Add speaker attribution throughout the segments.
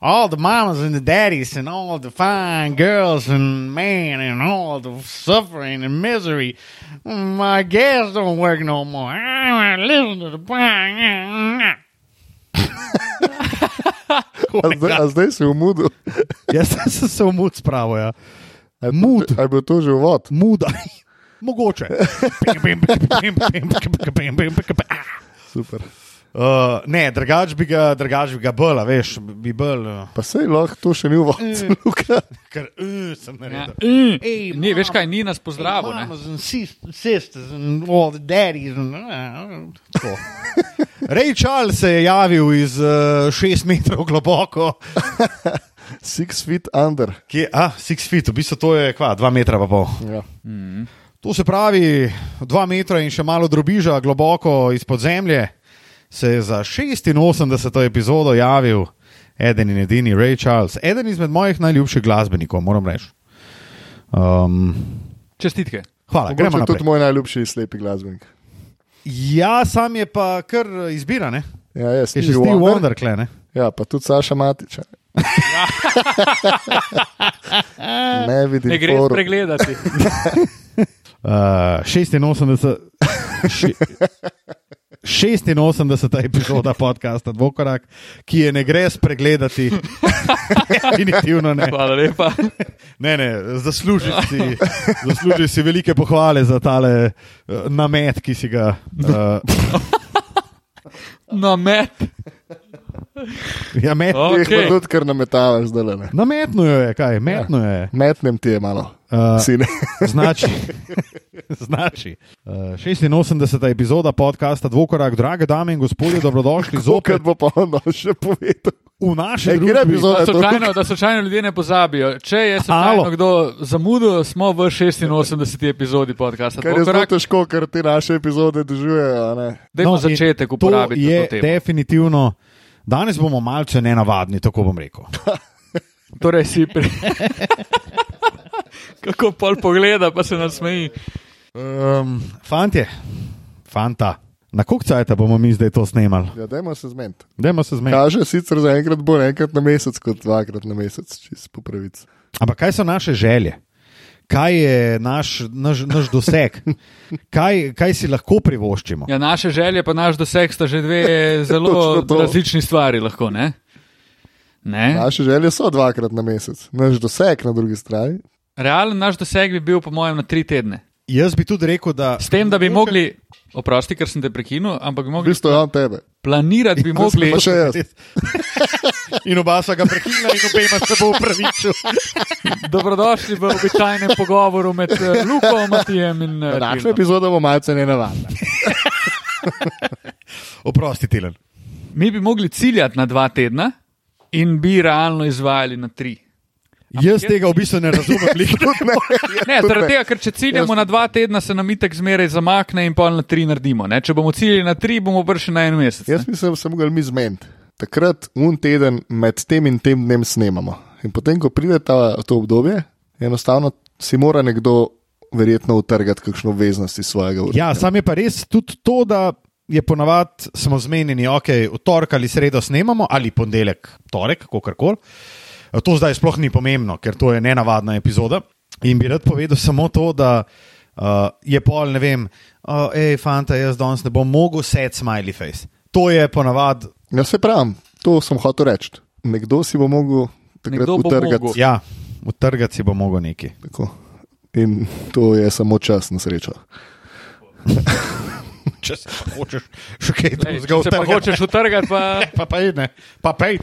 Speaker 1: all the mamas and the daddies and all the fine girls and man and all the suffering and misery. Mm, My gas don't work no more. I don't wanna listen to the bang.
Speaker 2: A zdaj, a zdaj si v mudu.
Speaker 3: Jaz sem se v mud spravil. Ja.
Speaker 2: A je to
Speaker 3: Mud.
Speaker 2: že- A je bil to že uvod?
Speaker 3: Muda. Mogoče.
Speaker 2: Super.
Speaker 3: Uh, ne, drugač bi ga, drugač bi ga bila, veš, bi bil. Uh,
Speaker 2: Pa sej lahko to še ni uvod,
Speaker 4: Mm.
Speaker 2: Luka.
Speaker 3: ker uh, sem
Speaker 4: Ja.
Speaker 3: naredil. Ej,
Speaker 4: Ni, veš
Speaker 1: mama.
Speaker 4: kaj, ni nas pozdravil.
Speaker 1: Hey,
Speaker 4: ne?
Speaker 1: mamas and sis- sisters and all the daddies and uh,
Speaker 3: Tako. Ray Charles se je javil iz uh, šest metrov globoko,
Speaker 2: Six feet under.
Speaker 3: ki je, ah, six feet, v bistvu to je kva, dva metra pa pol.
Speaker 2: Ja.
Speaker 3: To se pravi, dva metra in še malo drobiža globoko izpod zemlje, se je za 86. epizodo javil eden in edini Ray Charles, eden izmed mojih najljubših glasbenikov, moram reči. Um,
Speaker 4: Čestitke.
Speaker 3: hvala, gremo
Speaker 2: Mogoče je
Speaker 3: naprej.
Speaker 2: tudi moj najljubši slepi glasbenik.
Speaker 3: Ja, sam je pa kar izbira, ne?
Speaker 2: Ja,
Speaker 3: Je
Speaker 2: je
Speaker 3: še
Speaker 2: Stevie
Speaker 3: Steve
Speaker 2: Wonder.
Speaker 3: Wonder, kle, ne?
Speaker 2: Ja, pa tudi Saša Matič. a ne. ne vidim,
Speaker 4: Ne gre
Speaker 2: poru.
Speaker 4: spregledati.
Speaker 3: Uh, 86. še- 86. epizoda podcasta Dvokorak, ki je ne gre spregledati. Definitivno ne.
Speaker 4: Hvala lepa.
Speaker 3: Ne, ne, zasluži si, zasluži si velike pohvale za tale uh, namet, ki si ga. Uh,
Speaker 4: No, met.
Speaker 3: ja, met,
Speaker 2: Ti jih pa
Speaker 4: Okay.
Speaker 2: tudi kar nametavaš zdaj le.
Speaker 3: nametno jo je, kaj, metno jo je.
Speaker 2: Metnem ti je malo.
Speaker 3: Uh,
Speaker 2: Sine.
Speaker 3: Znači, znači. Uh, 86. epizoda podcasta Dvokorak, drage dame in gospodje, dobrodošli
Speaker 2: Zopet
Speaker 3: zopet
Speaker 2: bo pa ono še povedal.
Speaker 3: v naši
Speaker 2: Ej, kje je
Speaker 3: družbi.
Speaker 2: epizoda?
Speaker 4: Da
Speaker 2: to-
Speaker 4: slučajno, da slučajno ljudje ne pozabijo. Če je
Speaker 3: Alo.
Speaker 4: slučajno kdo zamudil, smo v 86. epizodi podcasta.
Speaker 2: Kar je zelo
Speaker 4: Dvokorak.
Speaker 2: težko, ker ti naše epizode dožujejo.
Speaker 4: Dajmo
Speaker 3: No,
Speaker 4: no,
Speaker 3: in
Speaker 4: začetek
Speaker 3: to
Speaker 4: uporabiti.
Speaker 3: Je
Speaker 4: to temo.
Speaker 3: definitivno. Danes bomo malce nenavadni, tako bom rekel.
Speaker 4: Torej si pri. Kako pol pogleda, pa se nas smeji. Ehm,
Speaker 3: Um, fantje, fanta, na koliko cajt bomo mi zdaj to snemali?
Speaker 2: Ja, dajmo se zmeniti.
Speaker 3: Dajmo se zmeniti.
Speaker 2: Kaže sicer za enkrat bolj, enkrat na mesec, kot dvakrat na mesec, čist po pravici.
Speaker 3: Ampak kaj so naše želje? Kaj je naš, naš, naš doseg? Kaj, kaj si lahko privoščimo?
Speaker 4: Ja, naše želje, pa naš doseg sta že dve zelo
Speaker 2: Točno to.
Speaker 4: različni stvari, lahko ne. ne?
Speaker 2: Naše želje so dvakrat na mesec, naš doseg na drugi strani.
Speaker 4: Realen naš doseg bi bil, po mojem, na tri tedne.
Speaker 3: Jaz bi tudi rekel, da.
Speaker 4: S tem, da bi mogli, oprosti, ker sem te prekinil, ampak bi
Speaker 2: V
Speaker 4: mogli
Speaker 2: bistvu je on tebe.
Speaker 4: planirati, bi mogli.
Speaker 2: Pa še jaz.
Speaker 3: In oba sta ga prekinila, in obema se bo upravičil.
Speaker 4: Dobrodošli v običajnem pogovoru med eh, Luko, Matijem in eh,
Speaker 2: Naša
Speaker 4: Tilnom.
Speaker 2: epizoda bo malce nenavadna.
Speaker 3: Oprosti, Tilen.
Speaker 4: Mi bi mogli ciljati na dva tedna in bi realno izvajali na tri.
Speaker 3: Jaz tega v bistvu ne razumem. glih.
Speaker 4: Ne,
Speaker 2: Tudi
Speaker 4: zaradi
Speaker 2: ne.
Speaker 4: tega, ker če ciljamo na dva tedna, se nam itek zmeraj zamakne in pol na tri naredimo. Ne? Če bomo ciljali na tri, bomo bršli na en mesec. ne.
Speaker 2: Jaz mislim, da se mogli mi zmeniti. Takrat, un teden med tem in tem dnem snemamo. In potem, ko pride ta, to obdobje, enostavno si mora nekdo verjetno utrgati kakšno obveznost iz svojega urnika.
Speaker 3: Ja, sam je pa res tudi to, da je ponavadi smo zmenjeni, ok, v torek ali sredo snemamo, ali ponedeljek, torek, kako koli. To zdaj sploh ni pomembno, ker to je nenavadna epizoda. In bi rad povedal samo to, da uh, je pol, ne vem, uh, hej, fanta, jaz danes ne bom mogel sedeti smiley face. To je ponavadi,
Speaker 2: Ja, se pravim, to sem hotel reči. Nekdo si bo mogel takrat
Speaker 4: Nekdo bo
Speaker 2: utrgati.
Speaker 4: mogel.
Speaker 3: ja, utrgati si bo mogel neki.
Speaker 2: Tako. In to je samo čas, na srečo.
Speaker 3: Če se pa hočeš, še kaj
Speaker 4: Ej,
Speaker 3: drugega
Speaker 4: Če se pa
Speaker 3: utrgati.
Speaker 4: hočeš utrgati, pa.
Speaker 3: Pa pej, ne, pa pej.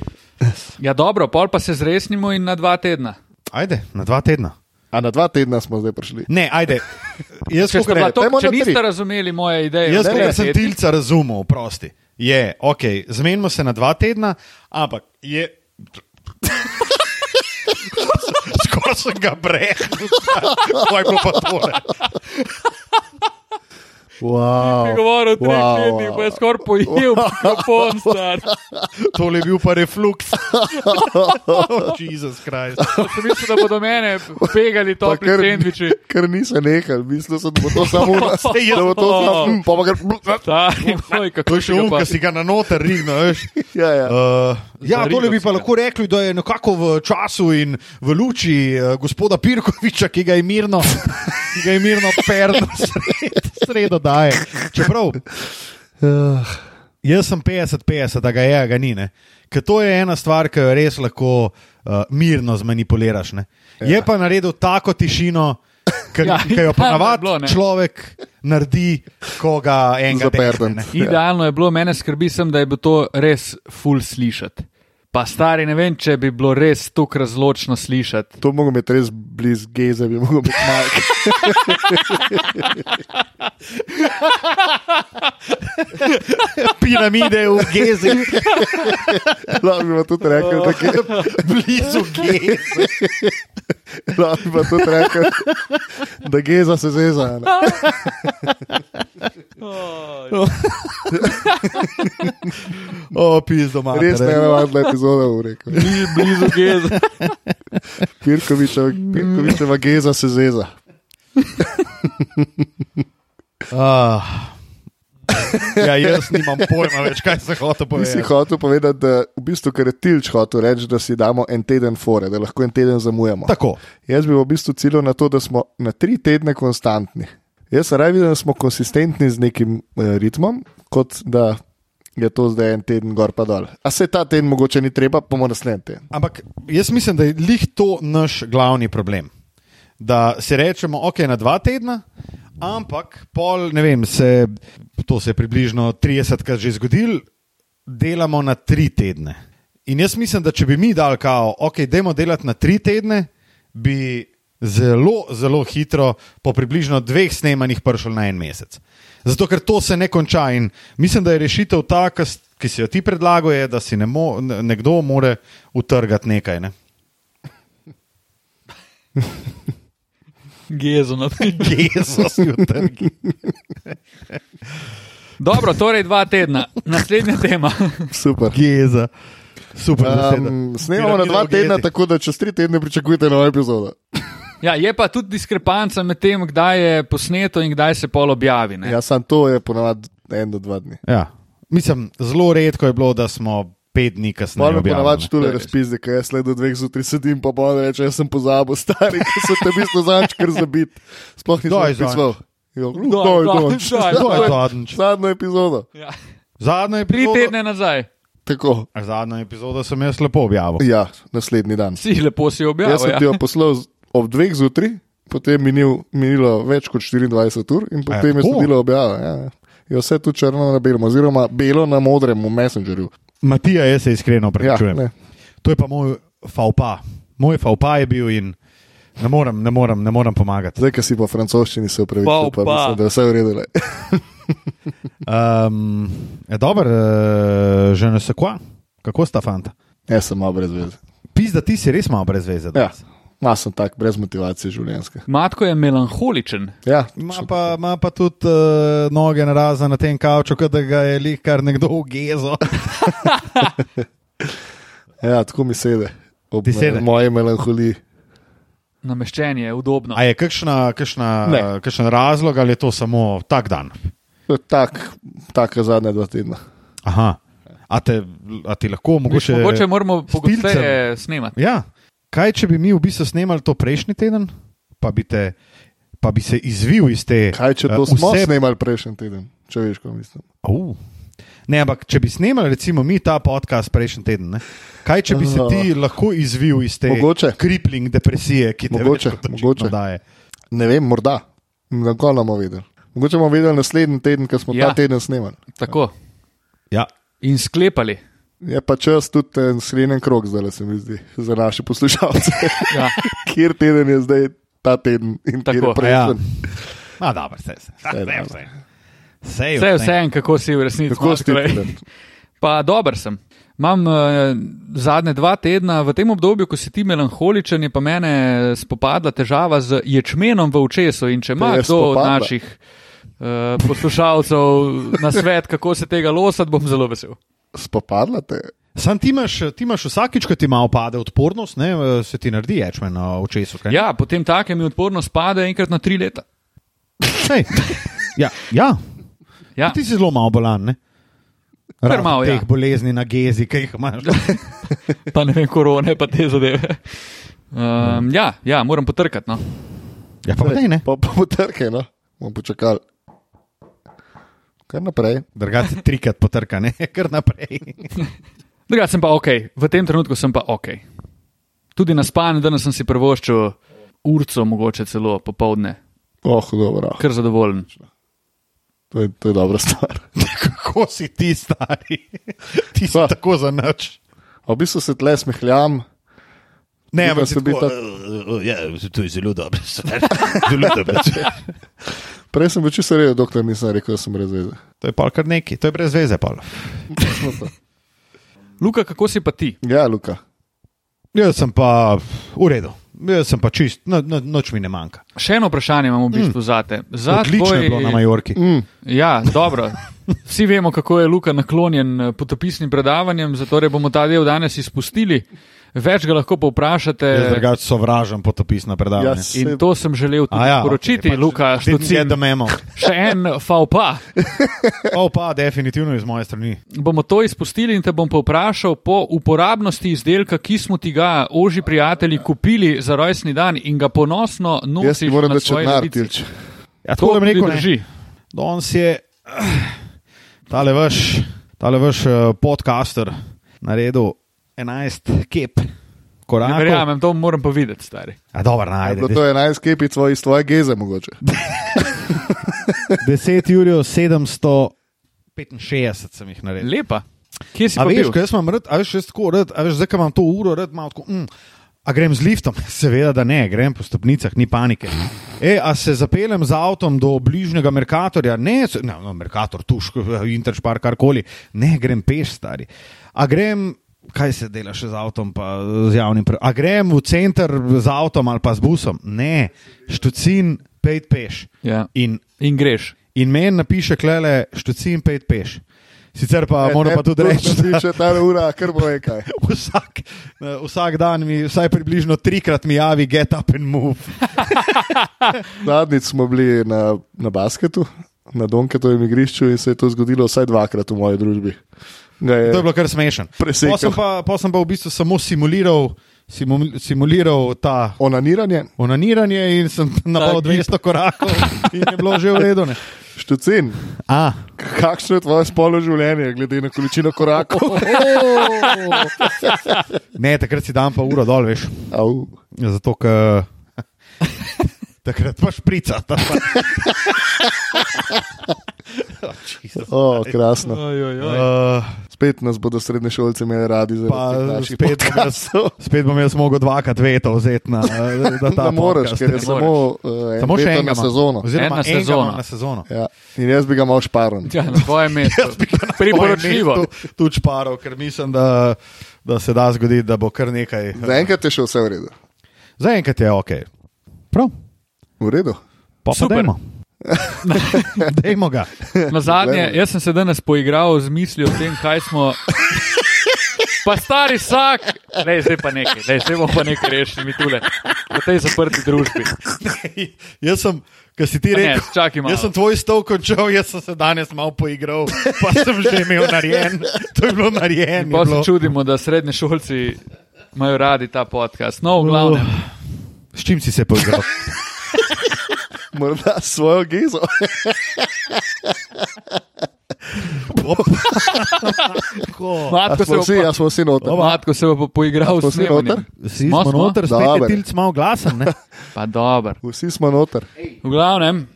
Speaker 4: Ja, dobro, pol pa se zresnimo in na dva tedna.
Speaker 3: Ajde, na dva tedna.
Speaker 2: A na dva tedna smo zdaj prišli.
Speaker 3: Ne, ajde. Jaz,
Speaker 4: Če,
Speaker 3: kakor
Speaker 4: ste bila
Speaker 3: rečem,
Speaker 4: to,
Speaker 2: dajmo
Speaker 4: če
Speaker 2: na tri.
Speaker 4: niste razumeli moje ideje,
Speaker 3: Jaz,
Speaker 4: o
Speaker 3: kot
Speaker 4: dveh
Speaker 3: sem
Speaker 4: tednih,
Speaker 3: tilca razumel, prosti, je, ok, zmenimo se na dva tedna, ampak je. Skoraj sem ga brehnil, kaj bo pa tole.
Speaker 4: bi
Speaker 2: Wow.
Speaker 4: govoril o treh
Speaker 2: Wow,
Speaker 4: tednih,
Speaker 2: wow.
Speaker 4: pa je skoraj pojel mikrofon, star.
Speaker 3: Tole je bil pa refluks. Jezus Krist.
Speaker 4: Sem mislil, da bodo mene pegali topli
Speaker 2: kar-
Speaker 4: sendviči. Ja.
Speaker 2: Ker niso nehali, mislil sem, da bo to samo nas.
Speaker 3: Saj jaz-
Speaker 2: Da bo to samo mm, pa bo kar.
Speaker 4: Stari moj,
Speaker 3: To
Speaker 4: kako
Speaker 3: je še um, ki si ga na noter rigno, veš.
Speaker 2: Ja, ja.
Speaker 3: Uh, Ja,
Speaker 4: Za
Speaker 3: tole bi pa
Speaker 4: Rigovcika.
Speaker 3: lahko rekli, da je nekako v času in v luči eh, gospoda Pirkoviča, ki ga je mirno, ki ga je mirno perno sred, sredo daje. Čeprav
Speaker 2: Uh,
Speaker 3: jaz sem 50-50, da ga je, a ga ni. ne. Ker to je ena stvar, ki jo res lahko uh, mirno zmanipuliraš. Ne? Je pa naredil tako tišino, ki ja, jo
Speaker 4: Ja, je bilo, ne.
Speaker 3: ponavadi človek naredi, ko ga enega
Speaker 2: Zaperden.
Speaker 3: dehne, ne.
Speaker 4: Idealno je bilo, mene skrbi sem, da je bilo to res full slišati. Pa stari, ne vem, če bi bilo res tako razločno slišati.
Speaker 2: to mogo imeti res blizu geze, bi mogo biti majhen.
Speaker 3: Piramide v gezi,
Speaker 2: Lahko bi pa tudi rekel, da je
Speaker 3: blizu gezi.
Speaker 2: lahko bi pa tudi rekel, da geza se zeza.
Speaker 4: Ja.
Speaker 2: ne.
Speaker 3: O, pis doma.
Speaker 2: Res ne vem, ali epizoda bo rekel.
Speaker 4: Blizu gez.
Speaker 2: Pirkovičeva, Pirkovičeva geza se zeza.
Speaker 3: Uh, ja, jaz nimam pojma več, kaj se hoče
Speaker 2: Ti si
Speaker 3: povedati.
Speaker 2: hotel povedati, da v bistvu, kar je Tilč hotel reči, da si damo en teden fore, da lahko en teden zamujamo.
Speaker 3: Tako.
Speaker 2: Jaz bi v bistvu ciljal na to, da smo na tri tedne konstantni. Jaz sem raje videl, da smo konsistentni z nekim eh, ritmom, kot da je to zdaj en teden gor pa dol. A se ta teden mogoče ni treba, pa bomo naslednji teden.
Speaker 3: Ampak jaz mislim, da je lih to naš glavni problem. Da si rečemo, ok, na dva tedna, ampak pol, ne vem, se, to se je približno 30krat že zgodilo, delamo na tri tedne. In jaz mislim, da če bi mi dal kao, ok, dajmo delati na tri tedne, bi zelo, zelo hitro, po približno dveh snemanjih, prišel na en mesec. Zato, ker to se ne konča in mislim, da je rešitev ta, ki s- ki si jo ti predlagal, je, da si ne mo, ne- nekdo more utrgati nekaj. Ne?
Speaker 4: Gezo na tem.
Speaker 3: Jezus, utrgi.
Speaker 4: Dobro, torej dva tedna. Naslednja tema.
Speaker 2: Super.
Speaker 3: Jeza. Super, um,
Speaker 2: Um, snemamo na dva
Speaker 3: Piramidal gezi.
Speaker 2: tedna, tako da čez tri tedne pričakujete novo epizodo.
Speaker 4: Ja, je pa tudi diskrepanca med tem, kdaj je posneto in kdaj se pol objavi. Ne?
Speaker 2: Ja, sam to je ponavadi en do dva dni.
Speaker 3: ja. Mislim, zelo redko je bilo, da smo pet dni kasneje.
Speaker 2: Malo je
Speaker 3: objavili,
Speaker 2: ponavadi
Speaker 3: ne.
Speaker 4: To
Speaker 2: tudi
Speaker 4: je res.
Speaker 2: razpis, da jaz le do dveh zjutraj sedim, pa bo reče, jaz sem pozabil, stari, ki so te v bistvu zanč kar zabit. Sploh nisem
Speaker 3: Daj,
Speaker 2: napisal. Jo,
Speaker 4: Daj,
Speaker 2: daj, daj.
Speaker 4: daj, daj,
Speaker 3: To je
Speaker 4: daj.
Speaker 3: zadnjič.
Speaker 2: Zadnjo epizodo.
Speaker 4: Ja.
Speaker 3: Zadnjo
Speaker 4: Tri
Speaker 3: epizodo,
Speaker 4: tedne nazaj.
Speaker 2: Tako,
Speaker 3: A zadnjo epizodo sem jaz lepo objavil.
Speaker 2: ja, naslednji dan.
Speaker 4: Si lepo si objavil.
Speaker 2: Jaz sem
Speaker 4: ja.
Speaker 2: ti jo poslal z- ob dveh zjutraj, potem minil, minilo več kot 24 ur in potem je
Speaker 3: tako?
Speaker 2: sledila objava. Ja. Je vse tu črno na belem, oziroma belo na modrem v Messengerju.
Speaker 3: Matija, jaz se iskreno
Speaker 2: Ja,
Speaker 3: opravičujem.
Speaker 2: ne.
Speaker 3: to je pa moj faupa. Moj faupa je bil in ne morem, ne morem, ne morem pomagati.
Speaker 2: Zdaj, ki si po francoščini se upravičil, pa
Speaker 4: Pa, pa.
Speaker 2: mislim, da je vse v redu. le.
Speaker 3: Um, e, dober, uh, že ne se kva, kako sta fanta?
Speaker 2: Jaz sem malo brez veze.
Speaker 3: Pis, da ti si res malo brez veze.
Speaker 2: Ja,
Speaker 3: danes.
Speaker 2: malo sem tak, brez motivacije življenjske.
Speaker 4: Matko je melanholičen.
Speaker 2: Ja,
Speaker 3: Ima pa, ima pa tudi uh, noge narazen na tem kavču, kot da ga je lih kar nekdo v gezo.
Speaker 2: ja, tako mi sede. Ob
Speaker 3: Ti sede?
Speaker 2: eh, moji melanholiji.
Speaker 4: Nameščen je udobno.
Speaker 3: A je kakšna, kakšna,
Speaker 2: Ne.
Speaker 3: eh, kakšen razlog ali je to samo tak dan?
Speaker 2: To je Tak, taka zadnja dva tedna.
Speaker 3: Aha. A, te, a ti lahko mogoče.
Speaker 4: Mogoče, mogoče moramo
Speaker 3: s
Speaker 4: pogosteje snemati.
Speaker 3: Ja. Kaj, če bi mi v bistvu snemali to prejšnji teden, pa bi, te, pa bi se izvil iz te.
Speaker 2: Kaj, če to
Speaker 3: eh,
Speaker 2: smo
Speaker 3: vse-
Speaker 2: snemali prejšnji teden, če veš, ko mislim.
Speaker 3: Uh. Ne, ampak če bi snemali, recimo, mi ta podcast prejšnji teden, ne? kaj če bi se ti lahko izvil iz te
Speaker 2: No. Mogoče.
Speaker 3: kripling depresije, ki te
Speaker 2: Mogoče,
Speaker 3: več kot očitno
Speaker 2: mogoče.
Speaker 3: daje?
Speaker 2: Ne vem, morda. Na kol bomo vedeli. Mogoče bomo vedeli naslednji teden, ker smo
Speaker 4: Ja.
Speaker 2: ja. ta teden snemali.
Speaker 4: Tako.
Speaker 3: Ja.
Speaker 4: In sklepali.
Speaker 2: Je pa čas tudi eh, en sreden krok, zdaj se mi zdi, za naše poslušalce.
Speaker 4: Ja.
Speaker 2: Kjer teden je zdaj ta teden in kjer je
Speaker 4: Tako,
Speaker 3: ja.
Speaker 2: prejšnji.
Speaker 3: A, dobro, vse, vse, vse,
Speaker 2: je
Speaker 3: vse,
Speaker 2: dobro.
Speaker 3: vse. Vse je
Speaker 4: Vse je vse en, kako si v resnici.
Speaker 2: Kako ste
Speaker 4: Marko,
Speaker 2: rekli?
Speaker 4: ej. Pa dober sem. Imam uh, zadnje dva tedna, v tem obdobju, ko si ti melanholičen, je pa mene spopadla težava z ječmenom v očesu. In če ima
Speaker 2: Te je
Speaker 4: kdo od
Speaker 2: spopadla?
Speaker 4: naših uh, poslušalcev na svet, kako se tega losati, bom zelo vesel.
Speaker 2: Spopadla te?
Speaker 3: Sam ti imaš, ti imaš vsakič, ko ti ima opade odpornost, ne, eh, se ti naredi ječmen na očesu. kaj ne?
Speaker 4: Ja, potem take mi odpornost pade enkrat na tri leta.
Speaker 3: Sej. Ja, ja.
Speaker 4: Ja.
Speaker 3: Ti si zelo malo bolan. Ne?
Speaker 4: Kar malo, ja.
Speaker 3: teh bolezni na gezi, ki jih imaš.
Speaker 4: pa ne vem, korone, pa te zadeve. Um, ja, ja, moram potrkati. No.
Speaker 3: Ja, pa daj, ne.
Speaker 2: Pa pa potrkaj, no, bomo počakali. Kar naprej.
Speaker 3: Drgati trikrat potrka, ne, kar naprej.
Speaker 4: Drugače sem pa ok, v tem trenutku sem pa ok. Tudi na spanju, danes sem si prvoščil urco, mogoče celo popovdne,
Speaker 2: Oh, dobro.
Speaker 4: kar zadovoljen.
Speaker 2: To je, to je dobra stvar.
Speaker 3: Kako si ti stari? Ti si
Speaker 2: Pa.
Speaker 3: tako za noč.
Speaker 2: A v bistvu se tle smehljam,
Speaker 3: Ne,
Speaker 2: Ti pa
Speaker 3: ampak si
Speaker 2: se bi
Speaker 3: tako,
Speaker 2: ta-
Speaker 3: "Eh, eh, ja, to je zelo dobro. Zelo dobro.
Speaker 2: prej sem bil čisto rejo, dokler nisem rekel, da sem brez veze.
Speaker 3: To je pa kar neki, to je brez veze. Pol.
Speaker 4: Luka, kako si pa ti?
Speaker 2: Ja, Luka.
Speaker 3: Jaz sem pa v redu, jaz sem pa čist, no, no, noč mi ne manjka.
Speaker 4: Še eno vprašanje imamo v bistvu mm. za te. Za
Speaker 3: Odlično je bilo na Majorki.
Speaker 2: Mm,
Speaker 4: Ja, dobro. Vsi vemo, kako je Luka naklonjen eh, potopisnim predavanjem, zato bomo ta del danes izpustili. Več ga lahko
Speaker 3: Jaz
Speaker 4: povprašate.
Speaker 3: drugače sovražim potopisna predavanja.
Speaker 2: Jaz-
Speaker 4: In to sem želel tudi ja, sporočiti, okay,
Speaker 3: pač
Speaker 4: Luka,
Speaker 3: vedno je, da
Speaker 4: Štocin.
Speaker 3: me imamo.
Speaker 4: Še en faul pa.
Speaker 3: O, pa, definitivno iz moje strani.
Speaker 4: Bomo to izpustili in te bom povprašal po uporabnosti izdelka, ki smo ti ga, oži prijatelji, kupili za rojstni dan in ga ponosno
Speaker 2: jaz
Speaker 4: nosiš
Speaker 2: ti moram
Speaker 4: na
Speaker 2: reči,
Speaker 4: svoji
Speaker 2: črnar,
Speaker 4: levici.
Speaker 2: tilč.
Speaker 3: Ja,
Speaker 4: To
Speaker 3: tako da mi rekel, ne.
Speaker 4: drži.
Speaker 3: Danes je tale vaš, tale vaš eh, podcaster naredil 11 kep.
Speaker 4: Ne
Speaker 3: Korakov.
Speaker 4: verjamem, to moram pa videti, stari.
Speaker 3: A, dober,
Speaker 2: Ja, Je
Speaker 3: najde,
Speaker 2: bilo to 11 kepic tvoj- iz tvoje geze, mogoče.
Speaker 3: 10 jurijo 765 sem jih naredil.
Speaker 4: Lepa. Kje si
Speaker 3: A
Speaker 4: pa
Speaker 3: veš,
Speaker 4: bil?
Speaker 3: ko jaz imam rad, a veš, jaz tako rad, a veš, zdaj, ko imam to uro, rad malo tako, mm, a grem z liftom? Seveda, da ne, grem po stopnicah, ni panike. E, a se zapeljem z avtom do bližnjega Merkatorja? Ne, se- ne no, Merkator, tuš, Interšpar, karkoli. Ne, grem peš, stari. A grem, kaj se dela še z avtom, pa z javnim prevozom? A grem v center z avtom ali pa z busom? Ne, štucin, pej peš.
Speaker 4: Ja.
Speaker 3: In
Speaker 4: In greš.
Speaker 3: In meni napiše, klele, štucin pet peš. Sicer pa
Speaker 2: E,
Speaker 3: moram
Speaker 2: ne,
Speaker 3: pa tudi
Speaker 2: tu
Speaker 3: reči, da
Speaker 2: Piše ta ura, kar bo nekaj.
Speaker 3: vsak, eh, vsak dan mi, vsaj približno trikrat mi javi, get up and move.
Speaker 2: Ja. Zadnjič smo bili na, na basketu, na Donketovem igrišču in se je to zgodilo vsaj dvakrat v moji družbi. Ga je-
Speaker 3: To je bilo kar smešen.
Speaker 2: Presekal.
Speaker 3: Pol sem pa, pol sem pa v bistvu samo simuliral, simul, simuliral ta
Speaker 2: Onaniranje,
Speaker 3: onaniranje in sem napadal 200 korakov in je bilo že v redu. ne.
Speaker 2: štucin,
Speaker 3: A,
Speaker 2: kakšno je tvoje spolno življenje, glede na količino korakov?
Speaker 3: ne, takrat si dam pa uro dol, veš.
Speaker 2: Au.
Speaker 3: Zato, ker takrat pa šprica. ta pa-
Speaker 2: O, krasno.
Speaker 4: Oj, oj, oj.
Speaker 3: Eh,
Speaker 2: Spet nas bodo srednje šolce imeli radi za
Speaker 3: Pa spet bom, jaz, spet bom jaz mogel dvakrat veto vzeti na eh, da ta
Speaker 2: Ne moreš,
Speaker 3: podcast.
Speaker 2: ker je
Speaker 4: ne
Speaker 2: samo, uh,
Speaker 3: Samo še eno
Speaker 2: na sezono.
Speaker 3: Oziroma,
Speaker 4: Ena
Speaker 3: enega ima
Speaker 4: sezona.
Speaker 3: Na sezono.
Speaker 2: Ja. In jaz bi ga mal šparil.
Speaker 4: Ja, na tvojem mestu.
Speaker 3: To
Speaker 4: Priporočljivo.
Speaker 3: je tudi šparov, ker mislim, da, da se da zgoditi, da bo kar nekaj. eh,
Speaker 2: Zaenkrat je še vse v redu.
Speaker 3: Zaenkrat je ok. Prav,
Speaker 2: V redu.
Speaker 3: pa
Speaker 4: Super.
Speaker 3: dajmo. dajmo ga.
Speaker 4: Na zadnje, jaz sem se danes poigral z mislijo o tem, kaj smo. Pa stari vsak, ne, zdaj pa nekaj, ne, zdaj bomo pa nekaj rešili, mi tule, v tej zaprti družbi.
Speaker 3: Jaz sem, kar si ti
Speaker 4: Pa ne,
Speaker 3: rekel,
Speaker 4: čakaj malo.
Speaker 3: jaz sem tvoj stol končal, jaz sem se danes malo poigral, pa sem že imel narejen. To je bilo narejeno. je
Speaker 4: Pa se
Speaker 3: bilo.
Speaker 4: čudimo, da srednji šolci imajo radi ta podcast.
Speaker 2: Uh,
Speaker 4: No, v glavnem,
Speaker 3: S čim si se poigral?
Speaker 2: Morda s svojo gezo.
Speaker 3: Ja,
Speaker 4: matko
Speaker 2: A
Speaker 4: se bo
Speaker 2: smo vsi,
Speaker 4: pa-
Speaker 2: ja, smo vsi noter.
Speaker 4: matko se bo pa poigral
Speaker 2: A smo
Speaker 4: s
Speaker 2: vsi
Speaker 4: snemanjem.
Speaker 2: noter?
Speaker 3: Si
Speaker 4: Smo,
Speaker 3: smo
Speaker 4: smo.
Speaker 3: noter, spet
Speaker 2: Dober.
Speaker 3: je tilc malo glasen. ne?
Speaker 4: Pa dober.
Speaker 2: Vsi smo noter.
Speaker 4: V glavnem,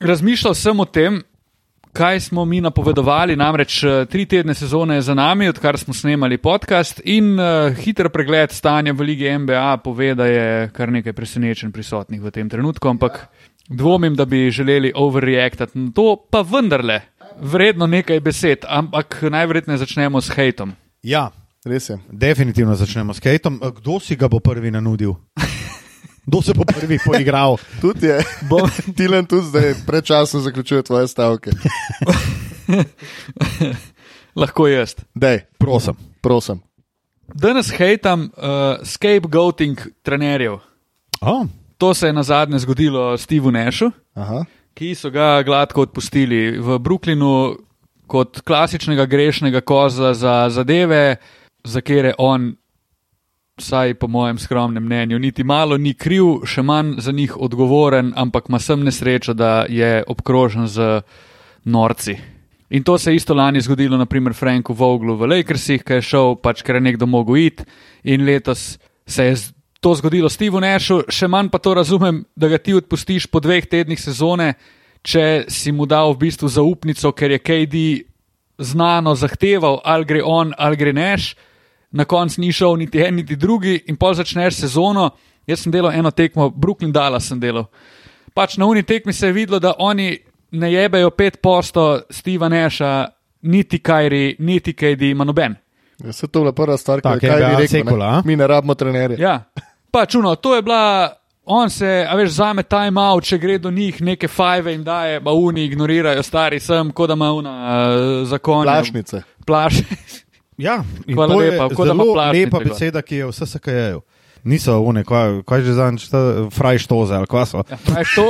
Speaker 4: razmišljal sem o tem, kaj smo mi napovedovali. Namreč eh, tri tedne sezone je za nami, odkar smo snemali podcast, in uh, hiter pregled stanja v Ligi MBA pove, da je kar nekaj presenečen prisotnih v tem trenutku, ampak dvomim, da bi želeli overreactati na to, pa vendarle, vredno nekaj besed, ampak najverjetneje začnemo s hejtom.
Speaker 3: Ja,
Speaker 2: Res je.
Speaker 3: definitivno začnemo s Kejtom. Eh, Kdo si ga bo prvi nanudil? Kdo se bo prvi poigral?
Speaker 2: Tudi je. Tilen tudi zdaj prečasno zaključuje tvoje stavke.
Speaker 4: Lahko jaz.
Speaker 2: Dej,
Speaker 3: Prosim.
Speaker 2: prosim.
Speaker 4: Danes hejtam uh, scapegoating trenerjev.
Speaker 3: Oh,
Speaker 4: To se je na zadnje zgodilo Stevu Nešu.
Speaker 2: Aha.
Speaker 4: ki so ga gladko odpustili v Brooklynu. kot klasičnega grešnega kozla za zadeve, za kere on, vsaj po mojem skromnem mnenju, niti malo ni kriv, še manj za njih odgovoren, ampak ima sem nesrečo, da je obkrožen z norci. In to se je isto lani zgodilo, naprimer, Franku Voglu v Lakersih, ki je šel, pač ker je nekdo mogel iti, in letos se je z- to zgodilo Stevu Nešu, še manj pa to razumem, da ga ti odpustiš po dveh tednih sezone, če si mu dal v bistvu zaupnico, ker je KD znano zahteval, ali gre on, ali gre neš. Na koncu ni šel niti en, niti drugi, in pol začneš sezono. Jaz sem delal eno tekmo, Brooklyn Dallas sem delal pač na uni tekmi se je videlo, da oni ne jebejo pet posto Steva Neša, niti Kajri, niti KD, ima noben.
Speaker 2: Ja, se to je bila prva stvar, ki
Speaker 3: Tako
Speaker 2: je
Speaker 3: je bila
Speaker 2: kaj rekel.
Speaker 3: Cekula, a?
Speaker 2: ne. Mi ne rabimo trenerje.
Speaker 4: Ja, pač uno, to je bila. On se, a veš, zame time out, če gre do njih, neke fajve jim daje, pa uni ignorirajo, stari sem, kot da ima una uh, zakon.
Speaker 2: Plašnice.
Speaker 4: Plaš.
Speaker 3: Ja, in
Speaker 4: Hvala
Speaker 3: to je
Speaker 4: lepa, tako da ima
Speaker 3: zelo
Speaker 4: plašnice
Speaker 3: lepa
Speaker 4: gor.
Speaker 3: beseda, ki je vse SKJ-ju. Niso one, kaj, kaj že zadnjič, ta eh, frajštoze ali kva so.
Speaker 4: Pravi to.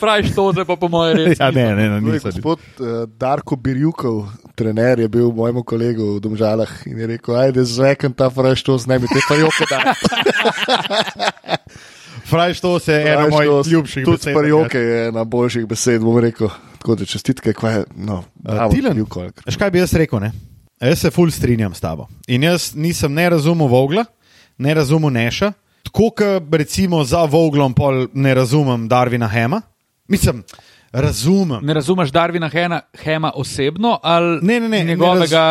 Speaker 4: Pravi Ja, to, zdaj pa po mojem res.
Speaker 3: Ja, ne, ne, ne,
Speaker 2: Torej,
Speaker 3: niso.
Speaker 2: Gospod eh, Darko Birjukov, trener, je bil mojemu kolegu v Domžalah in je rekel: Ajde, zveken ta fraš, to z nami, te pa joke da.
Speaker 3: Frajštoze je ena mojih ljubših
Speaker 2: Tudi
Speaker 3: besed. ja.
Speaker 2: sparjoke je na boljših besed, bom rekel. Tako da čestitke, kaj je. No, bravo,
Speaker 3: Tilen.
Speaker 2: Birjuko, ali kaj.
Speaker 3: Veš, kaj bi jaz rekel? Ne? Jaz se ful strinjam s tabo. In jaz nisem ne razumel Vogla, ne razumel Neša, tako kot recimo za Voglom pol ne razumem Darvina Hema. Mislim, razumem.
Speaker 4: Ne razumeš Darvina Hena, Hema osebno ali
Speaker 3: Ne, ne, ne, ne
Speaker 4: njegovega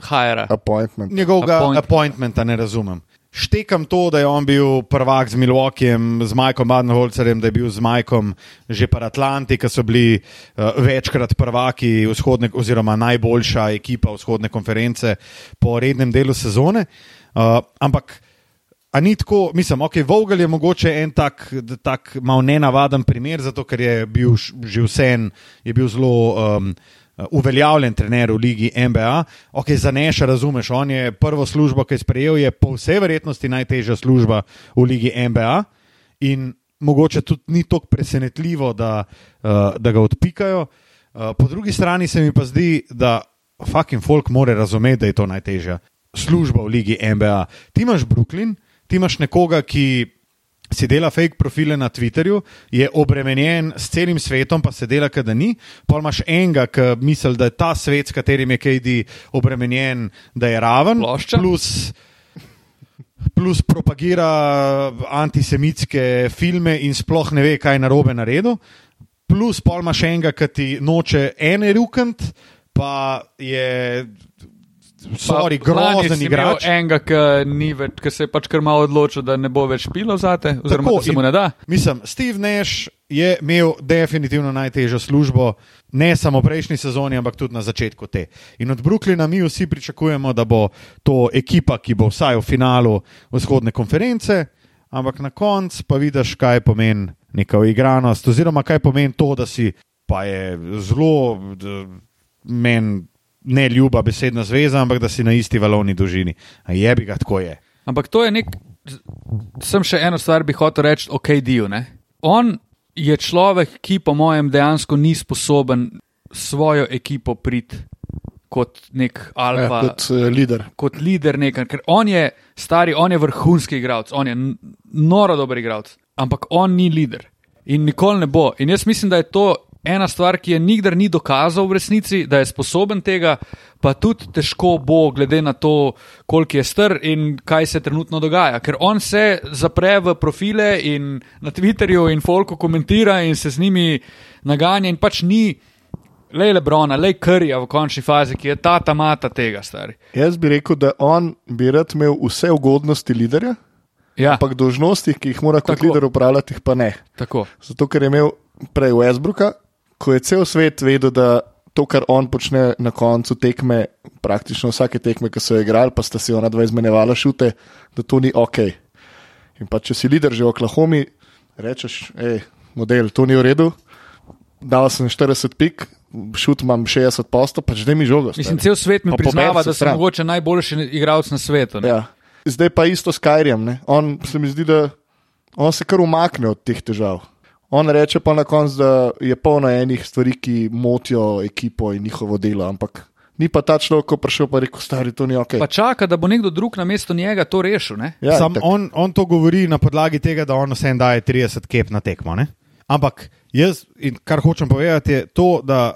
Speaker 4: hajera?
Speaker 2: Appointment.
Speaker 3: Njegovega
Speaker 4: Appoint-
Speaker 3: appointmenta ne razumem. Štekam to, da je on bil prvak z Milwaukeejem, z Majkom Badenholcerjem, da je bil z Majkom že par Atlanti, ki so bili uh, večkrat prvaki vzhodne, oziroma najboljša ekipa vzhodne konference po rednem delu sezone. Uh, ampak A ni tako, mislim, ok, Vogel je mogoče en tak, d- tak mal nenavaden primer, zato ker je bil š- že vseen, je bil zelo um, uveljavljen trener v ligi NBA. Ok, za neša razumeš, on je prvo službo, ki je sprejel, je po vsej verjetnosti najtežja služba v ligi NBA in mogoče tudi ni tako presenetljivo, da, uh, da ga odpikajo. Uh, po drugi strani se mi pa zdi, da fucking folk more razumeti, da je to najtežja služba v ligi NBA. Ti imaš Brooklyn, ti imaš nekoga, ki si dela fake profile na Twitterju, je obremenjen s celim svetom, pa se dela, kot da ni. Pa imaš enega, ki misli, da je ta svet, s katerim je KD obremenjen, da je raven.
Speaker 4: Plošča.
Speaker 3: Plus, plus propagira antisemitske filme in sploh ne ve, kaj je narobe naredil. Plus pol imaš enega, ki ti noče en rukant, pa je. Sorry,
Speaker 4: Pa lani
Speaker 3: grozen
Speaker 4: si imel
Speaker 3: igrač.
Speaker 4: Enega, ki ni več, ki se je pač kar malo odločil, da ne bo več pilo zate, oziroma da se
Speaker 3: in-
Speaker 4: mu ne da.
Speaker 3: Mislim, Steve Nash je imel definitivno najtežjo službo, ne samo prejšnji sezoni, ampak tudi na začetku te. In od Brooklyna mi vsi pričakujemo, da bo to ekipa, ki bo vsaj v finalu vzhodne konference, ampak na koncu pa vidiš, kaj pomeni neka igranost, oziroma kaj pomeni to, da si pa je zelo d- meni. Ne ljuba besedna zveza, ampak da si na isti valovni dolžini. A je bi ga tako je.
Speaker 4: Ampak to je nek. Sem še eno stvar bi hotel reči o KD-ju. ne. On je človek, ki po mojem dejansko ni sposoben svojo ekipo priti kot nek
Speaker 2: Ja,
Speaker 4: alfa.
Speaker 2: kot uh, lider.
Speaker 4: kot lider nekaj, ker on je stari, on je vrhunski igralec, on je n- noro dober igralec, ampak on ni lider in nikoli ne bo. In jaz mislim, da je to ena stvar, ki je nikdar ni dokazal v resnici, da je sposoben tega, pa tudi težko bo, glede na to, koliko je star in kaj se trenutno dogaja. Ker on se zapre v profile in na Twitterju in Folku komentira in se z njimi naganja in pač ni. Le Lebrona, le Krija v končni fazi, ki je ta ta mata tega, stari.
Speaker 2: Jaz bi rekel, da on bi rad imel vse ugodnosti liderja,
Speaker 4: Ja.
Speaker 2: ampak dožnosti, ki jih mora kot
Speaker 4: Tako.
Speaker 2: Tako. lider upravljati, jih pa ne.
Speaker 4: Tako.
Speaker 2: Zato, ker je imel prej Westbrooka, ko je cel svet vedel, da to, kar on počne na koncu tekme, praktično vsake tekme, ki so jo igrali, pa sta si ona dva izmenjevala šute, da to ni ok. In pa če si lider že v Oklahomi, rečeš, hej, model, to ni v redu, dal sem 40 pik, šut imam 60 posto, pač da mi žogo.
Speaker 4: Mislim,
Speaker 2: stari."
Speaker 4: cel svet mi
Speaker 2: Pa
Speaker 4: priznava,
Speaker 2: poberi se
Speaker 4: da sem
Speaker 2: stran.
Speaker 4: mogoče najboljši igralec na svetu. ne.
Speaker 2: Ja. Zdaj pa isto s Kajrjem. Ne? On se mi zdi, da on se kar umakne od teh težav. On reče pa na koncu, da je polno enih stvari, ki motijo ekipo in njihovo delo, ampak ni pa ta človek, ko prišel pa rekel, stari, to ni ok.
Speaker 4: Pa čaka, da bo nekdo drug na mesto njega to rešil. Ne?
Speaker 3: Ja,
Speaker 2: Ja,
Speaker 3: Pač Sam
Speaker 2: itak.
Speaker 3: on, on to govori na podlagi tega, da on vsem daje 30 kep na tekmo. Ne? Ampak jaz, in kar hočem povedati, je to, da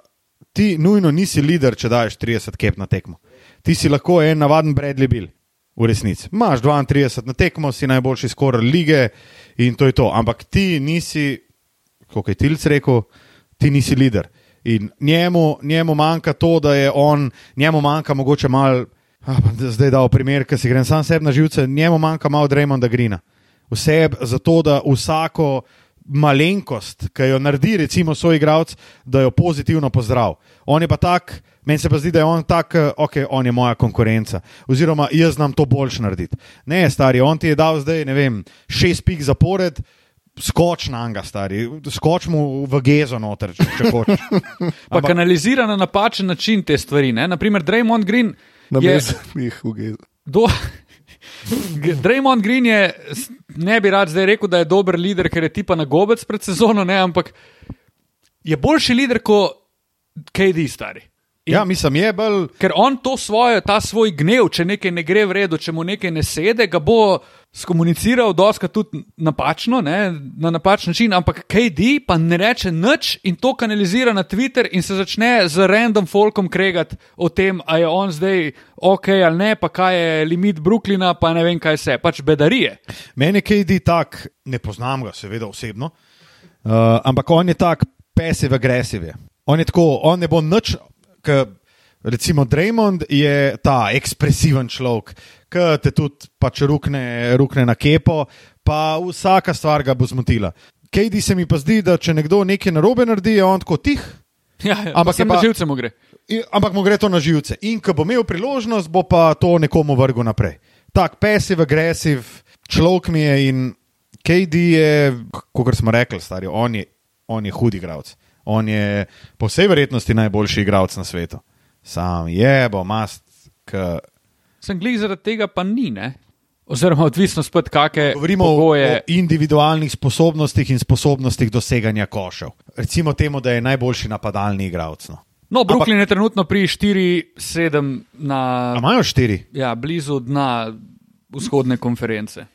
Speaker 3: ti nujno nisi lider, če daješ 30 kep na tekmo. Ti si lahko en navaden Bradley Bill, v resnici. Imáš 32 na tekmo, si najboljši skor lige in to je to. Ampak ti nisi, kot je Tilc rekel, ti nisi lider. In njemu, njemu manjka to, da je on, njemu manjka mogoče malo. Ah, bom zdaj dal primer, ki si grem sam sebi na živce, njemu manjka malo Dreymonda Grina. Vse zato, da vsako malenkost, ki jo naredi, recimo, svoj igralec, da jo pozitivno pozdrav. On je pa tak, meni se pa zdi, da je on tak, ok, on je moja konkurenca. Oziroma, jaz znam to boljš narediti. Ne, stari, on ti je dal zdaj, ne vem, šest pik zapored. Skoč na anga, stari, skoč mu v gezo noter, če, če hočeš.
Speaker 4: Pa kanalizira na napačen način te stvari. Ne? Naprimer, Draymond Green.
Speaker 2: na
Speaker 4: je-
Speaker 2: mestu jih ugeza.
Speaker 4: Do... G- Draymond Green je, s- ne bi rad zdaj rekel, da je dober lider, ker je tipa na gobec pred sezono, ne, ampak je boljši lider kot KD stari. In-
Speaker 3: Ja, mislim, je bolj.
Speaker 4: Ker on to svoje, ta svoj gnev, če nekaj ne gre v redu, če mu nekaj ne sede, ga bo skomuniciral, doska tudi napačno, ne, na napačen način, ampak KD pa ne reče nič in to kanalizira na Twitter in se začne z random folkom kregati o tem, a je on zdaj ok ali ne, pa kaj je limit Brooklyna, pa ne vem kaj se, pač bedarije.
Speaker 3: Meni je KD tak, ne poznam ga, seveda osebno, uh, ampak on je tak pasiv-agresiv. je. On je tako, on ne bo nič. K, recimo Draymond je ta ekspresiven človek, ki te tudi pač rukne, rukne na kepo, pa vsaka stvar ga bo zmotila. KD se mi pa zdi, da če nekdo nekaj narobe naredi, je on tako tih.
Speaker 4: Ja,
Speaker 3: Ampak
Speaker 4: ampak
Speaker 3: Pač je
Speaker 4: sem
Speaker 3: pa-
Speaker 4: pa živcem gre.
Speaker 3: In, ampak mu gre to na živce. In ko bo imel priložnost, bo pa to nekomu vrgel naprej. Tak pasiv, agresiv, človek mi je in KD je, kot smo rekli, stari, on je, on je hud igralec. On je po vsej verjetnosti najboljši igralec na svetu. Sam je, bo mast. K...
Speaker 4: Sem glih zaradi tega pa ni, ne. Oziroma, odvisno spet, kakšne
Speaker 3: Govorimo o, o individualnih sposobnostih in sposobnostih doseganja košev. Recimo temu, da je najboljši napadalni igralec. No.
Speaker 4: No, Brooklyn je trenutno pri 4-7 na
Speaker 3: A Imajo štiri.
Speaker 4: ja, blizu dna vzhodne konference.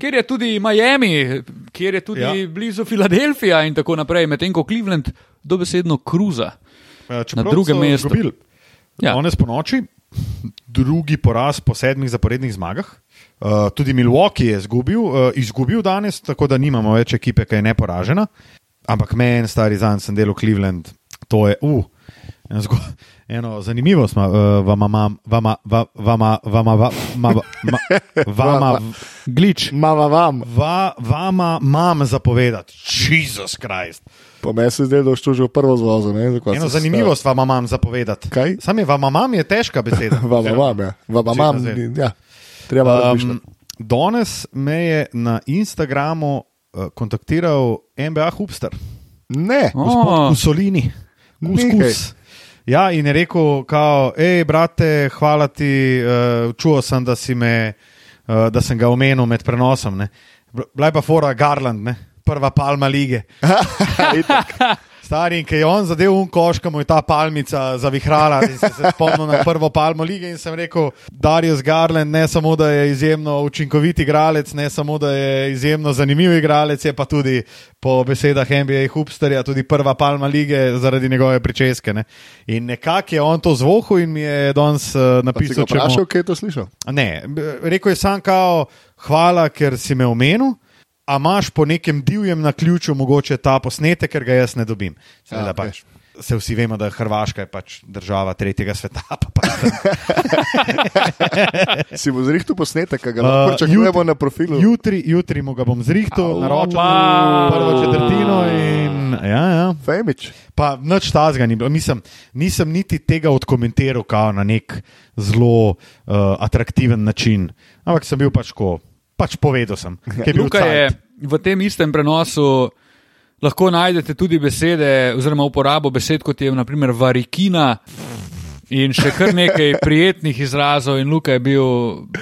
Speaker 4: Ker je tudi Miami, kjer je tudi ja.
Speaker 3: Ja.
Speaker 4: blizu Filadelfija in tako naprej, medtem ko Cleveland dobesedno kruza.
Speaker 3: Ja, čeprav
Speaker 4: Na drugem
Speaker 3: so
Speaker 4: mestu.
Speaker 3: izgubili.
Speaker 4: Ja.
Speaker 3: Danes po noči, drugi poraz po sedmih zaporednih zmagah. Uh, tudi Milwaukee je izgubil, uh, izgubil danes, tako da nimamo več ekipe, ki je neporažena. Ampak meni, stari zanj, sem delal Cleveland, to je. Uh, eno zgo- Eno zanimivo smo, uh, vama, mam- vama, va- vama, vama, va- ma- va- ma- vama,
Speaker 4: Glič.
Speaker 2: Mama vam,
Speaker 3: va- vama, mam zapovedati. Jezus Krist.
Speaker 2: po meni se zdaj, da boš to že v prvo zvozil. ne, za kva
Speaker 3: Eno
Speaker 2: se
Speaker 3: zanimivost vam imam zapovedati.
Speaker 2: Kaj?
Speaker 3: Sam je vam imam, je težka beseda.
Speaker 2: stavil. Vama vam, ja. Vama
Speaker 3: Očitno
Speaker 2: vam,
Speaker 3: zdaj.
Speaker 2: ja. Treba um,
Speaker 3: Um,
Speaker 2: razmišljati.
Speaker 3: danes me je na Instagramu uh, kontaktiral MBA Hubster,
Speaker 2: Ne,
Speaker 4: O.
Speaker 3: gospod Kusolini, Kuskus. Ja, in je rekel, kao, hej, brate, hvala ti, uh, čuo sem, da, si me, uh, da sem ga omenil med prenosom. ne." Bl- Bila je pa fora Garland, ne? prva palma lige.
Speaker 2: itak.
Speaker 3: Stari, in ki je on zadev un koš, ki mu je ta palmica zavihrala. In sem se spomnil na prvo palmo lige in sem rekel, Darius Garland ne samo, da je izjemno učinkovit igralec, ne samo, da je izjemno zanimiv igralec, je pa tudi po besedah NBA Hubsterja tudi prva palma lige zaradi njegove pričeske. Ne? In nekako je on to zvohu in mi je danes eh,
Speaker 2: Pa si
Speaker 3: napisal,
Speaker 2: ga
Speaker 3: če mu-
Speaker 2: vprašal, kje je to slišal?
Speaker 3: Ne, b- rekel je sam, kao, hvala, ker si me omenil. A imaš po nekem divjem na ključu mogoče ta posnetek, ker ga jaz ne dobim? Seveda,
Speaker 2: Ja,
Speaker 3: ja, pač,
Speaker 2: veš.
Speaker 3: se vsi vemo, da je Hrvaška je pač država tretjega sveta. Pa pač,
Speaker 2: Si bo zrihtel posnetek, ki ga
Speaker 3: Uh,
Speaker 2: lahko pričakujemo
Speaker 3: jutri-
Speaker 2: na profilu.
Speaker 3: jutri, jutri mu ga bom zrihtel,
Speaker 2: Au.
Speaker 3: naročil
Speaker 4: Pa.
Speaker 3: prvo četrtino. In, ja, ja.
Speaker 2: Femič.
Speaker 3: Pa nič tazga ni bilo. Nisem, nisem niti tega odkomentiral kao na nek zelo uh, atraktiven način. Ampak sem bil pač ko, pač povedal sem. kje bil
Speaker 4: Luka je
Speaker 3: cajt.
Speaker 4: v tem istem prenosu. Lahko najdete tudi besede, oziroma uporabo besed, kot je naprimer varikina in še kar nekaj prijetnih izrazov. In Luka je bil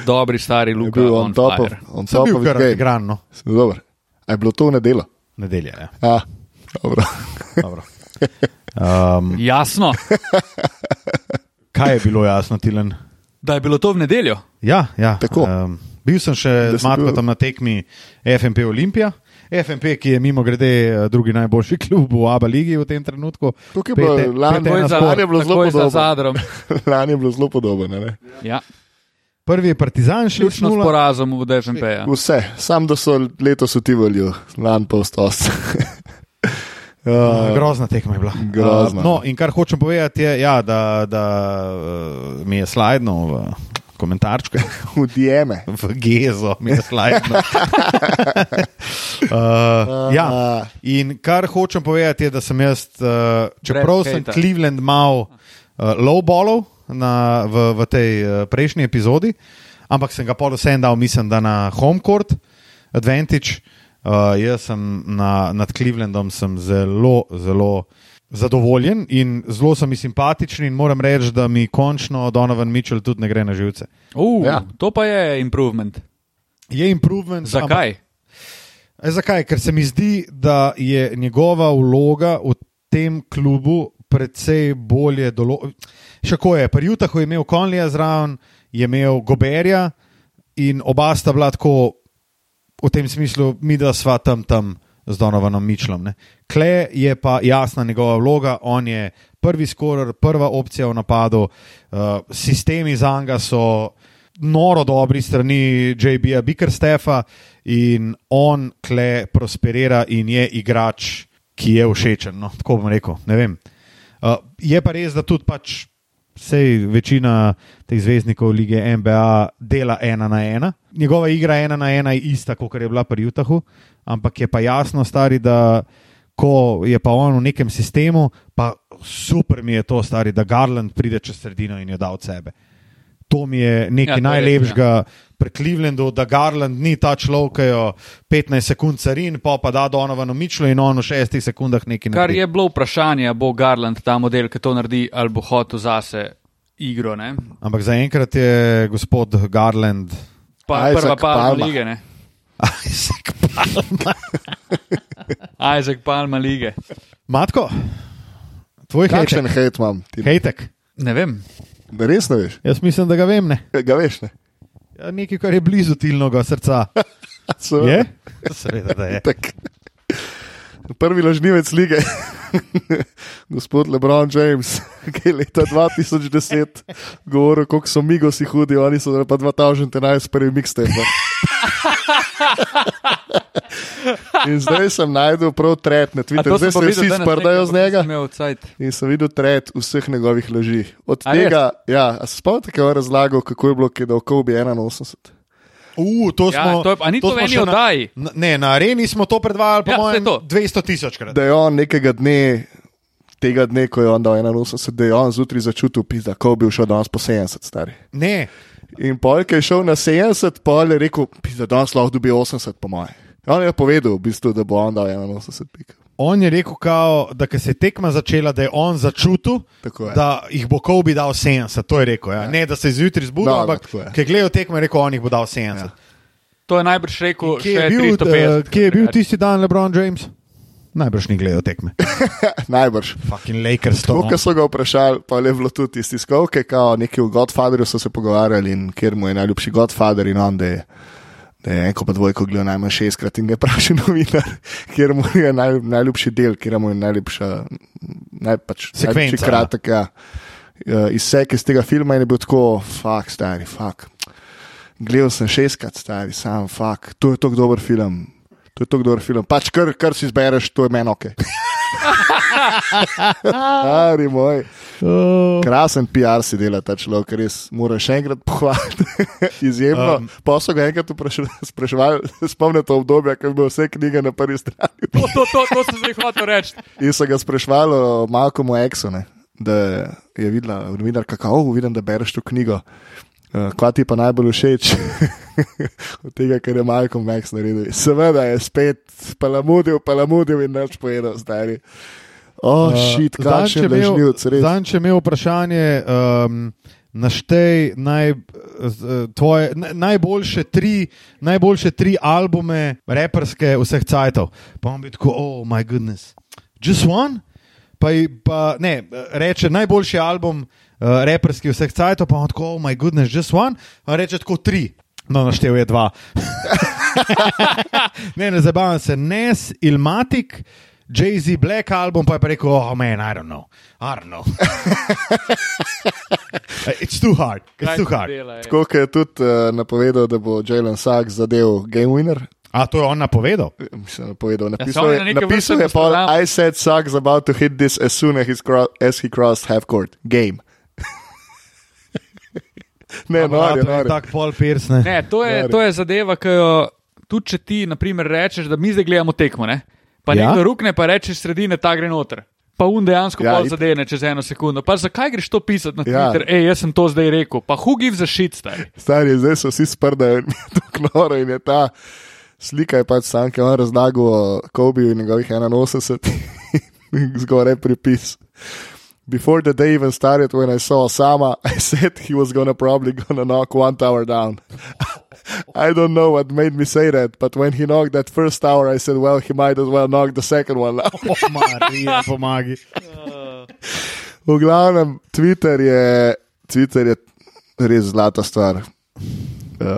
Speaker 4: dobri, stari
Speaker 2: Je
Speaker 4: Luka.
Speaker 2: bil on top, of,
Speaker 4: fire.
Speaker 2: on
Speaker 3: Sem
Speaker 2: top
Speaker 3: bil
Speaker 2: of the
Speaker 3: kar
Speaker 2: game.
Speaker 3: igran, no,
Speaker 2: Sem dober. A je bilo to v nedelo?
Speaker 3: nedelja. Ja.
Speaker 2: A, Dobro.
Speaker 3: Dobro. Um,
Speaker 4: Jasno,
Speaker 3: kaj je bilo jasno, Tilen?
Speaker 4: da je bilo to v nedeljo.
Speaker 3: Ja, ja.
Speaker 2: Tako.
Speaker 3: Um, bil sem še z
Speaker 2: Da sem
Speaker 3: Matko
Speaker 2: bil-
Speaker 3: tam na tekmi FMP Olimpija. FMP, ki je mimo grede eh, drugi najboljši klub v Abu Leiji v tem trenutku.
Speaker 2: Tukaj je bilo
Speaker 3: Pete-
Speaker 2: lani-
Speaker 3: pete
Speaker 2: Takoj
Speaker 3: na
Speaker 2: za
Speaker 3: spor.
Speaker 2: lani je bilo zelo
Speaker 4: takoj za
Speaker 2: podobno.
Speaker 4: zadrom.
Speaker 2: Lani je bilo zelo podobno. a ne?
Speaker 4: Ja,
Speaker 3: Prvi je Partizan šel
Speaker 4: ključno s porazom v DŽMP. -ja.
Speaker 2: Vse, sam da so letos v Tivolju, lani Ja. pa v Stosu.
Speaker 3: Uh, grozna tekma je bila. Uh,
Speaker 2: Grozna.
Speaker 3: no, in kar hočem povedati, je, ja, da, da uh, mi je slidno v komentarčke,
Speaker 2: v Dieme.
Speaker 3: v gezo, mi je slidno. uh, ja. In kar hočem povedati, je, da sem jaz, uh, čeprav
Speaker 4: Brad
Speaker 3: sem
Speaker 4: Cater.
Speaker 3: Cleveland mal uh, lowballov na, v, v tej uh, prejšnji epizodi, ampak sem ga pol vsem dal, mislim, da na home court, Advantage. Uh, jaz sem na, nad Clevelandom sem zelo, zelo zadovoljen in zelo so mi simpatični. in Moram reči, da mi končno Donovan Mitchell tudi ne gre na živce.
Speaker 4: Uh,
Speaker 2: Ja.
Speaker 4: ja. To pa je improvement.
Speaker 3: Je improvement. ampak-
Speaker 4: Zakaj?
Speaker 3: E, zakaj? Ker se mi zdi, da je njegova vloga v tem klubu precej bolje določena. Še ko je, pri Jutahu je imel Konlija zraven, je imel Goberja in oba sta bila tako v tem smislu, mi da sva tam tam z Donovanom Mičlom. Ne. Kle je pa jasna njegova vloga, on je prvi skorer, prva opcija v napadu, uh, sistemi za njega so noro dobri strani JB-ja Bickerstefa in on kle prosperira in je igrač, ki je všečen. No, tako bom rekel, ne vem. Uh, je pa res, da tudi pač. Sej večina teh zvezdnikov lige NBA dela ena na ena. Njegova igra ena na ena je ista, kot je bila pri Utahu, ampak je pa jasno, stari, da ko je pa on v nekem sistemu, pa super mi je to, stari, da Garland pride čez sredino in jo da od sebe. To mi je
Speaker 4: Ja, to
Speaker 3: nekaj ja,
Speaker 4: je res, ja.
Speaker 3: najlepšega pri Clevelandu, da Garland ni ta človek, ki jo 15 sekund carin, pa pa da Donovanu Mičlu in on v 6 sekundah nekaj
Speaker 4: Kar
Speaker 3: naredi.
Speaker 4: je bilo vprašanje, a bo Garland ta model, ki to naredi, ali bo hotel zase igro. Ne?
Speaker 3: Ampak zaenkrat je gospod Garland.
Speaker 4: Pa,
Speaker 2: Isaac
Speaker 4: prva palma
Speaker 2: Palma.
Speaker 4: lige. Ne?
Speaker 3: Isaac
Speaker 4: Isaac Palma lige.
Speaker 3: Matko, tvoj
Speaker 2: Kakšen
Speaker 3: hejtek.
Speaker 2: hejt imam? Tim?
Speaker 3: hejtek.
Speaker 4: Ne vem.
Speaker 2: Da res ne veš,
Speaker 3: Jaz mislim, da ga vem. Ne?
Speaker 2: ga veš. Ne?
Speaker 3: Ja, nekaj, kar je blizu tilnega srca.
Speaker 2: Seveda.
Speaker 3: Je? Seveda, da je.
Speaker 2: Tak. Prvi lažnivec lige, gospod Lebron James, ki je leta 2010 govoril, kako so migosi hudi, oni so pa 2011 prvi mixtape. In zdaj sem najdel prav tret na
Speaker 4: A
Speaker 2: Twitterju, zdaj
Speaker 4: sem pa
Speaker 2: se
Speaker 4: videl
Speaker 2: vsi
Speaker 4: danes
Speaker 2: sprdajo
Speaker 4: nekaj,
Speaker 2: z
Speaker 4: pa
Speaker 2: njega.
Speaker 4: nisem imel odsajt.
Speaker 2: In sem videl tret vseh njegovih laži. Od
Speaker 4: A
Speaker 2: a tega, ja, a se spomnite, kaj je razlagal, kako je bilo, ki je dal Kobe 81.
Speaker 3: Uh, to
Speaker 4: Ja,
Speaker 3: smo,
Speaker 4: to je- a ni to v
Speaker 3: smo
Speaker 4: eni
Speaker 3: še na-
Speaker 4: oddaji?
Speaker 3: Na, ne, na areni smo to predvajali, po
Speaker 4: Ja, saj
Speaker 3: mojem,
Speaker 4: to.
Speaker 3: 200 tisočkrat.
Speaker 2: Da je on nekega dne, tega dne, ko je on dal 81, da je on zjutraj začutil, da Kobe je šel danes po 70 stari.
Speaker 3: Ne,
Speaker 2: In pol, ki je šel na 70, pol je rekel, da danes lahko dobi 80 po moje. On je povedal, v bistvu, da bo on dal 81 pik.
Speaker 3: on je rekel, kao, da ko se je tekma začela, da je on začutil,
Speaker 2: Tako je.
Speaker 3: da jih bo Kobe dal 70. To je rekel. Ja. Ja. Ne, da se je zjutraj zbudil,
Speaker 2: Dobro,
Speaker 3: ampak
Speaker 2: tako je.
Speaker 3: ki je gledal tekmo, je rekel, on jih bo dal 70. Ja.
Speaker 4: To je najbrž rekel,
Speaker 3: Kje je,
Speaker 4: še
Speaker 3: bil, eh,
Speaker 4: 350.
Speaker 3: kje je bil tisti dan LeBron James? Najbrž ni gledal tekme.
Speaker 2: Najbrž.
Speaker 3: Fucking Lakers to.
Speaker 2: To, kar
Speaker 3: no.
Speaker 2: so ga vprašali, pa je bilo tudi iz tiskovke, kao neki v Godfatherju so se pogovarjali in ker mu je najljubši Godfather in on, da je, da je eno pa dvojko gledal najmanj šestkrat in ga je vprašal novinar, ker mu je naj, najljubši del, ker mu je najljubša, naj, pač,
Speaker 3: Sekvenca,
Speaker 2: najljubši
Speaker 3: ja.
Speaker 2: kratek, ja. eh, izsek iz tega filma in je bil tako, fuk, stari, fuk. Gledal sem šestkrat, stari, sam, fuk, to je tako dober film. To je tako dober film. Pač kar, kar si izbereš, to je meni ok. Ari moj. Krasen PR si dela ta človek, res moraš še enkrat pohvaliti. Izjemno. Um, pa so ga enkrat vprašali, spraševali, spomnite obdobja, ko je bila vse knjige na prvi strani.
Speaker 4: To, to, to, to sem zdaj hotel reči.
Speaker 2: In so ga spraševali o Malcolmu Exu, ne, da je videla, novinar, kako oh, vidim, da bereš to knjigo. Uh, Kva ti pa najbolj všeč od tega, kar je Malcolm X naredil? Seveda je spet palamudil, palamudil in nič povedal, stari. O, oh, šit,
Speaker 3: Eh, Zanč je
Speaker 2: kakšen
Speaker 3: imel-
Speaker 2: ležnivc, res.
Speaker 3: Zanč je imel vprašanje, um, naštej naj, z- eh, tvoje, na- najboljše, tri, najboljše tri albume, reperske vseh cajtov. Pa on bi tako, oh, moj goodness. Just One, pa, ji- pa ne, reče najboljši album uh, reperski vseh cajtov, pa on tako, oh my goodness, Just One, pa reče tako tri. No, naštel je dva. ne, ne zabavam se, Nes, Ilmatic, Jay-Z Black album, pa je pa rekel, oh man, I don't know, I don't know. It's too hard, it's too hard.
Speaker 4: ja.
Speaker 2: Tako kot je tudi uh, napovedal, da bo Jalen Sachs zadev Game Winner.
Speaker 3: A to je on napovedal?
Speaker 2: Mislim, napovedal.
Speaker 4: so
Speaker 2: Napisal
Speaker 4: oni
Speaker 2: je,
Speaker 4: na neke
Speaker 2: napisal
Speaker 4: vrste
Speaker 2: je pa,
Speaker 4: gospodar-
Speaker 2: I said Sachs about to hit this as soon as, he's cro as he crossed half court. Game. ne, no,
Speaker 3: to je
Speaker 2: no.
Speaker 3: tako pol pirsne.
Speaker 4: Ne, to je, to je zadeva, ki jo tudi če ti naprimer, rečeš, da mi zdaj gledamo tekmo. Ne? Pa
Speaker 3: Ja.
Speaker 4: ja? nekdo rukne, pa rečeš sredine, ta gre noter. Pa un dejansko
Speaker 2: Ja,
Speaker 4: ja, pol
Speaker 2: it-
Speaker 4: zadene čez eno sekundo. Pa zakaj greš to pisati na
Speaker 2: Ja.
Speaker 4: Twitter? Ja. Ej, jaz sem to zdaj rekel. Pa hugiv za šit star.
Speaker 2: Stari, zdaj so vsi sprdajo in je to knoro in je ta slika je pač sam, ki je on razlagal o Kobiju in njegovih 81, zgoraj pripis. Before the day even started, when I saw Osama, I said he was gonna probably gonna knock one tower down. I don't know what made me say that, but when he knocked that first tower, I said, well, he might as well knock the second one down.
Speaker 3: Oh, Marija, pomagi.
Speaker 2: V glavnem, Twitter je, Twitter je res zlata stvar uh,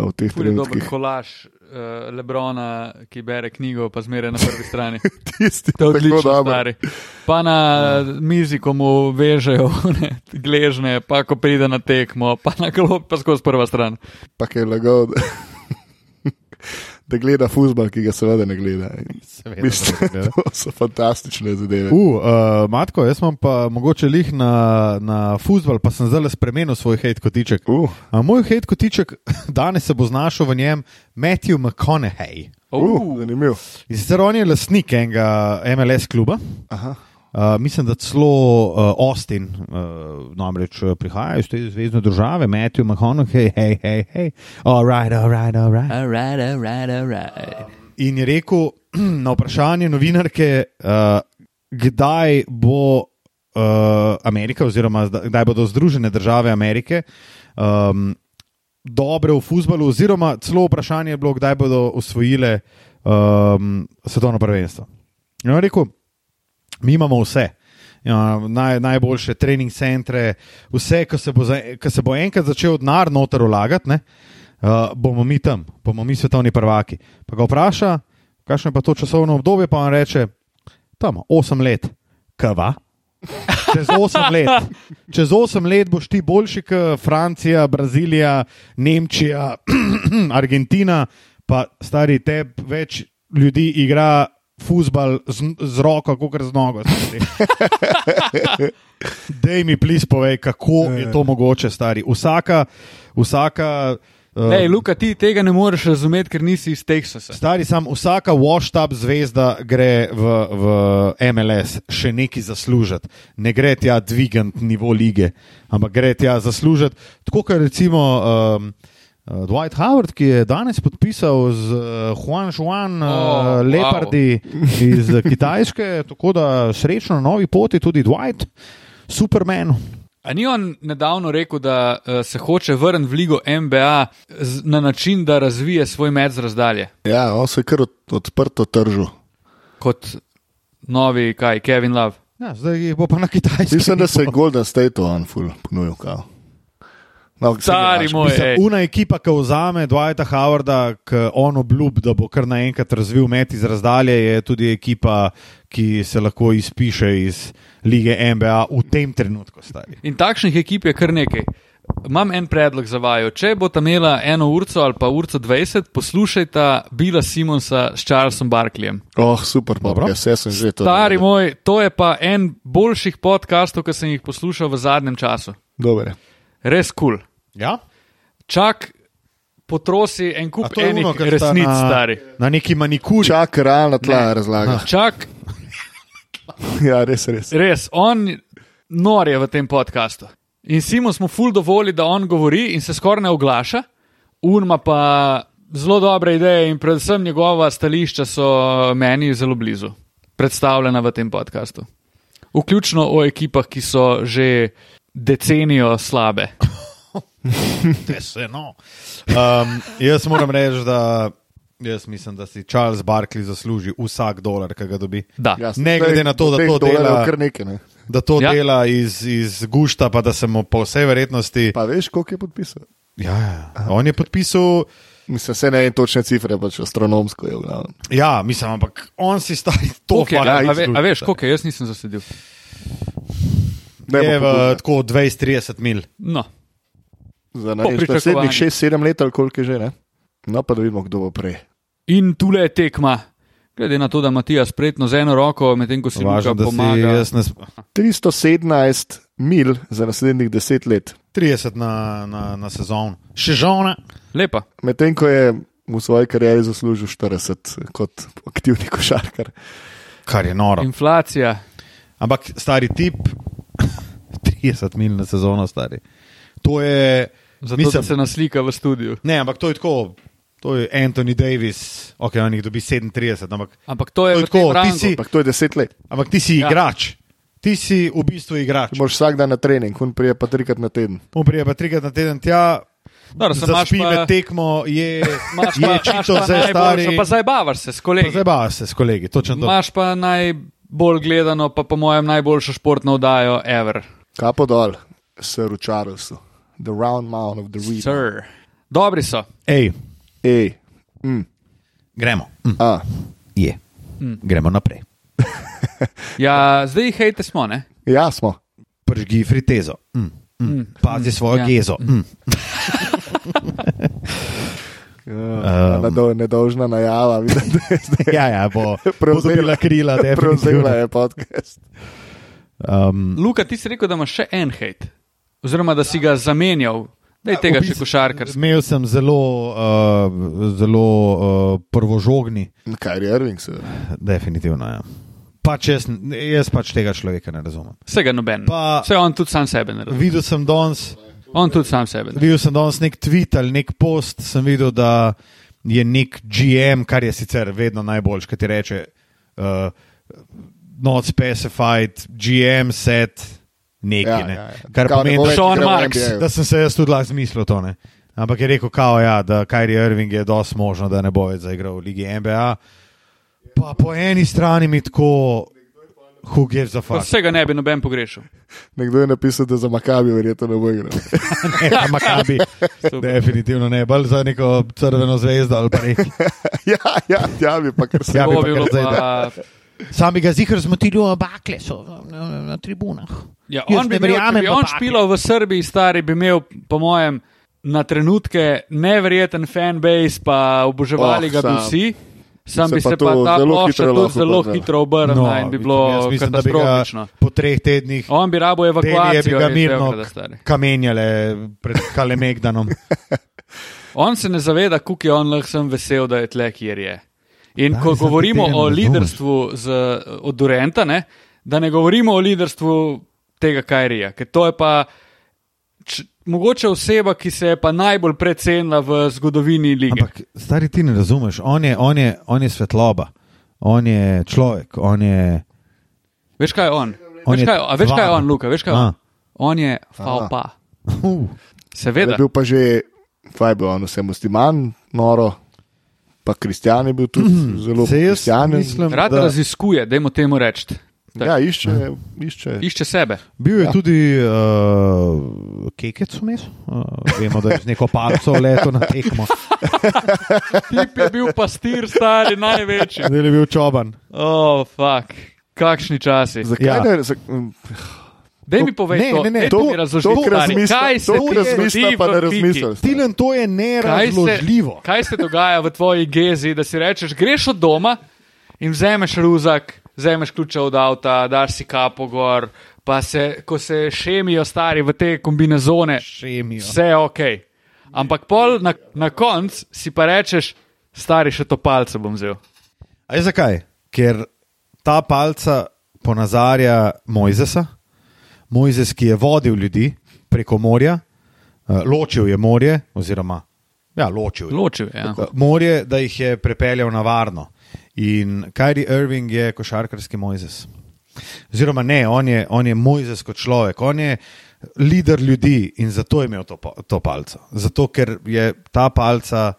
Speaker 2: v teh
Speaker 4: Ful je dober
Speaker 2: trenutkih.
Speaker 4: kolaž uh, Lebrona, ki bere knjigo, pa zmeraj na prvi strani.
Speaker 2: Tisti,
Speaker 4: To je odlično,
Speaker 2: tako dobro. Ja.
Speaker 4: stari. Pa na mizi, ko mu vežejo ne, gležne, pa ko pride na tekmo, pa na klop, pa skozi prva stran.
Speaker 2: pa ki je lagal, da, da gleda fusbal, ki ga seveda ne gleda. In Mislim, to so fantastične zadeve.
Speaker 3: Uh, uh, matko, jaz imam pa mogoče lih na, na futbol, pa sem zdaj spremenil svoj hate kotiček.
Speaker 2: Uh,
Speaker 3: A moj hate kotiček danes se bo znašel v njem Matthew McConaughey.
Speaker 2: uh, zanimiv.
Speaker 3: In sicer on je lastnik enega MLS kluba.
Speaker 2: Aha.
Speaker 3: Uh, mislim, da celo uh, Austin, uh, namreč eh, prihaja iz te zvezdne države, Matthew McConaughey, hej, hej, hej, alright, alright, alright.
Speaker 4: Alright, alright, alright.
Speaker 3: In je rekel na vprašanje novinarke, uh, kdaj bo uh, Amerika, oziroma zda- kdaj bodo Združene države Amerike um, dobre v futbalu, oziroma celo vprašanje je bilo, kdaj bodo osvojile um, svetovno prvenstvo. In on je rekel, mi imamo vse. Ja, naj, najboljše trening centre, vse, kar se, bo za- ko se bo enkrat začel denar noter vlagati, ne, uh, bomo mi tam, bomo mi svetovni prvaki. Pa ga vpraša, kakšno je pa to časovno obdobje, pa on reče, tam, 8 let, kava. Čez 8 let. Čez 8 let boš ti boljši kot Francija, Brazilija, Nemčija, Argentina, pa stari teb, več ljudi igra fusbal z, z roko, kot z nogo. stari. Dej mi, plis, povej, kako je to mogoče, stari. Vsaka, vsaka uh,
Speaker 4: Ej, Luka, ti tega ne moreš razumeti, ker nisi iz Teksasa.
Speaker 3: Stari sam, vsaka washed-up zvezda gre v, v MLS še nekaj zaslužiti. Ne gre tja dvigant nivo lige, ampak gre tja zaslužiti. Tako kot recimo um, uh, Dwight Howard, ki je danes podpisal z uh, Juan Juan oh, uh,
Speaker 4: Oh,
Speaker 3: Lepardi iz uh, Kitajske, tako da srečno na novi poti tudi Dwight, Superman.
Speaker 4: A ni on nedavno rekel, da eh, se hoče vrniti v ligo MBA z, na način, da razvije svoj met z razdalje?
Speaker 2: Ja, on se je kar od, odprto tržil.
Speaker 4: Kot novi, kaj, Kevin Love.
Speaker 3: Ja, zdaj jih bo pa na Kitajskem.
Speaker 2: Mislim, da se je Golden State on full ponudil. kao. No,
Speaker 4: Stari moj, ej.
Speaker 3: Una ekipa, ki vzame Dwighta Howarda, ki on obljub, da bo kar naenkrat razvil met iz razdalje, je tudi ekipa, ki se lahko izpiše iz lige NBA v tem trenutku. Stari.
Speaker 4: In takšnih ekip je kar nekaj. Imam en predlog za vajo. Če boste imela eno urco ali pa urco 20, poslušajte Bila Simonsa s Charlesom Barkleyjem.
Speaker 2: Oh, super,
Speaker 3: Dobro.
Speaker 2: dobro. Vse sem že to.
Speaker 4: Stari
Speaker 2: naredil.
Speaker 4: moj, to je pa en boljših podkastov, ki sem jih poslušal v zadnjem času.
Speaker 2: Dobre.
Speaker 4: Res kul. Cool.
Speaker 3: Ja?
Speaker 4: Čak potrosi en
Speaker 3: A
Speaker 4: kup
Speaker 3: to je
Speaker 4: enih
Speaker 3: ono, kar sta
Speaker 4: resnic,
Speaker 3: na,
Speaker 4: stari.
Speaker 3: Na neki manikuri.
Speaker 2: Čak, realna tla
Speaker 4: Ne.
Speaker 2: razlaga.
Speaker 4: Čak,
Speaker 2: Ja, res, res.
Speaker 4: res, on nor je v tem podkastu. In Simon smo ful dovoli, da on govori in se skoraj ne oglaša, Urma pa zelo dobre ideje in predvsem njegova stališča so meni zelo blizu, predstavljena v tem podkastu. Vključno o ekipah, ki so že decenijo slabe.
Speaker 3: Te se, no. um, jaz moram reči, da Jaz mislim, da si Charles Barkley zasluži vsak dolar, ki ga dobi.
Speaker 4: Da.
Speaker 2: Ja,
Speaker 3: Ne glede na to, da
Speaker 2: teh
Speaker 3: to
Speaker 2: dolarjev
Speaker 3: dela-
Speaker 2: kar nekaj. Ne?
Speaker 3: Da to
Speaker 4: Ja.
Speaker 3: ja. dela iz, iz gušta, pa da se mu po vsej verjetnosti.
Speaker 2: Pa veš, koliko je podpisal?
Speaker 3: Ja, ja. on je podpisal,
Speaker 2: Mislim, se ne en točne cifre, pač astronomsko je v glavnem.
Speaker 3: ja, mislim, ampak on si stari to,
Speaker 4: Koliko je,
Speaker 3: fakt
Speaker 4: a, a, ve,
Speaker 3: zasluži.
Speaker 4: a veš, koliko je, jaz nisem zasledil.
Speaker 2: Ne bo
Speaker 3: je v,
Speaker 2: pogubno.
Speaker 3: tako 20-30 mil.
Speaker 4: No,
Speaker 2: Za
Speaker 4: Po
Speaker 2: največ
Speaker 4: pričakovanjih.
Speaker 2: naslednjih 6-7 let, ali koliko je že, ne? No, pa da vidimo, kdo bo prej.
Speaker 4: in tule je tekma. Glede na to, da Matija spretno z eno roko, medtem ko si Luka
Speaker 3: Važno, da si
Speaker 4: pomaga.
Speaker 3: jaz ne. sp-
Speaker 2: 317 mil za naslednjih 10 let,
Speaker 3: 30 na, na, na sezon. Še žona.
Speaker 4: Lepa.
Speaker 2: medtem ko je v svoji karieri zaslužil 40 kot aktivni košarkar.
Speaker 3: Kar je noro.
Speaker 4: Inflacija.
Speaker 3: Ampak stari tip, 30 mil na sezono stari. To je.
Speaker 4: Zato Mislim. se naslika v studiu.
Speaker 3: Ne, ampak to je tako. To je Anthony Davis, ok, on jih dobi 37, ampak,
Speaker 4: Ampak to je,
Speaker 3: To je
Speaker 4: v tem
Speaker 3: tako, ti
Speaker 4: rangu.
Speaker 3: si-
Speaker 2: Ampak to je 10 let.
Speaker 3: ampak ti si
Speaker 4: Ja.
Speaker 3: ja. igrač. Ti si v bistvu igrač.
Speaker 2: Ti moraš vsak dan na trening, kun prije pa trikrat na teden.
Speaker 3: On prije pa trikrat na teden tja,
Speaker 4: Dobro, samo imaš
Speaker 3: zaspi
Speaker 4: pa-
Speaker 3: med tekmo, je,
Speaker 4: Imaš
Speaker 3: je
Speaker 4: pa- imaš
Speaker 3: čito
Speaker 4: pa
Speaker 3: za
Speaker 4: najboljšo,
Speaker 3: stari.
Speaker 4: Pa zabavaš se s kolegi.
Speaker 3: Zabava se s kolegi, točno to.
Speaker 4: Imaš pa najbolj gledano, pa po mojem najboljšo športno oddajo ever.
Speaker 2: Kapo dol, sir v Charlesu, the round mound of the reed.
Speaker 4: Sir. Dobri so.
Speaker 3: Ej,
Speaker 2: Ej, mm,
Speaker 3: gremo. Mm.
Speaker 2: a,
Speaker 3: Je. Mm. Gremo naprej.
Speaker 4: Ja, zdaj jih hejte smo, ne?
Speaker 2: ja, smo.
Speaker 3: Pržgi fritezo. Mm. Mm. Mm. Pazi svojo
Speaker 4: Ja.
Speaker 3: ja. gezo. Mm.
Speaker 2: Ja, um, Nedožna najava, vidim, da je zdaj
Speaker 3: Ja, ja, bo, bo
Speaker 2: Prevzela.
Speaker 3: dobila krila, da je
Speaker 2: prevzela je podcast.
Speaker 3: Um,
Speaker 4: Luka, ti si rekel, da imaš še en hejt. Oziroma, da si ga zamenjal.
Speaker 3: Ja,
Speaker 4: Daj tega še košarkar.
Speaker 3: Imel sem zelo, uh, zelo uh, prvožogni,
Speaker 2: Kaj je Irving? seveda.
Speaker 3: definitivno. Ja. Pač jaz, jaz pač tega človeka ne razumem.
Speaker 4: Vsega noben.
Speaker 3: Pa-
Speaker 4: Vse on tudi sam sebe naredi.
Speaker 3: Videl sem danes,
Speaker 4: On tudi sam sebe naredi.
Speaker 3: videl sem danes nek tweet ali nek post, sem videl, da je nek GM, kar je sicer vedno najboljš, ki ti reče, uh, not specified, GM set, nekaj.
Speaker 2: Ja,
Speaker 3: ne.
Speaker 2: ja, ja.
Speaker 3: Kar
Speaker 2: Kao ne bo
Speaker 3: pomeni,
Speaker 2: več
Speaker 4: Sean
Speaker 2: igral v
Speaker 4: Marks,
Speaker 2: NBA-ju.
Speaker 3: Da sem se jaz tudi lahko zmislil to. Ne? Ampak je rekel, kao, ja, da Kajri Irving je dosti možno, da ne bo več zaigral v Ligi NBA. Pa po eni strani mi tako, who gives a
Speaker 4: Pa
Speaker 3: fuck.
Speaker 4: Vsega ne bi noben pogrešil.
Speaker 2: Nekdo je napisal, da za Makabi verjetno ne bo igral.
Speaker 3: Ne, za Makabi.
Speaker 4: Super.
Speaker 3: Definitivno ne, bolj za neko crveno zvezdo ali pa nekaj.
Speaker 2: ja, ja, ja, bi pa kar se
Speaker 3: Ja,
Speaker 2: ja,
Speaker 3: bi
Speaker 4: To
Speaker 3: pa
Speaker 4: bi bilo
Speaker 3: kar zdaj,
Speaker 4: pa.
Speaker 3: Sam bi ga zihar zmotili v bakle, so na, na- na tribunah.
Speaker 4: Ja,
Speaker 3: Jaz
Speaker 4: on bi
Speaker 3: ne
Speaker 4: imel, če
Speaker 3: verjamem
Speaker 4: bi
Speaker 3: v
Speaker 4: on
Speaker 3: take.
Speaker 4: špilo v Srbiji, stari bi imel, po mojem, na trenutke neverjeten fanbase, pa oboževali
Speaker 2: Oh,
Speaker 4: ga bi
Speaker 2: sam.
Speaker 4: vsi. Sam
Speaker 2: Se
Speaker 4: bi
Speaker 2: pa
Speaker 4: se pa
Speaker 2: to
Speaker 4: ta
Speaker 2: zelo
Speaker 4: plošča
Speaker 2: hitro
Speaker 4: tudi
Speaker 2: lahko
Speaker 4: zelo
Speaker 2: obrne.
Speaker 4: hitro obrnila in bi bilo
Speaker 3: jaz No, mislim, da bi ga
Speaker 4: katastrofično.
Speaker 3: po treh tednih
Speaker 4: On bi rabo
Speaker 3: Delije bi
Speaker 4: evakuacijo.
Speaker 3: ga
Speaker 4: res,
Speaker 3: mirno
Speaker 4: evo, da stari.
Speaker 3: kamenjale pred Kalemegdanom.
Speaker 4: On se ne zaveda, kako je on lahko sem vesel, da je tle, kjer je. In
Speaker 3: Da,
Speaker 4: ko
Speaker 3: jaz sem
Speaker 4: govorimo
Speaker 3: tega ne
Speaker 4: o
Speaker 3: razumem.
Speaker 4: liderstvu z, eh, od Durenta, ne, da ne govorimo o liderstvu tega Kajrija, ker to je pa č, mogoče oseba, ki se je pa najbolj precenila v zgodovini lige.
Speaker 3: Ampak, stari ti ne razumeš, on je, on je, on je svetloba, on je človek, on je.
Speaker 4: Veš kaj je on?
Speaker 3: On
Speaker 4: Veš
Speaker 3: je
Speaker 4: kaj, a veš kaj je
Speaker 3: tvar.
Speaker 4: on, Luka? Veš kaj je
Speaker 3: A.
Speaker 4: on? On je faupa.
Speaker 3: Uh,
Speaker 4: Seveda.
Speaker 2: Je bil pa že, kaj je bil on, vse musliman, noro, pa kristjan je bil tudi zelo
Speaker 3: se jaz
Speaker 2: kristjan.
Speaker 3: mislim,
Speaker 4: Rad
Speaker 3: da-
Speaker 4: raziskuje, dajmo temu reči. tako.
Speaker 2: Ja, išče, išče.
Speaker 4: Išče sebe.
Speaker 3: Bil je
Speaker 2: Ja.
Speaker 3: ja. tudi uh, kekec vmes, uh, vemo, da je z neko palco leto na tekmo.
Speaker 4: Tip je bil pastir, stari največji.
Speaker 3: Zdaj je bil čoban.
Speaker 4: O, oh, fuk. Kakšni časi.
Speaker 2: Zakaj
Speaker 3: Ja.
Speaker 2: ne? Za, mm,
Speaker 4: Daj mi povej,
Speaker 3: Ne,
Speaker 4: to,
Speaker 3: ne, ne,
Speaker 4: daj
Speaker 3: to-
Speaker 4: mi razloži,
Speaker 2: to, kar
Speaker 4: stari,
Speaker 2: razmišlja-
Speaker 4: kaj se
Speaker 2: to,
Speaker 4: ti
Speaker 2: kar razmišlja,
Speaker 4: zgodi
Speaker 2: pa
Speaker 4: v
Speaker 2: ne
Speaker 4: Piki?
Speaker 2: razmišlja.
Speaker 3: Tilen, to je
Speaker 4: Kaj se,
Speaker 3: nerazložljivo.
Speaker 4: kaj se dogaja v tvoji gezi, da si rečeš, greš od doma in vzameš ruzak, vzameš ključe od avta, daš si kapo gor, pa se, ko se šemijo stari v te kombinezone,
Speaker 3: Šemijo.
Speaker 4: vse je ok. Ampak pol na, na koncu si pa rečeš, stari še to palce bom vzel.
Speaker 3: A je zakaj? Ker ta palca ponazarja Mojzesa, Mojzes, ki je vodil ljudi preko morja, eh, ločil je morje, oziroma ja, ločil je
Speaker 4: Ločil je. Ja.
Speaker 3: Eh, morje, da jih je prepeljal na varno. In Kajri Irving je košarkarski Mojzes. Oziroma, ne, on je, on je Mojzes kot človek, on je lider ljudi in zato je imel to, pa- to palco. Zato, ker je ta palca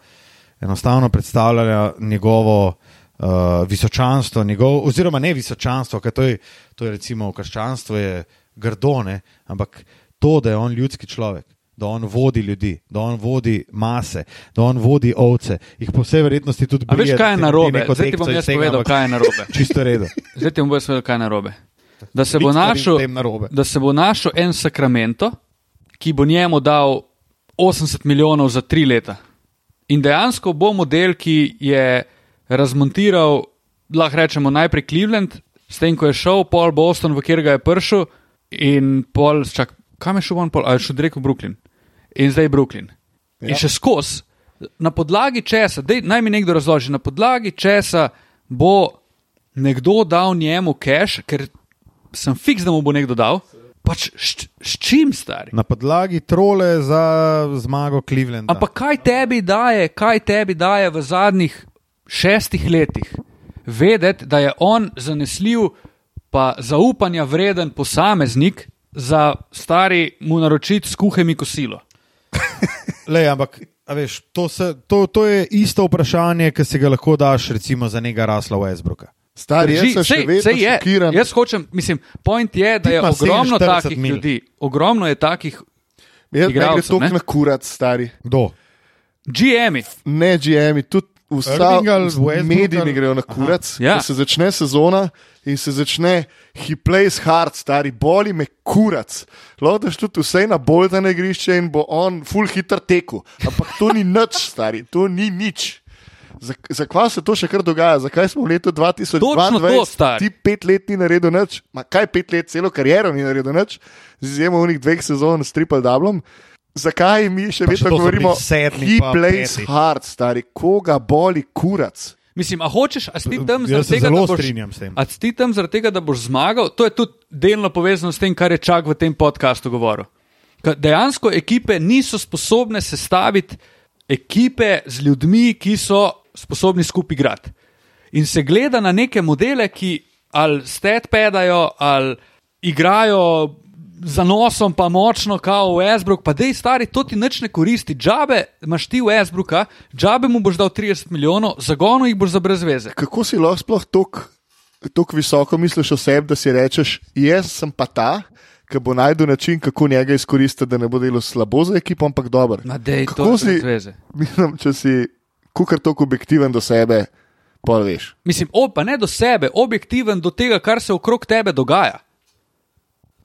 Speaker 3: enostavno predstavljala njegovo uh, visočanstvo, njegov, oziroma ne visočanstvo, ker to je, to je recimo v krščanstvu je grdo, ne? ampak to, da je on ljudski človek. Da on vodi ljudi, da on vodi mase, da on vodi ovce, jih po vsej verjetnosti tudi
Speaker 4: A veš,
Speaker 3: brije, da
Speaker 4: kaj je
Speaker 3: ti naredi
Speaker 4: narobe?
Speaker 3: neko
Speaker 4: Zdaj ti bom
Speaker 3: tekco iz
Speaker 4: jaz
Speaker 3: tega,
Speaker 4: povedal,
Speaker 3: ampak
Speaker 4: kaj je narobe.
Speaker 3: Čisto redo.
Speaker 4: Zdaj ti bom jaz povedal, kaj je narobe. Da se, bo
Speaker 3: Nič stvari
Speaker 4: našel,
Speaker 3: s tem narobe.
Speaker 4: da se bo našel en sakramento, ki bo njemu dal 80 milijonov za tri leta. In dejansko bo model, ki je razmontiral, lahko rečemo, najprej Cleveland, s tem, ko je šel Paul Boston, v kjer ga je prišel, in Paul, čak, kam je šel on, Paul, ali je šel direkt v Brooklyn. In zdaj je Brooklyn. Ja. In še skozi. Na podlagi česa, dej, naj mi nekdo razloži, na podlagi česa bo nekdo dal njemu cache, ker sem fiks, da mu bo nekdo dal. Pač šč- s čim stari?
Speaker 3: Na podlagi trole za zmago Clevelanda.
Speaker 4: Ampak kaj tebi daje, kaj tebi daje v zadnjih šestih letih? Vedeti, da je on zanesljiv, pa zaupanja vreden posameznik za stari mu naročiti s kuhami kosilo.
Speaker 3: Lej, ampak a veš, to, se, to, to je isto vprašanje, ki si ga lahko daš recimo, za nekega rasla Westbrooka.
Speaker 2: Star je, sem še
Speaker 4: sej-
Speaker 2: vedno
Speaker 4: sej je.
Speaker 2: šokiran.
Speaker 4: Jaz hočem, mislim, point je, da
Speaker 3: Ti
Speaker 4: je
Speaker 3: pa
Speaker 4: ogromno
Speaker 3: 47
Speaker 4: takih
Speaker 3: mil.
Speaker 4: ljudi, ogromno je takih
Speaker 2: Jaz ne gre
Speaker 4: igralcev,
Speaker 2: toliko
Speaker 4: ne?
Speaker 2: na kurat, stari.
Speaker 3: Kdo?
Speaker 4: GM-i.
Speaker 2: Ne, GM-i, tudi vsa
Speaker 3: Irving ali Westbrook
Speaker 2: mediji
Speaker 3: ali-
Speaker 2: ne grejo na kurat.
Speaker 4: Ja.
Speaker 2: Ja. Se začne sezona in se začne, he plays hard, stari, boli me kurat. Lodaš tudi vse na bolj na igrišče in bo on full hitter teku. Ampak to ni nič, stari, to ni nič. Zakaj za kva se to še kar dogaja? Zakaj smo v letu
Speaker 4: Točno to,
Speaker 2: 2022,
Speaker 4: stari.
Speaker 2: ti pet let ni naredil nič, ma kaj pet let, celo kariero ni naredil nič, z izjemo unih dveh sezon s triple dublom. Zakaj mi še
Speaker 3: Pa še
Speaker 2: vedno
Speaker 3: to so bili
Speaker 2: govorimo,
Speaker 3: sedmi
Speaker 2: he
Speaker 3: pa
Speaker 2: plays
Speaker 3: peti.
Speaker 2: hard, stari, koga boli kurac.
Speaker 4: Mislim, a hočeš, a si ti tam
Speaker 3: Jaz
Speaker 4: zaradi
Speaker 3: se
Speaker 4: tega,
Speaker 3: zelo
Speaker 4: da boš,
Speaker 3: strinjam s tem.
Speaker 4: a si ti tam zaradi tega, da boš zmagal? To je tudi delno povezano s tem, kar je Čak v tem podkastu govoril. Ka- Dejansko ekipe niso sposobne sestaviti ekipe z ljudmi, ki so sposobni skupaj igrati. In se gleda na neke modele, ki ali stedpedajo, ali igrajo za nosom, pa močno, kao Westbrook, pa dej stari, to ti nič ne koristi. Džabe imaš ti Westbrooka, džabe mu boš dal 30 milijonov, zagonu jih boš za brez veze.
Speaker 2: Kako si lahko sploh tako visoko misliš o sebi, da si rečeš, jaz sem pa ta, ki bo najdel način, kako njega izkoristiti, da ne bo delal slabo za ekipo, ampak dober.
Speaker 4: Ma dej, to
Speaker 2: Kako
Speaker 4: je
Speaker 2: si-
Speaker 4: brez veze.
Speaker 2: Mislim, če si kukar tako objektiven do sebe, pa veš.
Speaker 4: Mislim, o, pa ne do sebe, objektiven do tega, kar se okrog tebe dogaja.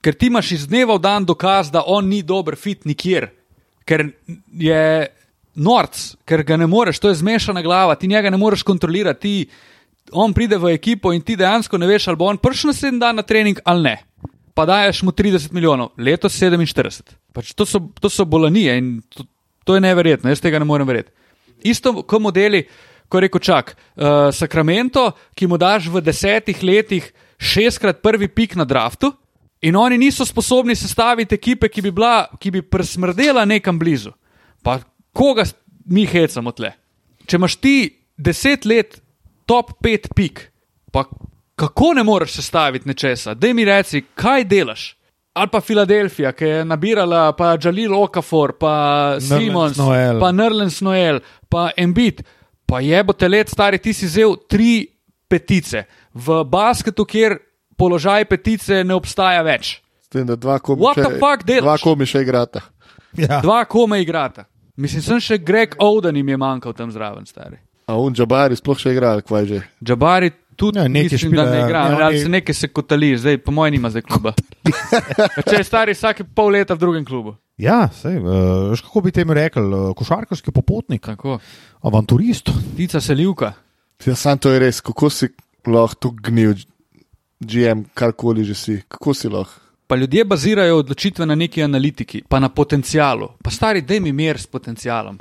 Speaker 4: Ker ti imaš iz dneva v dan dokaz, da on ni dober fit nikjer, ker je norc, ker ga ne moreš, to je zmešana glava, ti njega ne moreš kontrolirati. Ti, on pride v ekipo in ti dejansko ne veš, ali bo on prišel naslednji dan na trening ali ne. Pa daješ mu 30 milijonov, letos 47. Pač to, so, to so bolanije in to, to je neverjetno, jaz tega ne morem verjeti. Isto kot modeli, ko reko čak, uh, Sakramento, ki mu daš v desetih letih šestkrat prvi pik na draftu, in oni niso sposobni sestaviti ekipe, ki bi, bila, ki bi prsmrdela nekam blizu. Pa koga s- mi hecamo tle? Če imaš ti deset let top pet pik, pa kako ne moreš sestaviti nečesa? Dej mi reci, kaj delaš? Ali pa Filadelfija, ki je nabirala, pa Jalil Okafor, pa
Speaker 3: Nerlens
Speaker 4: Simons,
Speaker 3: Noel.
Speaker 4: pa Nerlens Noel, pa Embit, pa je bo te let, stari, ti si vzel tri petice v basketu, kjer položaj petice ne obstaja več.
Speaker 2: S tem, da dva
Speaker 4: What
Speaker 2: komiča,
Speaker 4: the fuck delaš?
Speaker 2: dva komiča igrata.
Speaker 3: Ja.
Speaker 4: Dva kome igrata. Mislim, sem še Greg Oden jim je manjkal tam zraven, stari.
Speaker 2: A un džabari sploh še igra, ali kvaj že.
Speaker 4: Džabari tudi
Speaker 3: Ja,
Speaker 4: ja,
Speaker 3: nekaj
Speaker 4: mislim,
Speaker 3: špila,
Speaker 4: špila, da ne igra,
Speaker 3: ja,
Speaker 4: ja, ali
Speaker 3: oni-
Speaker 4: se nekaj se kotali, zdaj po mojem nima zdaj kluba. Če je stari vsake pol leta v drugem klubu.
Speaker 3: Ja, sej, uh, kako bi temu rekel, uh, košarkarski popotnik,
Speaker 4: Tako.
Speaker 3: avanturist.
Speaker 4: Tica selivka.
Speaker 2: Ja, sam to je res, kako si lahko tu gnil, GM, karkoli že si, kako si lahko.
Speaker 4: Pa ljudje bazirajo odločitve na neki analitiki, pa na potencialu. Pa stari, dej mi mir s potencialom.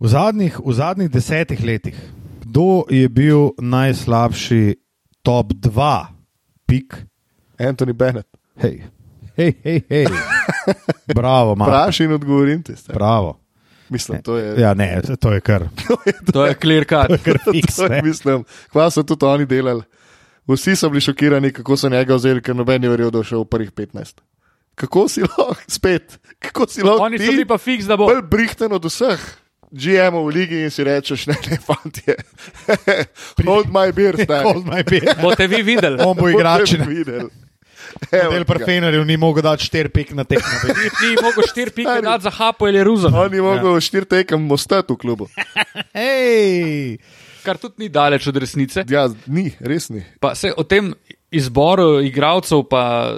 Speaker 3: V zadnjih, v zadnjih desetih letih, kdo je bil najslabši top 2 pik?
Speaker 2: Anthony Bennett.
Speaker 3: Hej, hej, hej. hej. Bravo, Marko.
Speaker 2: Vprašaj in odgovorim ti. stari.
Speaker 3: Bravo.
Speaker 2: Mislim, to je.
Speaker 3: Ja, ne, to je kar.
Speaker 4: To je clear cut.
Speaker 3: kar fiks,
Speaker 2: To je,
Speaker 3: ne.
Speaker 2: mislim, kva so tudi oni delali. Vsi so bili šokirani, kako so njega vzeli, ker noben je verjel, da je šel v prvih 15. Kako si lahko, spet, kako si lahko.
Speaker 4: Oni so bili pa fiks, da bo.
Speaker 2: bolj brihten od vseh. GM-ov v ligi in si rečeš, ne, ne, fantje, hold my beer, stari.
Speaker 3: Hold my beer.
Speaker 4: Boste vi videli?
Speaker 3: On bo igrač.
Speaker 2: Boste videli. Evo
Speaker 3: Del
Speaker 2: ga.
Speaker 3: parfenerjev ni mogel dati štir pik na tekmo.
Speaker 4: Ni, ni mogel štiri pike dati za Hapo ali Jeruzalem,
Speaker 2: On je mogel ja. štiri tekem ostati v klubu.
Speaker 3: Hej!
Speaker 4: kar tudi ni daleč od resnice.
Speaker 2: Ja, ni, res ni.
Speaker 4: Pa se o tem izboru igralcev, pa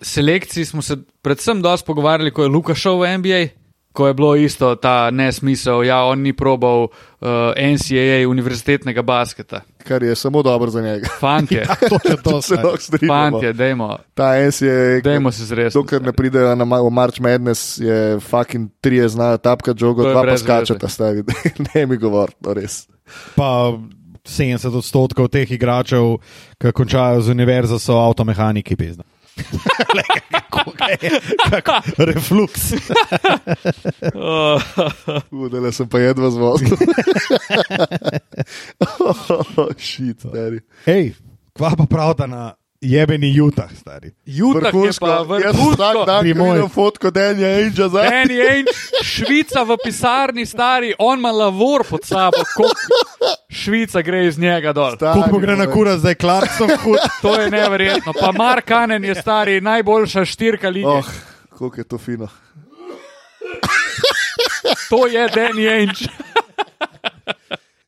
Speaker 4: selekciji smo se predvsem dosti pogovarjali, ko je Luka šel v NBA. Ko je bilo isto ta nesmisel, ja, on ni probal uh, NCAA univerzitetnega basketa.
Speaker 2: kar je samo dobro za njega.
Speaker 4: Fantje,
Speaker 3: Ja,
Speaker 2: Ja,
Speaker 3: To je to.
Speaker 2: Se
Speaker 3: stari.
Speaker 2: lahko strinjamo.
Speaker 4: fantje, dejmo,
Speaker 2: Ta ens je.
Speaker 4: dejmo se zresno.
Speaker 2: Dokler ne pridejo na ma- v March Madness, je fucking trije znajo tapka žogo,
Speaker 4: To je
Speaker 2: dva pa
Speaker 4: brez veze.
Speaker 2: skačeta, stavi. ne mi govori, no res.
Speaker 3: Pa 70 odstotkov teh igračev, ki končajo z univerzo, so avtomehaniki, pizda. Glej, kako ga je, kako- Refluks.
Speaker 2: Udele sem pa jedva z vodom. Šit, Oh, stari.
Speaker 3: Hej, kva pa pravda na jebeni Jutah, stari.
Speaker 4: Jutra je
Speaker 2: Vrhunsko,
Speaker 4: pa
Speaker 2: jaz vsak
Speaker 4: vrhunsko.
Speaker 2: dan
Speaker 3: Primoj.
Speaker 2: vidim fotko Denja Angela za
Speaker 4: Danny Ainge, Švica v pisarni, stari, on ima lavor pod sabo, kot Švica gre iz njega dol.
Speaker 3: Kako mu gre na kura, zdaj Clarkson hud.
Speaker 4: To je neverjetno. Pa Mark Kanen je stari najboljša štirka lige.
Speaker 2: Oh,
Speaker 4: Oh.
Speaker 2: koliko je to fino.
Speaker 4: To je Danny Ainge.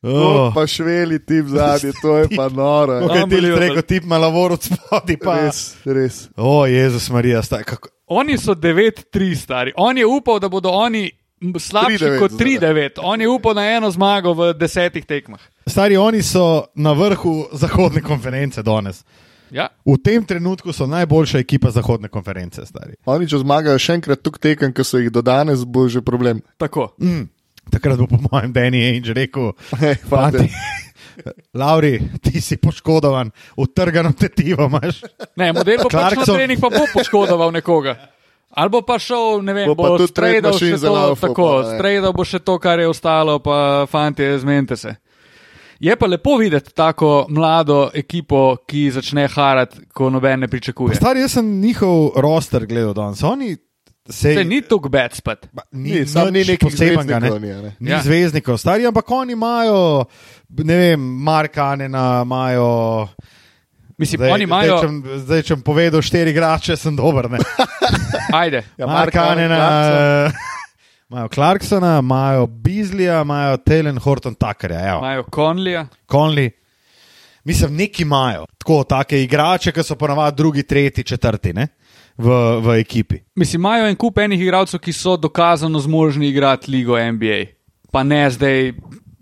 Speaker 2: To
Speaker 3: Oh.
Speaker 2: pa šveli tip zadnji, to je pa noro. ja.
Speaker 3: Kaj ti je rekel, ti malo vorot spodi, pa
Speaker 2: Res, res.
Speaker 3: O, Jezus Marija, stari, kako.
Speaker 4: Oni so 9-3 stari. On je upal, da bodo oni m, slabši
Speaker 2: 3-9
Speaker 4: kot
Speaker 2: zdaj.
Speaker 4: 3-9. On je upal na eno zmago v desetih tekmah.
Speaker 3: Stari, oni so na vrhu zahodne konference danes.
Speaker 4: Ja.
Speaker 3: V tem trenutku so najboljša ekipa zahodne konference, stari.
Speaker 2: Oni, če zmagajo še enkrat tuk tekem, ki so jih do danes, bo že problem.
Speaker 4: Tako.
Speaker 3: Mm. Takrat bo, po mojem, Danny Ainge rekel:
Speaker 2: Hej,
Speaker 3: "Fanti,
Speaker 2: fante.
Speaker 3: Lauri, ti si poškodovan, utrgano tetivo imaš.
Speaker 4: Ne, model bo pač na
Speaker 3: Clarkson.
Speaker 4: trening, pa bo poškodoval nekoga. Ali bo pa šel, ne vem,
Speaker 2: Bo
Speaker 4: bo,
Speaker 2: pa
Speaker 4: bo
Speaker 2: tudi trade
Speaker 4: stredal
Speaker 2: machine
Speaker 4: še to,
Speaker 2: zalaufal,
Speaker 4: tako,
Speaker 2: pa ne.
Speaker 4: stredal bo še to, kar je ostalo, pa fanti, zmente se. Je pa lepo videti tako mlado ekipo, ki začne harati, ko noben ne pričakuje.
Speaker 3: Stari, jaz sem njihov roster gledal danes. Oni se
Speaker 4: Se ni tako bed spet.
Speaker 3: Ba,
Speaker 2: Ni, samo ni
Speaker 3: nič
Speaker 2: nekih
Speaker 3: posebnega,
Speaker 2: zvezdnikov ni, a ne.
Speaker 3: ne. Ni
Speaker 4: Ja.
Speaker 3: ja. zvezdnikov, stari, ampak oni imajo, ne vem, Marka Anena, imajo.
Speaker 4: Mislim,
Speaker 3: Zdaj,
Speaker 4: oni imajo,
Speaker 3: zdaj, če, bom- zdaj, če bom povedal štiri igrače, sem dober. ne.
Speaker 4: ajde,
Speaker 2: Ja,
Speaker 3: Marka
Speaker 2: Marka
Speaker 3: Anena, imajo eh, Clarksona, imajo Beasleyja, imajo Telen Horton Tuckerja, evo,
Speaker 4: imajo Conlija.
Speaker 3: Conley. Mislim, neki imajo tako take igrače, ki so ponavadi drugi, tretji, četrti ne? v, v ekipi.
Speaker 4: Mislim, imajo en kup enih igralcev, ki so dokazano zmožni igrati ligo NBA, pa ne zdaj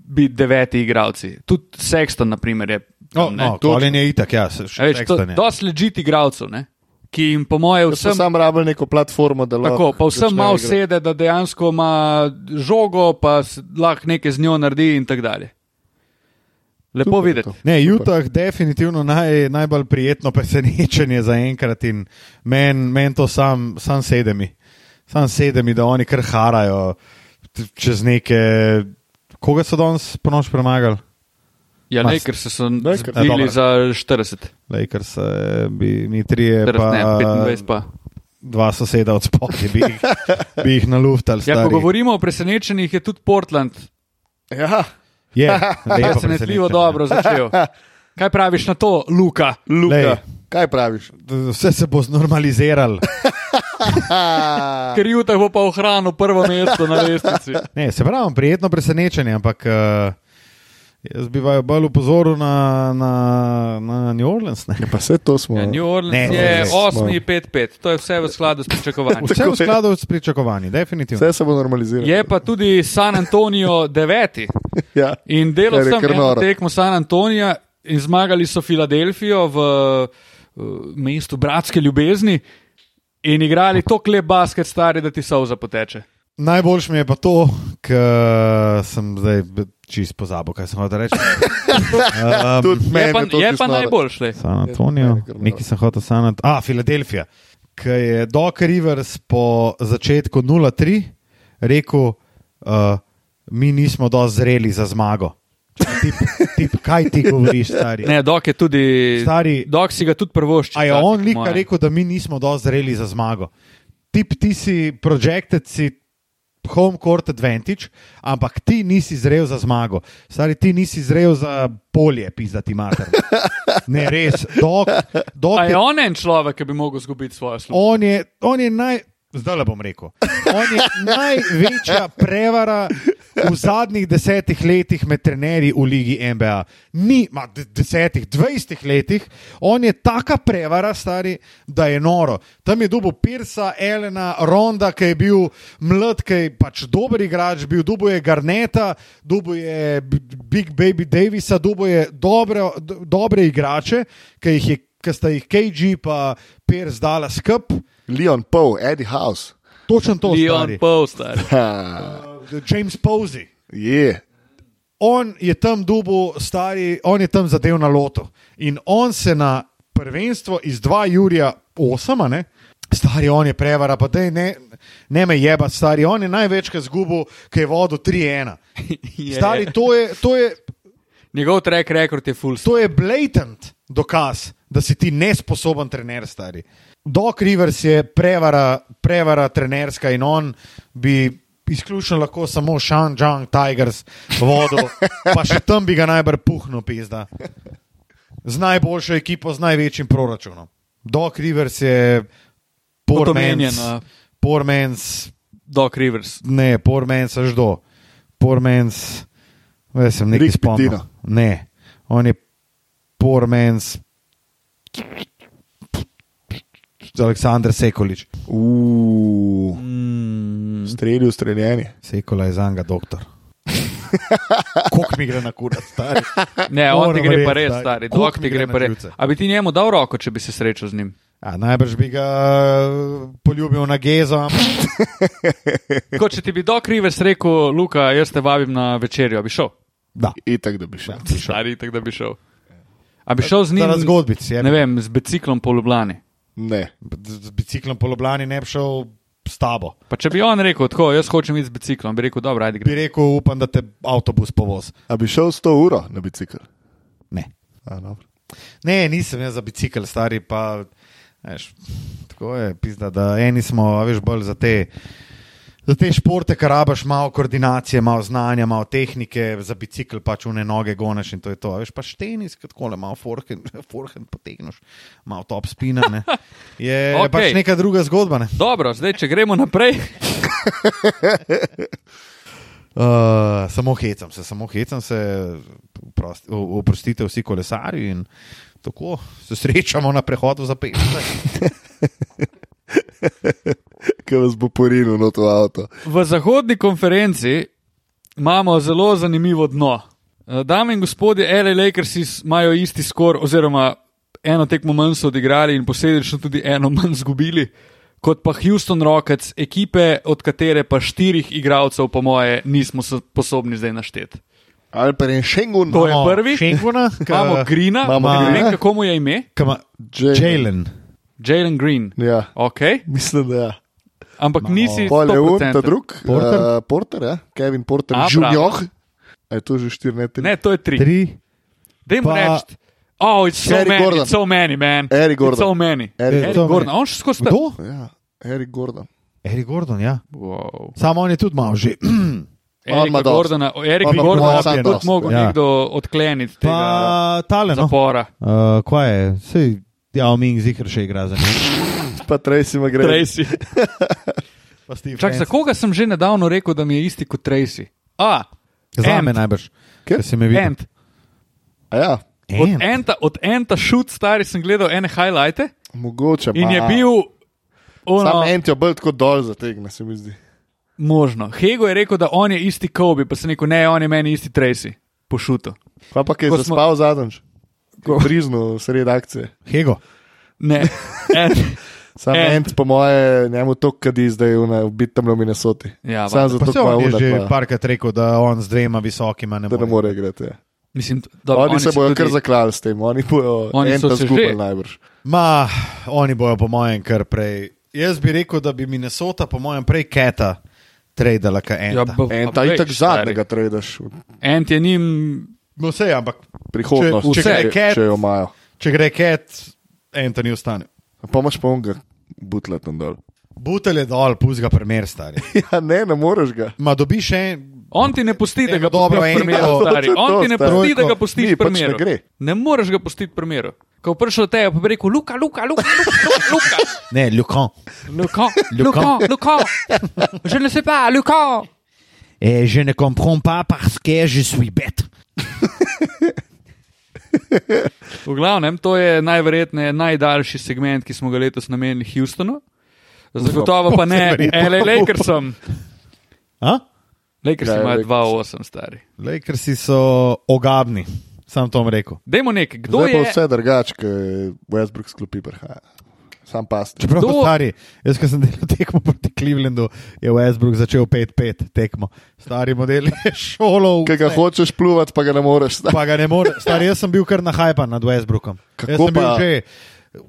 Speaker 4: biti deveti igralci. Tudi Sexton, na primer, je.
Speaker 3: No,
Speaker 4: tam, ne.
Speaker 3: no, Colin je itak, ja, se
Speaker 4: A
Speaker 3: še
Speaker 4: Veš, to je
Speaker 3: Sexton je.
Speaker 4: dosti ležiti igralcev, ne? ki jim, po moje,
Speaker 2: Jaz sem
Speaker 4: vsem,
Speaker 2: sam rabil neko platformo, da lahko.
Speaker 4: tako, pa vsem
Speaker 2: začnejo
Speaker 4: malo
Speaker 2: igrati.
Speaker 4: sede, da dejansko ima žogo, pa se lahko nekaj z njo naredi in tako dalje. Lepo
Speaker 2: Super je
Speaker 4: videti.
Speaker 2: to.
Speaker 3: Ne,
Speaker 2: Super.
Speaker 3: Utah je definitivno naj, najbolj prijetno presenečenje za enkrat in meni men to sam, sam sedemi. Sam sedemi, da oni kar harajo t- čez neke. Koga so danes ponoč premagali?
Speaker 4: Ja,
Speaker 3: Ma,
Speaker 4: Lakers se so
Speaker 2: Lakers. Ja,
Speaker 4: zbili
Speaker 3: Ja, Dobro.
Speaker 4: za 40,
Speaker 3: Lakers, eh, bi, mi trije,
Speaker 4: 40 ne,
Speaker 3: pa
Speaker 4: 25 pa.
Speaker 3: dva soseda od spodaj, bi, jih- bi jih naluftali.
Speaker 4: Ja, ko
Speaker 3: stari.
Speaker 4: govorimo o presenečenjih, je tudi Portland
Speaker 2: Ja,
Speaker 3: Je, lepo
Speaker 4: presenetljivo
Speaker 3: presenečenje.
Speaker 4: dobro začel. Kaj praviš na to, Luka?
Speaker 2: Luka.
Speaker 3: Lej.
Speaker 2: Lej. Kaj praviš?
Speaker 3: Vse se bo znormaliziralo.
Speaker 2: Ha,
Speaker 4: Ker Jutaj bo pa ohranil prvo mesto na lestvici.
Speaker 3: Ne, se pravi, prijetno presenečenje, ampak uh, jaz bi vaju bolj upozoril na, na, na New Orleans. Ne?
Speaker 2: ja, pa vse to smo.
Speaker 4: Ja, New Orleans
Speaker 3: Ne,
Speaker 4: ne, je
Speaker 3: ne, ne.
Speaker 4: 8-5-5, to je vse v skladu s pričakovanji.
Speaker 3: Vse v skladu s pričakovanji, definitivno.
Speaker 2: Vse se bo normaliziralo.
Speaker 4: Je pa tudi San Antonijo 9.
Speaker 2: Ja.
Speaker 4: In delal
Speaker 2: Kar je
Speaker 4: sem
Speaker 2: kar
Speaker 4: eno
Speaker 2: noro.
Speaker 4: tekmo San Antonija in zmagali so Filadelfijo v uh, mestu bratske ljubezni in igrali to klep basket stari, da ti sauza poteče.
Speaker 3: Najboljš mi je pa to, ker sem zdaj čist pozabil, kaj sem hotel reči. um,
Speaker 2: Tudi meni
Speaker 4: Je pa,
Speaker 2: to
Speaker 4: je
Speaker 2: čisto
Speaker 4: pa
Speaker 2: noro.
Speaker 4: najboljši. lej.
Speaker 3: San Antonijo, nekaj sem hotel San Antonijo. A, Filadelfija, ki je Doc Rivers po začetku 0-3 rekel, uh, mi nismo dovolj zreli za zmago. Tip, tip, kaj ti govoriš, stari?
Speaker 4: Ne, dok je tudi.
Speaker 3: Stari-
Speaker 4: Dok si ga tudi prvošči.
Speaker 3: A je on lika rekel, da mi nismo dovolj zreli za zmago. Tip, ti si projected, si home court advantage, ampak ti nisi zrel za zmago, stari ti nisi zrel za polje, pisati mater. Ne, res, dok, dok
Speaker 4: A je on en človek, ki bi lahko izgubil svojo službo.
Speaker 3: On je, on je naj. Zdaj le bom rekel. On je največja prevara v zadnjih desetih letih med trenerji v Ligi NBA. Ni, ma de- desetih, dvajsetih letih, on je taka prevara, stari, da je noro. Tam je dobil Pirsa, Elena, Ronda, ki je bil mlad, ki je pač dober igrač, bil dobo je Garneta, dobo je B- Big Baby Davisa, dobo je dobre, do- dobre igrače, ki jih je ki sta jih KG pa Pirs dala skup,
Speaker 2: Leon Poe, Eddie House.
Speaker 3: točno to
Speaker 4: Leon
Speaker 3: stvari.
Speaker 4: Postar.
Speaker 2: Ha,
Speaker 3: James Posey.
Speaker 2: je.
Speaker 3: On je tam dubu, stari, on je tam zadev na lotu. In on se na prvenstvo iz 2 Jurija 8, ne? stari on je prevara, pa dej, ne, ne me jeba, stari on je največkrat zgubil, ki je vodil 3-1.
Speaker 4: Je.
Speaker 3: Stari, to je, to je
Speaker 4: Njegov track record je full.
Speaker 3: To je blatant dokaz, da si ti nesposoben trener, stari. Doc Rivers je prevara, prevara trenerska in on bi izključno lahko samo Shanghai Tigers vodil, pa še tam bi ga najbrž puhnil, pizda. Z najboljšo ekipo, z največjim proračunom. Doc Rivers je pormenjen.
Speaker 4: Podomenjen, a.
Speaker 3: Pormenjen,
Speaker 4: Doc Rivers.
Speaker 3: ne, pormen se ždo, pormen se, veš, sem nekaj
Speaker 2: Rick
Speaker 3: spomnil.
Speaker 2: Pitino.
Speaker 3: Ne, on je pormen se. Aleksandr Sekolič,
Speaker 2: Uuu,
Speaker 4: Mm,
Speaker 2: streljil, streljanje.
Speaker 3: Sekola je za njega doktor. Kuk mi gre na kurat, stari.
Speaker 4: ne, on ti
Speaker 3: Moram
Speaker 4: gre pa
Speaker 3: verjeti,
Speaker 4: res,
Speaker 3: stari.
Speaker 4: stari.
Speaker 3: Koliko
Speaker 4: Doc
Speaker 3: mi
Speaker 4: ti
Speaker 3: gre
Speaker 4: gre
Speaker 3: na
Speaker 4: pa res.
Speaker 3: živce?
Speaker 4: A bi ti njemu dal roko, če bi se srečal z njim?
Speaker 3: A, najbrž bi ga eh, poljubil na gezo, ampak
Speaker 4: Kot če ti bi Doc Rivers rekel, Luka, jaz te vabim na večerjo, a bi šel.
Speaker 3: da.
Speaker 2: Itak, da bi šel.
Speaker 4: Stari, tako da bi šel. A bi šel z njim?
Speaker 3: Zaradi zgodbic je.
Speaker 4: Ne vem, z biciklom po Ljubljani.
Speaker 2: Ne.
Speaker 3: Z biciklom po Ljubljani ne bi šel s tabo.
Speaker 4: Pa če bi on rekel, tako, jaz hočem iti z biciklom, bi rekel, dobro, ajde
Speaker 3: Bi
Speaker 4: gre.
Speaker 3: rekel, upam, da te avtobus povoz.
Speaker 2: A bi šel 100 uro na bicikl?
Speaker 3: Ne.
Speaker 2: A, dobro.
Speaker 3: Ne, nisem jaz za bicikl, stari pa. Veš, tako je, pizda, da eni smo, a veš, bolj za te. Za te športe, ki rabaš malo koordinacije, malo znanja, malo tehnike, za bicikl pač une noge goniš in to je to. A Veš pa štenis, kot kole, malo forhen, forhen potegneš, malo top spina. Ne. Je
Speaker 4: Okej.
Speaker 3: okay. pač neka druga zgodba. Ne.
Speaker 4: Dobro, zdaj, če gremo naprej.
Speaker 3: Uh, samo hecam se, samo hecam se, prost, o- oprostite vsi kolesarji in tako se srečamo na prehodu za pešce.
Speaker 2: Kaj vas bo porinil na to avto?
Speaker 4: V zahodni konferenci imamo zelo zanimivo dno. Eh, Dame in gospodje, L.A. Lakersi s- imajo isti skor, oziroma eno tekmo manj so odigrali in posledično tudi eno manj izgubili, kot pa Houston Rockets, ekipe, od katere pa štirih igralcev, po moje, nismo sposobni zdaj našteti.
Speaker 2: Ali pa en šengun,
Speaker 4: To je
Speaker 3: Imamo
Speaker 4: prvi.
Speaker 3: Šenguna,
Speaker 4: Imamo Greena,
Speaker 2: imamo
Speaker 4: ne vem,
Speaker 2: Greena.
Speaker 4: kako mu je ime,
Speaker 3: Kama,
Speaker 2: Jalen.
Speaker 3: Jalen.
Speaker 4: Jalen Green.
Speaker 2: Ja,
Speaker 4: Okay.
Speaker 2: mislim, da je.
Speaker 4: Ampak
Speaker 3: Imamo-
Speaker 4: nisi
Speaker 2: Pol je on, ta
Speaker 4: 100%.
Speaker 2: drug,
Speaker 3: Porter?
Speaker 2: eh, Porter ja? Kevin Porter,
Speaker 4: A,
Speaker 2: Junior. A je to že 4 ne 3?
Speaker 4: Ne, to je tri.
Speaker 3: Tri.
Speaker 4: Dajmo
Speaker 3: Pa-
Speaker 4: reči. Oh, it's so
Speaker 2: Eric
Speaker 4: many,
Speaker 2: Gordon.
Speaker 4: it's so many, man.
Speaker 2: Eric
Speaker 4: It's so
Speaker 2: Gordon.
Speaker 4: many.
Speaker 2: Eric
Speaker 4: Eric
Speaker 3: Gordon.
Speaker 4: Gordon, on še skozi to.
Speaker 3: Kdo?
Speaker 2: Ja, Eric Gordon.
Speaker 3: Eri Gordon, ja.
Speaker 4: Wow.
Speaker 3: Samo on je tudi malo že.
Speaker 2: On ima
Speaker 4: Erika
Speaker 2: dosti.
Speaker 4: Gordona, Erik
Speaker 2: On ima
Speaker 4: Gordon,
Speaker 2: dosti,
Speaker 4: da bi
Speaker 2: dosti.
Speaker 4: tudi mogel
Speaker 3: Ja.
Speaker 4: nekdo odkleniti tega
Speaker 3: Pa talen. No.
Speaker 4: zapora.
Speaker 3: Uh, kaj je? Sej, ja, Ming Zikr še igra za njega.
Speaker 2: Pa Tracy ima gre.
Speaker 4: Tracy. Čak, za koga sem že nedavno rekel, da mi je isti kot Tracy? A,
Speaker 3: Za
Speaker 4: Ant.
Speaker 3: me najbrž.
Speaker 2: Kje?
Speaker 3: Ker se me vidi.
Speaker 4: Ant.
Speaker 2: Ja,
Speaker 4: Od Anta, od Anta šut, stari sem gledal ene highlighte
Speaker 2: mogoče.
Speaker 4: in je
Speaker 2: ma.
Speaker 4: bil.
Speaker 2: Sam
Speaker 4: Ono,
Speaker 2: en ti je bolj kot dol zategne, se mi zdi.
Speaker 4: možno. Hego je rekel, da on je isti Kobe, pa sem rekel, ne, on je meni isti Tracy, po šutu.
Speaker 2: Pa pa, ki
Speaker 4: Ko
Speaker 2: je
Speaker 4: smo-
Speaker 2: zaspal zadnjič.
Speaker 4: Ko-
Speaker 2: Prizno, sred akcije.
Speaker 3: Hego.
Speaker 4: Ne, Ant.
Speaker 2: Sam
Speaker 4: Ant.
Speaker 2: en, po moje, njemu to kadi zdaj v bitem na Minnesoti.
Speaker 4: Ja,
Speaker 2: Sam
Speaker 3: Pa
Speaker 2: zato,
Speaker 3: se on je
Speaker 2: ker
Speaker 3: že
Speaker 2: je pa,
Speaker 3: parkrat rekel, da on z dvema visokima ne
Speaker 2: da ne
Speaker 3: more.
Speaker 2: more igrati. Ja.
Speaker 4: Mislim, da
Speaker 2: Oni, oni se bojo tudi... kar zaklali s tem, oni bojo
Speaker 4: Oni so
Speaker 2: eno
Speaker 4: se že.
Speaker 2: zgubili najbrž.
Speaker 3: Ma, oni bojo po mojem kar prej. Jaz bi rekel, da bi Minnesota po mojem prej Keta tradala kot
Speaker 4: Ja,
Speaker 3: ena.
Speaker 4: bo-
Speaker 2: En
Speaker 4: a
Speaker 2: ta
Speaker 4: veš,
Speaker 2: itak
Speaker 4: stari.
Speaker 2: zadnjega tradaš v
Speaker 4: Ant je njim,
Speaker 3: No, vse, ampak
Speaker 2: prihodnost,
Speaker 3: Če-
Speaker 2: če,
Speaker 3: če gre
Speaker 2: če, če,
Speaker 3: Cat-
Speaker 2: če jo imajo.
Speaker 3: če gre Ket, Anthony ostane.
Speaker 2: Pomoč pa onga butla tam dol.
Speaker 3: Butelj je dol, puzga primer, stari.
Speaker 2: Ja, ne, ne moreš ga.
Speaker 3: Ma dobiš še en,
Speaker 4: On ti ne pusti, da
Speaker 3: Eno
Speaker 4: ga
Speaker 3: dobro,
Speaker 4: pustiš
Speaker 3: eno
Speaker 4: primeru,
Speaker 3: dobro.
Speaker 4: stari.
Speaker 2: To je to,
Speaker 4: On ti ne
Speaker 2: stari.
Speaker 4: pusti, da ga
Speaker 3: Trojko.
Speaker 4: pustiš
Speaker 2: Ni, pač ne
Speaker 4: primeru.
Speaker 2: gre.
Speaker 4: ne moreš ga pustiti primeru. Ko je prišel te, pa bi rekel, Luka, Luka, Luka, Luka, Luka,
Speaker 3: ne, Lukan.
Speaker 4: Luka,
Speaker 3: Luka.
Speaker 4: Luka, Luka, že ne se pa, Luka.
Speaker 3: Eh, je ne comprends pas parce que je suis bête.
Speaker 4: V glavnem, to je najverjetneje najdaljši segment, ki smo ga letos namenili Houstonu. Zagotovo pa ne, e, le Lakersom.
Speaker 3: A?
Speaker 4: Lakers
Speaker 2: Ja,
Speaker 4: imajo
Speaker 2: Lakers.
Speaker 4: 2-8 stari.
Speaker 3: Lakersi so ogabni, sam to vam rekel.
Speaker 4: Dajmo nek, kdo
Speaker 2: Zdaj pa
Speaker 4: je.
Speaker 2: vse drugače, kot Westbrook sklopi prihaja. Sam pasti.
Speaker 3: Čeprav
Speaker 4: Kdo-
Speaker 3: Kdo... stari, jaz, ki sem delal tekmo proti Clevelandu, je Westbrook začel 5-5 tekmo. Stari model je šolo,
Speaker 2: Kaj ga hočeš pljuvati, pa ga ne moreš. stari.
Speaker 3: pa ga ne more. Stari, jaz sem bil kar na hajpa nad Westbrookom.
Speaker 2: Kako
Speaker 3: Jaz sem bil
Speaker 2: pa-
Speaker 3: že,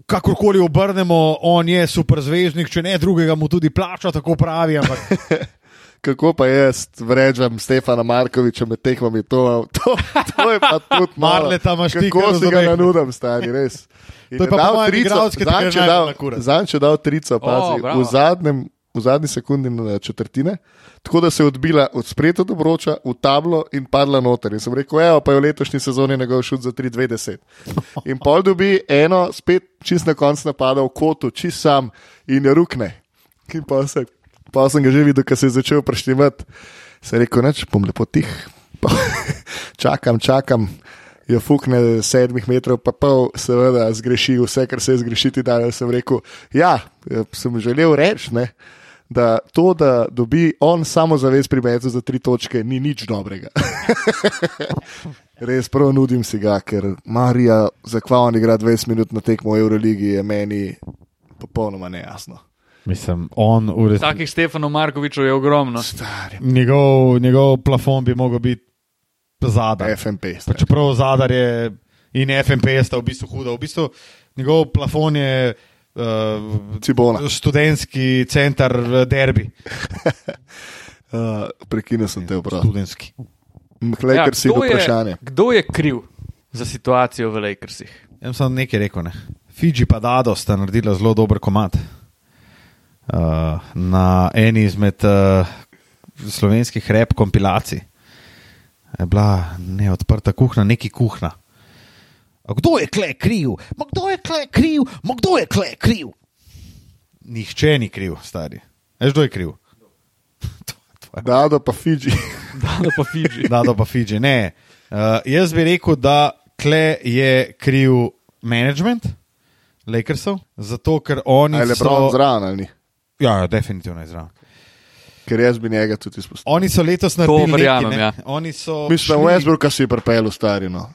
Speaker 3: kakorkoli obrnemo, on je super zvezdnik, če ne drugega mu tudi plača, tako pravi. Ampak
Speaker 2: Kako pa jaz vrečem Stefana Markoviča med tekmami, to, to, to je pa tudi malo.
Speaker 3: Marleta imaš ti,
Speaker 2: Kako
Speaker 3: ker
Speaker 2: si ga
Speaker 3: razumem.
Speaker 2: nanudam, stari, res. In
Speaker 3: To je
Speaker 2: je
Speaker 3: pa
Speaker 2: dal
Speaker 3: po mojem
Speaker 2: trico,
Speaker 3: igralec, ki te
Speaker 2: zadnjič
Speaker 3: gre
Speaker 2: je dal-
Speaker 3: najbolj na kurac.
Speaker 2: Zadnjič je dal trico, pazi,
Speaker 4: bravo.
Speaker 2: v, zadnjem, v zadnji sekundi na četrtine, tako da se je odbila od spreta do broča v tablo in padla noter. In sem rekel, evo, pa je v letošnji sezoni njegov šut za 3,20. In pol dobi eno, spet čist na koncu napada v kotu, čist sam in jo rukne. In pa, se, pa sem ga že videl, ko se je začel preštimati. Se je rekel, neč, bom lepo tih. Pa čakam, čakam. Jo fukne sedmih metrov, pa pol, seveda, zgreši vse, kar se je zgrešiti dalo. Sem rekel, ja, eh, sem želel reči, ne, da to, da dobi on samozavest pri metu za tri točke, ni nič dobrega. Res prav nudim si ga, ker Marija zakvavan igra 20 minut na tekmo v Euroligi, je meni popolnoma nejasno.
Speaker 3: mislim, on v resnici.
Speaker 4: Takih Stefanov Markovičev je
Speaker 2: No.
Speaker 4: ogromno.
Speaker 2: Stari
Speaker 3: Njegov, njegov plafon bi mogel biti zadaj.
Speaker 2: FMP.
Speaker 3: Pa čeprav zadar je in FMP sta v bistvu huda. V bistvu njegov plafon je eh, uh,
Speaker 2: Cibona.
Speaker 3: študentski center eh, derbi.
Speaker 2: Uh, Prekinil sem te vprašanje.
Speaker 3: Študentski.
Speaker 2: Mhlej, ker si
Speaker 4: Ja, kdo
Speaker 2: do
Speaker 4: je-
Speaker 2: vprašanja.
Speaker 4: Kdo je kriv za situacijo v Lakersih?
Speaker 3: Jaz sem nekaj rekel. Ne. Fiji pa Dado sta naredila zelo dober komat. Uh, na eni izmed uh, slovenskih rep kompilacij je bila neodprta kuhna, neki kuhna. A kdo je kle kriv? Ma kdo je kle kriv? Ma kdo je kle kriv? Nihče ni kriv, stari. Veš, kdo je kriv?
Speaker 2: Dado pa Fiji.
Speaker 4: Da, pa Fiji.
Speaker 3: Dado pa Fiji. Ne. Uh, jaz bi rekel, da kle je kriv management Lakersov, zato ker oni
Speaker 2: Ali je
Speaker 3: so
Speaker 2: prav zraven ali ni?
Speaker 3: Ja, ja, definitivno je zraven.
Speaker 2: Ker jaz bi njega tudi izpostavil.
Speaker 3: Oni so letos naredili
Speaker 4: verjamem,
Speaker 3: nekaj, ne.
Speaker 4: ja.
Speaker 3: Oni so
Speaker 2: Mislim,
Speaker 3: šli-
Speaker 2: Westbrooka si je pripeljal starino.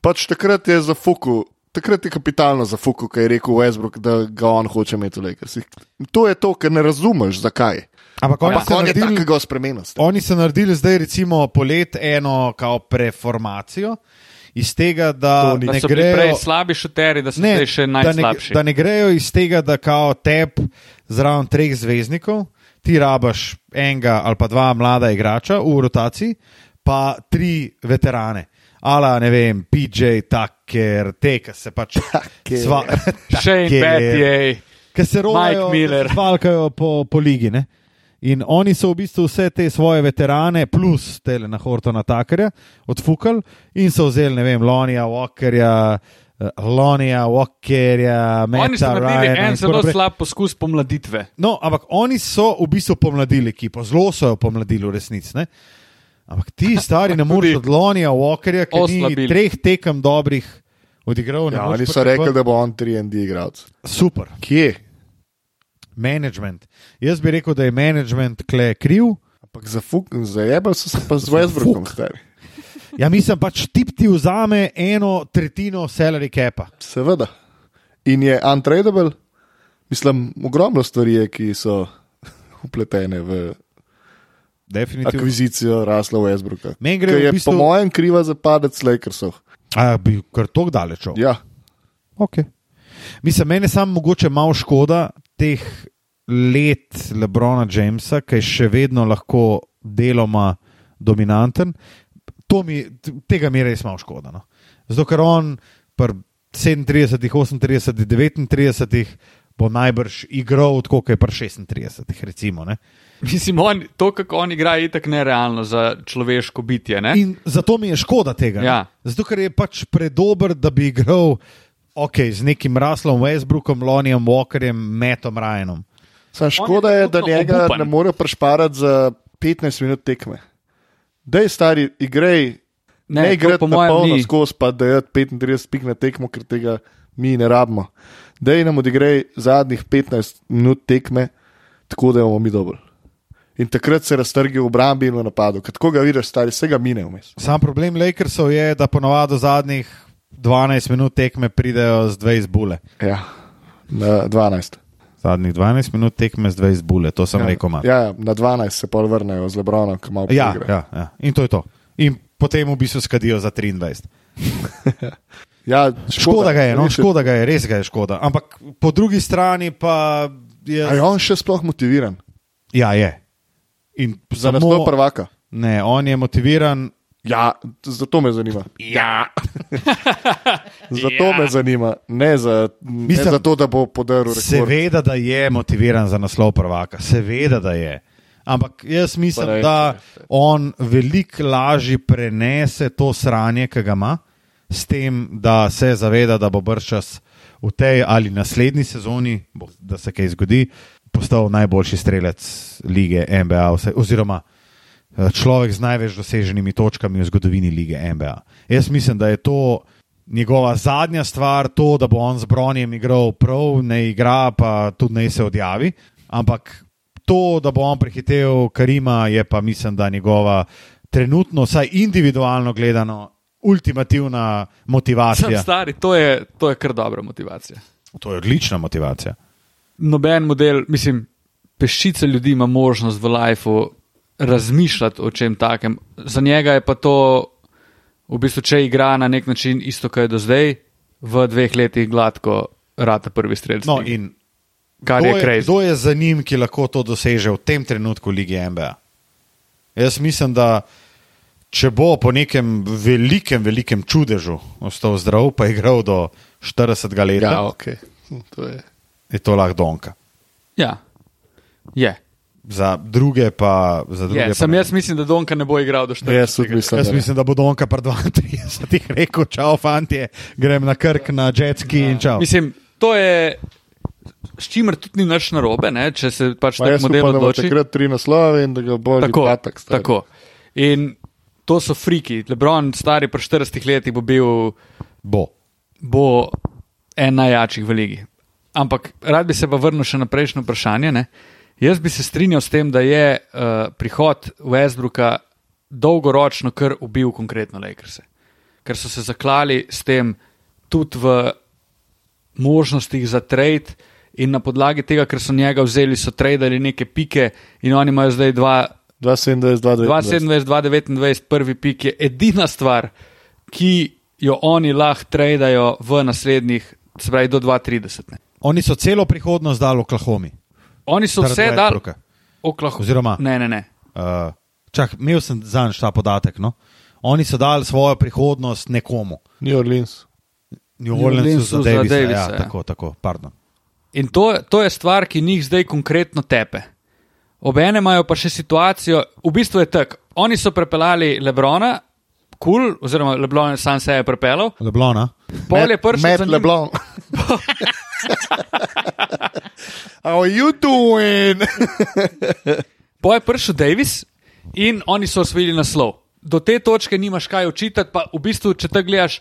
Speaker 2: Pač takrat je za fuku. Takrat je kapitalno za Fuku, ki je rekel Westbrook, da ga on hoče imeti v Lakersih. To je to, ker ne razumeš, zakaj.
Speaker 3: Ampak oni
Speaker 2: Ampak
Speaker 3: so
Speaker 2: on je
Speaker 3: naredili
Speaker 2: takega spremenil. stari.
Speaker 3: Oni so naredili zdaj, recimo, polet eno kao preformacijo iz tega, da
Speaker 2: To ni-
Speaker 4: Da
Speaker 3: ne
Speaker 4: so bili prej
Speaker 3: grejo.
Speaker 4: slabi šuteri, da so ne,
Speaker 3: Ne,
Speaker 4: zdaj še
Speaker 3: da, ne,
Speaker 4: najslabši.
Speaker 3: da ne grejo iz tega, da kao tep zraven treh zvezdnikov, ti rabaš enega ali pa dva mlada igrača v rotaciji, pa tri veterane. Ala, ne vem, PJ, Tucker, te, ki se pač.
Speaker 2: Tucker.
Speaker 4: Shane
Speaker 3: Tucker.
Speaker 4: Battier.
Speaker 3: ki se rojajo,
Speaker 4: Mike Miller.
Speaker 3: ki se valkajo po, po ligi. Ne? In oni so v bistvu vse te svoje veterane, plus tele na Hortona Takerja, odfukali in so vzeli, ne vem, Lonija, Walkerja, eh, Lonija, Walkerja,
Speaker 4: Oni so
Speaker 3: Meta,
Speaker 4: naredili
Speaker 3: Ryana
Speaker 4: en
Speaker 3: in tako
Speaker 4: zelo
Speaker 3: naprej.
Speaker 4: slab poskus pomladitve.
Speaker 3: No, ampak oni so v bistvu pomladili ekipo, zelo so jo pomladili v resnici. ne. Ampak ti stari ne moreš od Lonija, Walkerja, ki ni
Speaker 4: Oslabili.
Speaker 3: treh tekem dobrih odigral. ne
Speaker 2: Ja,
Speaker 3: moreš
Speaker 2: oni so
Speaker 3: pričakovati-
Speaker 2: rekli, da bo on 3D igralec.
Speaker 3: Super.
Speaker 2: Kje?
Speaker 3: Management. Jaz bi rekel, da je management kle kriv.
Speaker 2: Ampak za Fuk, zajebal so se pa z Westbrookom. stari.
Speaker 3: Ja, mislim pač tip ti vzame eno tretjino salary capa.
Speaker 2: Seveda. In je untradable. Mislim, ogromno stvari je, ki so upletene v
Speaker 3: Definitivno.
Speaker 2: akvizicijo Rasla Westbrooka.
Speaker 3: Meni
Speaker 2: Ki
Speaker 3: gre v
Speaker 2: je
Speaker 3: bistvu-
Speaker 2: po mojem kriva za padec Lakersov.
Speaker 3: A bi kar tako daleč. Ja.
Speaker 2: Ja,
Speaker 3: Okay. Mislim, meni je samo mogoče malo škoda teh let Lebrona Jamesa, ki je še vedno lahko deloma dominanten. To Mi, t- tega mi je res malo škoda. No. Zato, ker on pri 37, 38, 39 bo najbrž igral tako, kot je pri 36, recimo. Ne?
Speaker 4: Mislim, on, to, kako on igra, je tako nerealno za človeško bitje. Ne?
Speaker 3: In zato mi je škoda tega. ne.
Speaker 4: Ja.
Speaker 3: Zato, ker je pač predober, da bi igral okay, z nekim Raslom Westbrookom, Lonijem Walkerjem, Metom Ryanom.
Speaker 2: Sam škoda
Speaker 4: On je
Speaker 2: je, da
Speaker 4: absolutno
Speaker 2: njega
Speaker 4: obupan.
Speaker 2: ne morejo prešparati za 15 minut tekme. Dej, stari, igrej, ne, ne
Speaker 4: to
Speaker 2: igraj
Speaker 4: po
Speaker 2: na
Speaker 4: mojem
Speaker 2: polno
Speaker 4: ni.
Speaker 2: skozi, pa da je 35 pik na tekmo, ker tega mi ne rabimo. Dej nam odigraj zadnjih 15 minut tekme, tako da bomo mi dobri. In takrat se raztrgi v obrambi in v napadu. Kad ko ga vidiš, stari, vsega mine vmes.
Speaker 3: Sam problem Lakersov je, da ponovadi v zadnjih 12 minut tekme pridejo z dve izbule.
Speaker 2: Ja, na 12.
Speaker 3: Zadnjih 12 minut tekme z dve izbule, to sem ja. rekel. Mat.
Speaker 2: Ja, ja, na 12 se pol vrnejo z Lebronom, ki malo
Speaker 3: Ja,
Speaker 2: poigra.
Speaker 3: ja, ja, in to je to. In potem v bistvu skadijo za 23.
Speaker 2: ja,
Speaker 3: Škoda ga je, no,
Speaker 2: Res
Speaker 3: škoda ga je, res ga je škoda. Ampak po drugi strani pa je.
Speaker 2: A ja. je on še sploh motiviran
Speaker 3: Ja, je. In
Speaker 2: za naslov
Speaker 3: samo,
Speaker 2: prvaka?
Speaker 3: ne, on je motiviran.
Speaker 2: Ja, t- zato me zanima.
Speaker 1: Ja.
Speaker 2: Zato ja. me zanima, ne, za, ne
Speaker 3: Mislim-
Speaker 2: zato, da bo podaril rekord.
Speaker 3: Seveda, da je motiviran za naslov prvaka, seveda, da je. Ampak jaz mislim,
Speaker 2: Pa ne.
Speaker 3: da on veliko lažje prenese to sranje, ki ga ima, s tem, da se zaveda, da bo brčas v tej ali naslednji sezoni, bo- da se kaj zgodi, postal najboljši strelec lige NBA, vse, oziroma eh, človek z največ doseženimi točkami v zgodovini lige NBA. Jaz mislim, da je to njegova zadnja stvar, to, da bo on z Bronjem igral prav, ne igra, pa tudi ne se odjavi. Ampak to, da bo on prehitev Karima, je pa mislim, da njegova trenutno, vsaj individualno gledano, ultimativna
Speaker 4: Sem
Speaker 3: motivacija.
Speaker 4: stari, to je, to je kar dobra motivacija.
Speaker 3: To je odlična motivacija.
Speaker 4: Noben model, mislim, peščica ljudi ima možnost v lifeu razmišljati o čem takem. Za njega je pa to, v bistvu, če igra na nek način isto, kar je do zdaj, v dveh letih gladko rata prvi strelec.
Speaker 3: No, in
Speaker 4: kar
Speaker 3: kdo
Speaker 4: je kraj.
Speaker 3: Kdo je za njim, ki lahko to doseže v tem trenutku lige MBA? Jaz mislim, da če bo po nekem velikem, velikem čudežu ostal zdrav, pa igral do 40 let,
Speaker 2: Ja,
Speaker 3: ja.
Speaker 2: ok. Hm, To je.
Speaker 3: je to lahko donka.
Speaker 4: Ja, je.
Speaker 3: Za druge pa. Za
Speaker 2: Ja,
Speaker 3: druge
Speaker 4: je.
Speaker 3: pa
Speaker 4: Sam
Speaker 3: ne.
Speaker 4: jaz mislim, da Donka ne bo igral do 40.
Speaker 2: Jaz tudi mislim.
Speaker 3: Jaz
Speaker 2: da ne.
Speaker 3: mislim, da bo Donka pri 32 rekel: Čau, fanti, grem na krk, na jetski in čau.
Speaker 4: Mislim, to je, s čimer tudi ni nič narobe, ne? če se pač
Speaker 2: Ma
Speaker 4: tak
Speaker 2: Jaz
Speaker 4: model
Speaker 2: upam, da bo
Speaker 4: odloči.
Speaker 2: takrat tri naslove in da ga bo
Speaker 4: Tako,
Speaker 2: Patak, stari.
Speaker 4: tako. In to so friki. Lebron, stari pri 40 letih, bo bil
Speaker 3: Bo.
Speaker 4: bo en najjačih v ligi. Ampak rad bi se pa vrnil še na prejšnjo vprašanje. Ne? Jaz bi se strinjal s tem, da je uh, prihod Westbrooka dolgoročno kar ubil konkretno Lakerse, ker so se zaklali s tem tudi v možnostih za trade. In na podlagi tega, ker so njega vzeli, so tradili neke pike, in oni imajo zdaj dva
Speaker 2: 2,27, 2,29.
Speaker 4: 2027, 2029, prvi pik je edina stvar, ki jo oni lahko tradajo v naslednjih, se pravi do 2030. Ne.
Speaker 3: Oni so celo prihodnost dali Oklahomi.
Speaker 4: Oni so vse
Speaker 3: Zaradi
Speaker 4: dali.
Speaker 3: Westbrooka.
Speaker 4: Oklahoma.
Speaker 3: Oziroma-
Speaker 4: Ne, ne, ne.
Speaker 3: Uh, čak, imel sem za njega ta podatek. No? Oni so dali svojo prihodnost nekomu.
Speaker 2: New Orleans.
Speaker 3: New
Speaker 4: New
Speaker 3: Orleansu
Speaker 4: Orleansu
Speaker 3: za
Speaker 4: za
Speaker 3: Davisa.
Speaker 4: Davisa,
Speaker 3: ja,
Speaker 4: ja.
Speaker 3: tako, tako, pardon.
Speaker 4: In to, to je stvar, ki njih zdaj konkretno tepe. Obene imajo pa še situacijo, v bistvu je tak. Oni so prepeljali Lebrona, kul, cool, oziroma Lebron je sam se je prepeljal,
Speaker 3: Leblona.
Speaker 4: pol je prišel
Speaker 2: Matt
Speaker 4: za njim-
Speaker 2: Leblanc. How are you doing?
Speaker 4: Poj je prišel Davis in oni so osvojili naslov. Do te točke nimaš kaj očitati, pa v bistvu, če te gledaš,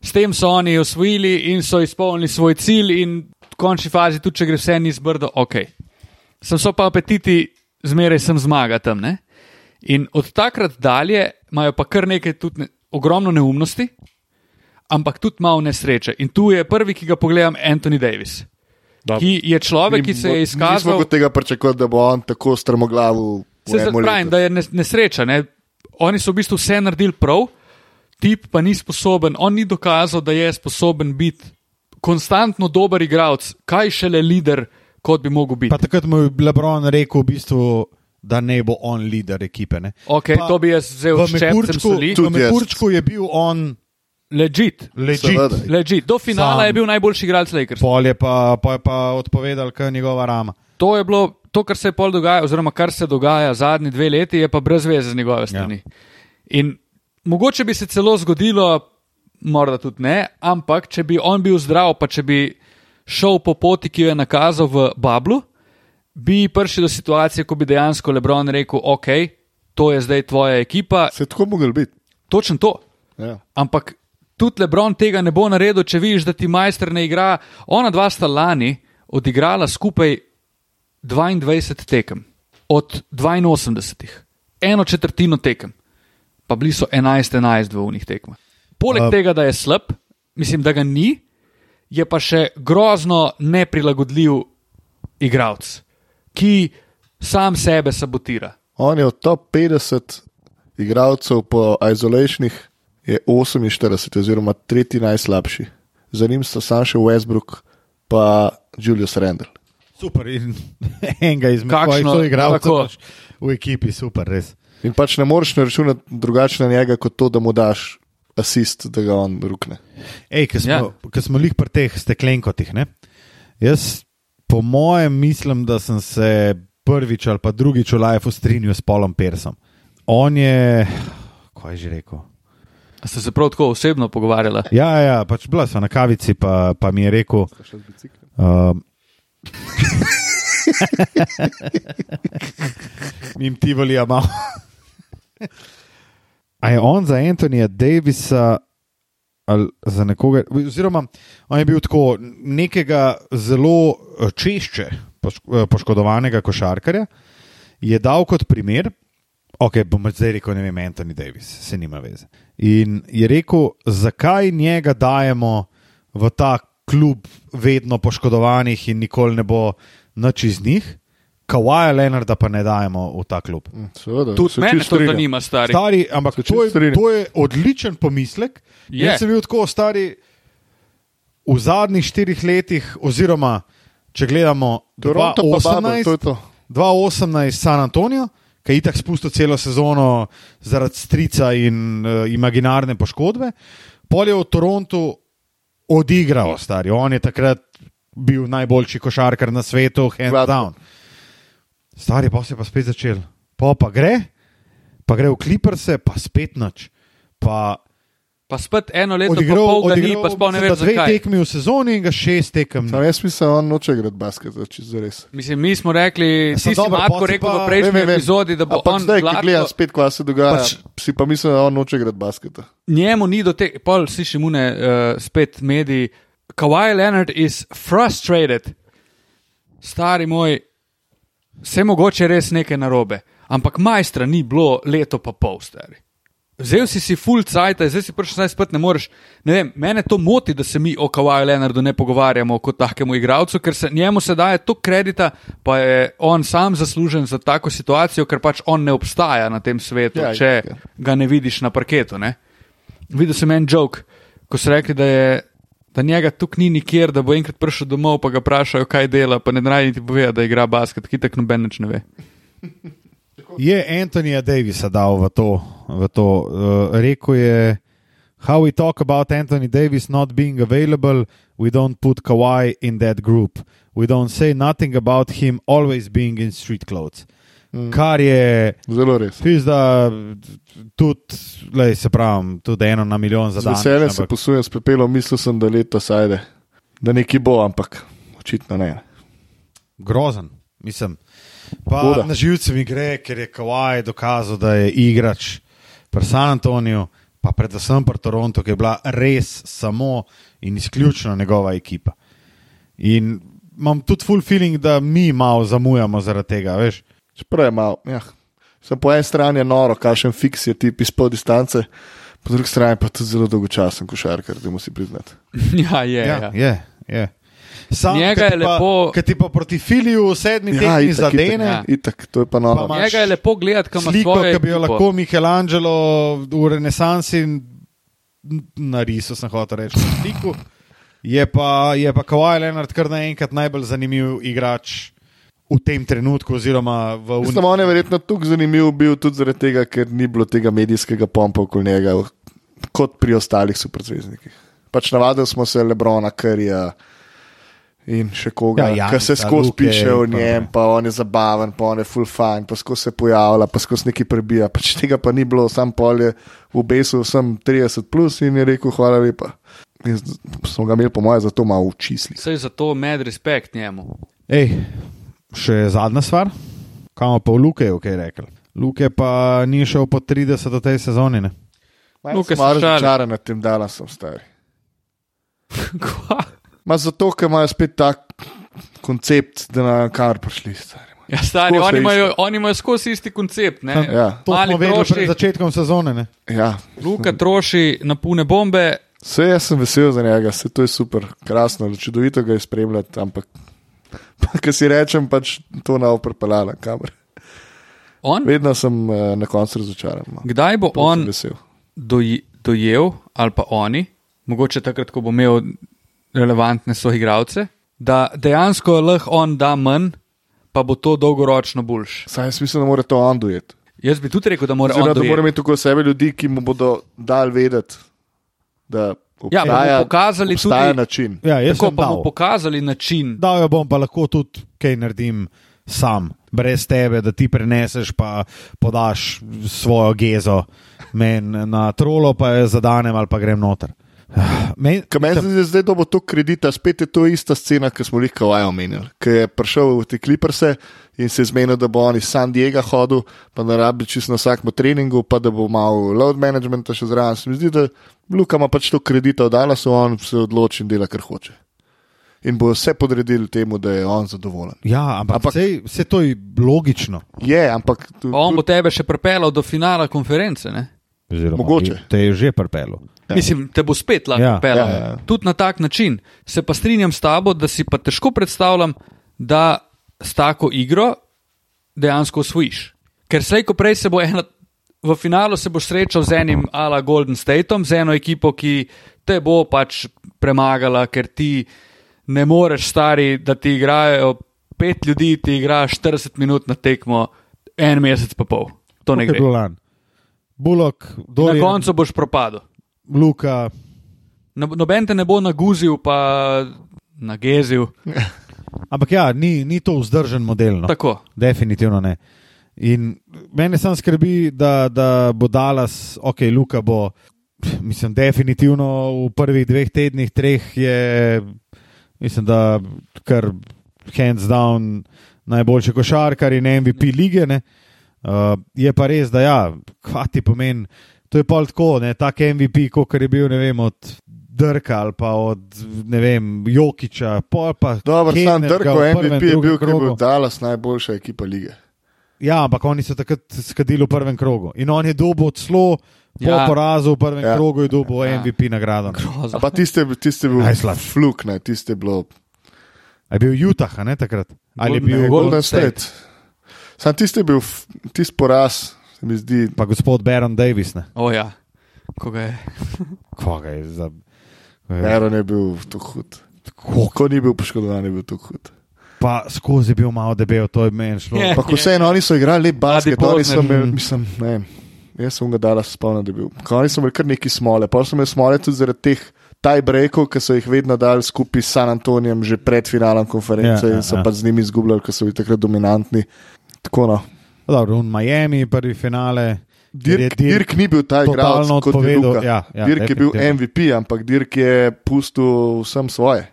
Speaker 4: s tem so oni osvojili in so izpolnili svoj cilj, in v končni fazi, tudi če gre vse ni zbrdo, ok. Sem so pa apetiti, zmeraj sem zmaga tam. Ne? In od takrat dalje imajo pa kar nekaj, tudi ne, ogromno neumnosti, ampak tudi malo nesreče. In tu je prvi, ki ga pogledam, Anthony Davis, ki je človek, ki se je
Speaker 2: Nismo
Speaker 4: izkazal.
Speaker 2: od tega pričakovali, da bo on tako strmoglavil.
Speaker 4: Se zdaj pravim, da je nes- nesreča. Ne? Oni so v bistvu vse naredili prav, tip pa ni sposoben, on ni dokazal, da je sposoben biti konstantno dober igralec, kaj šele lider, kot bi mogel biti.
Speaker 3: Pa takrat mu je Lebron rekel, v bistvu, da ne bo on lider ekipe. Ne?
Speaker 4: Okay,
Speaker 3: pa
Speaker 4: to bi jaz vzel
Speaker 3: v
Speaker 4: s čepcem
Speaker 3: Mehurčku,
Speaker 4: soli.
Speaker 3: v
Speaker 2: Tudi jaz.
Speaker 3: Mehurčku je bil on
Speaker 4: Legit.
Speaker 2: Seveda.
Speaker 3: Legit.
Speaker 4: Legit. Do finala
Speaker 3: Sam.
Speaker 4: je bil najboljši igralec Lakers.
Speaker 3: Pol je pa, pol je pa odpovedal, kaj je njegova rama.
Speaker 4: To je bilo to, kar se je pol dogaja, oziroma kar se dogaja zadnji dve leti, je pa brez veze z njegove strani. Ja. In mogoče bi se celo zgodilo, morda tudi ne, ampak če bi on bil zdrav, pa če bi šel po poti, ki jo je nakazal v Bablu, bi prišli do situacije, ko bi dejansko Lebron rekel: Ok, to je zdaj tvoja ekipa,
Speaker 2: Se je tako mogel biti.
Speaker 4: točno to.
Speaker 2: Ja.
Speaker 4: Ampak tudi Lebron tega ne bo naredil, če vidiš, da ti majster ne igra. Ona dva sta lani odigrala skupaj 22 tekem, od 82, eno četrtino tekem, pa bili so 11-11 v unih tekmah. Poleg
Speaker 3: A-
Speaker 4: uh, tega, da je slab, mislim, da ga ni, je pa še grozno neprilagodljiv igralec, ki sam sebe sabotira.
Speaker 2: On je od top 50 igralcev po izolationih je 48, oziroma tretji najslabši. Za njim sta sam še Westbrook pa Julius Randall.
Speaker 3: Super. In enega izmed
Speaker 4: Kakšno-
Speaker 3: kakšnih
Speaker 4: tako.
Speaker 3: soigralcev pač v ekipi, super, res.
Speaker 2: In pač ne moreš ne računati drugače na njega, kot to, da mu daš asist, da ga on rukne.
Speaker 3: Ej, ki smo,
Speaker 4: Ja.
Speaker 3: ja. ki smo lih pri teh steklenkotih, ne? jaz po mojem mislim, da sem se prvič ali pa drugič v Lifeu strinjal s Polom Persom. On je, kaj je že rekel.
Speaker 4: A Ste se prav tako osebno pogovarjali?
Speaker 3: Ja, ja, pač bila sem na kavici, pa, pa mi je rekel. Um, Mim Tivolija malo. A je on za Antonija Davisa ali za nekoga, oziroma on je bil tako nekega zelo eh, češče pošk- eh, poškodovanega košarkarja, je dal kot primer, ok, bom zdaj rekel, ne vem, Anthony Davis, se nima veze. In je rekel, zakaj njega dajemo v ta klub vedno poškodovanih in nikoli ne bo nič iz njih, Kawaja Leonarda pa ne dajemo v ta klub.
Speaker 2: Seveda, se
Speaker 4: Tudi mene
Speaker 2: čisto
Speaker 4: to
Speaker 2: strinjam.
Speaker 4: zanima, stari.
Speaker 3: Stari, ampak
Speaker 2: čisto
Speaker 3: to je,
Speaker 2: strinjam.
Speaker 3: to je odličen pomislek.
Speaker 4: Je.
Speaker 3: Jaz sem bil tako stari v zadnjih štirih letih, oziroma če gledamo
Speaker 2: Toronto pa Bubble, to je
Speaker 3: 2018,
Speaker 2: to.
Speaker 3: 2018 San Antonijo, ki je itak spustil celo sezono zaradi strica in uh, imaginarne poškodbe. Pol je v Torontu odigral, stari. On je takrat bil najboljši košarkar na svetu, hands
Speaker 2: Gladko.
Speaker 3: down. Stari pa se je pa spet začel. Pa pa gre, pa gre v Clippers, pa spet noč. Pa
Speaker 4: Pa spet eno leto, pa
Speaker 3: odigral,
Speaker 4: pol ga ni,
Speaker 3: odigral
Speaker 4: pa sploh ne
Speaker 3: sta
Speaker 4: vem,
Speaker 3: dve
Speaker 4: zakaj.
Speaker 3: tekmi v sezoni in ga šest tekem.
Speaker 2: Sam jaz mislim, da on noče igrati basket, če res.
Speaker 4: Mislim, mi smo rekli,
Speaker 3: Ja,
Speaker 4: ti
Speaker 3: sem
Speaker 4: si
Speaker 3: dobro,
Speaker 4: Marko
Speaker 3: pol si
Speaker 4: rekel
Speaker 3: pa-
Speaker 4: v prejšnji
Speaker 2: Vem, vem, vem.
Speaker 4: epizodi, da bo
Speaker 2: Ampak
Speaker 4: on
Speaker 2: zdaj,
Speaker 4: gladko-
Speaker 2: ki gledam spet, kva se dogaja,
Speaker 3: Pač-
Speaker 2: pač... si pa mislim, da on noče igrati basketa.
Speaker 4: Njemu ni do tega, pol slišim une, uh, spet mediji. Kawhi Leonard is frustrated. Stari moj, vse mogoče res nekaj narobe, ampak majstra ni bilo leto pa pol, stari. Vzel si si full cajt, zdaj si prišel, zdaj spet ne moreš. Ne vem, mene to moti, da se mi o Kawaju Leonardu ne pogovarjamo kot takemu igralcu, ker se njemu se daje to kredita, pa je on sam zaslužen za tako situacijo, ker pač on ne obstaja na tem svetu,
Speaker 2: Ja,
Speaker 4: ja, če
Speaker 2: ja.
Speaker 4: ga ne vidiš na parketu. Ne? Videl sem en jok, ko so rekli, da, je, da njega tukaj ni nikjer, da bo enkrat prišel domov, pa ga vprašajo, kaj dela, pa ne naj ti pove, da igra basket, ki tako noben več ne ve.
Speaker 3: Je Antonija Davisa dal v to. V to. Uh, rekel je, how we talk about Anthony Davis not being available, we don't put Kawhi in that group. We don't say nothing about him always being in street clothes. Mm. Kar je
Speaker 2: Zelo res.
Speaker 3: pizda, tudi, lej, se pravi, tudi eno na milijon za
Speaker 2: Z
Speaker 3: dan.
Speaker 2: veseljem se posujem s pepelom, mislil sem, da leto sajde, da neki bo, ampak očitno ne.
Speaker 3: grozen. Mislim. Pa
Speaker 2: Huda.
Speaker 3: na živce mi gre, ker je Kawhi dokazal, da je igrač pri San Antoniju, pa predvsem pri Torontu, ki je bila res samo in izključno njegova ekipa. In imam tudi full feeling, da mi malo zamujamo zaradi tega. Veš.
Speaker 2: Čeprav je malo, ja. Sem po eni strani je noro, kakšen fiks je ti izpod distance, po drugi strani pa tudi zelo dolgočasen košarkar, da mu si priznati.
Speaker 4: ja, je. Ja, ja.
Speaker 3: je, je. Sam,
Speaker 4: Njega
Speaker 3: ke ti
Speaker 4: je
Speaker 3: pa-
Speaker 4: lepo-
Speaker 3: Ke ti pa proti filiju v sedmi ja, tekmi
Speaker 2: itak,
Speaker 3: zadene.
Speaker 4: ja.
Speaker 2: itak, itak, to je pa noro.
Speaker 3: Pa ima-
Speaker 4: Njega je lepo gledati, kam
Speaker 3: sliko, ki bi jo lahko Michelangelo v renesansi narisal, sem hotel reči, na sliku. Je pa, je pa Kawhi Leonard kar naenkrat najbolj zanimiv igrač v tem trenutku, oziroma v
Speaker 2: Mislim, on je verjetno tukaj zanimiv bil tudi zaradi tega, ker ni bilo tega medijskega pompa okoli njega, kot pri ostalih superzvezdnikih. Pač navadili smo se Lebrona, Kerija in še koga,
Speaker 3: Ja,
Speaker 2: ja,
Speaker 3: Janica,
Speaker 2: ki se skozi
Speaker 3: Luke,
Speaker 2: piše o
Speaker 3: pa-
Speaker 2: njem, pa on je zabaven, pa on je full fajn, pa skozi se pojavlja, pa skozi neki prebija. Pač tega pa ni bilo, sam pol je v besu, sem 30 plus in je rekel hvala lepa. In z- smo ga imeli, po mojem, zato malo učisli.
Speaker 4: Sej zato med respekt njemu.
Speaker 3: Ej, še zadnja stvar, kam pa v Luke je kaj rekel. Luke pa ni šel po 30 do tej sezoni. Ne?
Speaker 4: Luka
Speaker 2: sem malo
Speaker 4: Sešar.
Speaker 2: razočaran nad tem Dallasom, stari.
Speaker 4: Kva?
Speaker 2: Ma zato, ker imajo spet tak koncept, da na kar prišli. Stari.
Speaker 4: ja, stari,
Speaker 2: Skozi
Speaker 4: oni
Speaker 2: je
Speaker 4: imajo,
Speaker 2: isto.
Speaker 4: oni imajo skozi isti koncept. ne.
Speaker 2: Ja.
Speaker 3: To
Speaker 4: Mali
Speaker 3: smo vedeli
Speaker 4: troši.
Speaker 3: pred začetkom sezone. Ne?
Speaker 2: Ja.
Speaker 4: Luka troši na pune bombe,
Speaker 2: Vse jaz sem vesel za njega, vse to je super, krasno, čudovito ga je spremljati, ampak pa, ki si rečem, pač to na oprpelala kamer.
Speaker 4: on.
Speaker 2: Vedno sem uh, na koncu razočaran. no.
Speaker 4: Kdaj bo
Speaker 2: To sem
Speaker 4: on
Speaker 2: Vesel.
Speaker 4: doj, dojel, ali pa oni, mogoče takrat, ko bo imel relevantne soigralce, da dejansko lahko on da manj, pa bo to dolgoročno boljš.
Speaker 2: Saj jaz mislim, da mora to on dojeti.
Speaker 4: Jaz bi tudi rekel, da mora
Speaker 2: Oziroma,
Speaker 4: on
Speaker 2: da mora
Speaker 4: dojeti.
Speaker 2: imeti okoli sebe ljudi, ki mu bodo dali vedeti, da
Speaker 4: Ja, pa mu
Speaker 2: obstaja,
Speaker 4: pokazali
Speaker 2: obstaja
Speaker 4: tudi-
Speaker 2: način.
Speaker 3: Ja, jaz
Speaker 4: Tako
Speaker 3: sem
Speaker 4: pa
Speaker 3: dal.
Speaker 4: mu pokazali način.
Speaker 3: Dal jo ja bom, pa lahko tudi kaj naredim sam, brez tebe, da ti preneseš, pa podaš svojo gezo meni na trolo, pa jo zadanem ali pa grem noter. Men,
Speaker 2: Kaj meni se zdi, da zdaj dobo to kredita, spet je to ista scena, ki smo jih kavaj omenili. Ki je prišel v te kliprse in se je zmenil, da bo on iz San Diega hodil, pa da rabi čisto na vsakem treningu, pa da bo malo load managementa še zraven. Se mi zdi, da Luka ima pač to kredita, odala so on se odloči in dela, kar hoče. In bo vse podredili temu, da je on zadovoljen.
Speaker 3: ja, ampak, ampak
Speaker 2: Ampak-
Speaker 3: sej, vse to je logično.
Speaker 2: Je, ampak tu,
Speaker 4: Pa on bo tebe še pripeljal do finala konference. Ne?
Speaker 3: Oziroma,
Speaker 2: Mogoče.
Speaker 3: Te je že prepelo.
Speaker 4: Ja. Mislim, te bo spet lahko
Speaker 3: Ja.
Speaker 4: ja, pelal.
Speaker 2: Ja,
Speaker 4: Ja,
Speaker 2: ja, ja.
Speaker 4: ja. Tudi na tak način. Se pa strinjam s tabo, da si pa težko predstavljam, da s tako igro dejansko osvojiš. Ker slej, ko prej se bo ena, v finalu se boš srečal z enim ala Golden Stateom, z eno ekipo, ki te bo pač premagala, ker ti ne moreš stari, da ti igrajo pet ljudi, ti igraš 40 minut na tekmo, en mesec pa pol. To ne
Speaker 3: Kot je
Speaker 4: gre.
Speaker 3: bilo lani. Bulok,
Speaker 4: Na
Speaker 3: dolje,
Speaker 4: koncu boš propadel.
Speaker 3: Luka,
Speaker 4: No- Noben te ne bo naguzil, pa nagezil.
Speaker 3: Ampak ja, ni, ni to vzdržen model. No.
Speaker 4: Tako.
Speaker 3: Definitivno ne. In mene samo skrbi, da, da bo Dalas, ok, Luka bo, pf, mislim, definitivno v prvih dveh tednih, treh je, mislim, da kar hands down najboljši košarkar in MVP lige. Ne. Uh, je pa res, da ja, kva ti pomeni. To je pol tako, ne, tak MVP, kot je bil, ne vem, od Drka ali pa od, ne vem, Jokiča, pol pa.
Speaker 2: Dobro, sam
Speaker 3: Kennardga
Speaker 2: Drko,
Speaker 3: v prvem,
Speaker 2: MVP je bil,
Speaker 3: drugem
Speaker 2: ki je bil
Speaker 3: krogu.
Speaker 2: Dallas najboljša ekipa lige.
Speaker 3: Ja, ampak oni so takrat skadili v prvem krogu. In on je dobil celo po ja.
Speaker 4: Ja.
Speaker 3: porazu v prvem ja.
Speaker 2: Ja.
Speaker 3: krogu, je dobil ja.
Speaker 4: Ja.
Speaker 3: MVP nagrado. ne.
Speaker 2: A Pa tiste, tiste je bil
Speaker 3: Najslabše.
Speaker 2: fluk, ne, tiste je bilo
Speaker 3: A Je bil Utah, a ne takrat? Ali je
Speaker 4: Golden-
Speaker 3: bil
Speaker 2: Ne,
Speaker 4: Golden
Speaker 2: Golden State. Sam tisti je bil, f- tisti poraz, se mi zdi,
Speaker 3: pa gospod Baron Davis? Ne?
Speaker 4: O ja, ko ga je.
Speaker 3: Koga je za.
Speaker 2: Meron je bil tako hud.
Speaker 3: Kako-
Speaker 2: Ko ni bil poškodovan, je bil tako hud.
Speaker 3: Pa skozi je bil malo debel, to je meni šlo.
Speaker 4: Je.
Speaker 2: Ampak vseeno, oni so igrali lep basket,
Speaker 4: Mladi
Speaker 2: oni so
Speaker 4: Pozner.
Speaker 2: imeli, mislim, ne vem. Jaz sem ga dala spomnil, da je bil. Ko Oni so imeli kar neki smole, pa so imeli smole tudi zaradi teh tiebreakov, ki so jih vedno dali skupaj s San Antonijem že pred finalom konference
Speaker 3: Ja, ja,
Speaker 2: in so
Speaker 3: ja.
Speaker 2: pa z njimi izgubljali, ker so bili takrat dominantni. Tako no.
Speaker 3: Dobro, un Miami, prvi finale. kjer je
Speaker 2: Dirk, Dirk ni bil ta igralec,
Speaker 3: totalno
Speaker 2: kot je
Speaker 3: odpovedal,
Speaker 2: Luka.
Speaker 3: ja, ja,
Speaker 2: Dirk je bil
Speaker 3: definitivno.
Speaker 2: MVP, ampak Dirk je pustil vsem svoje.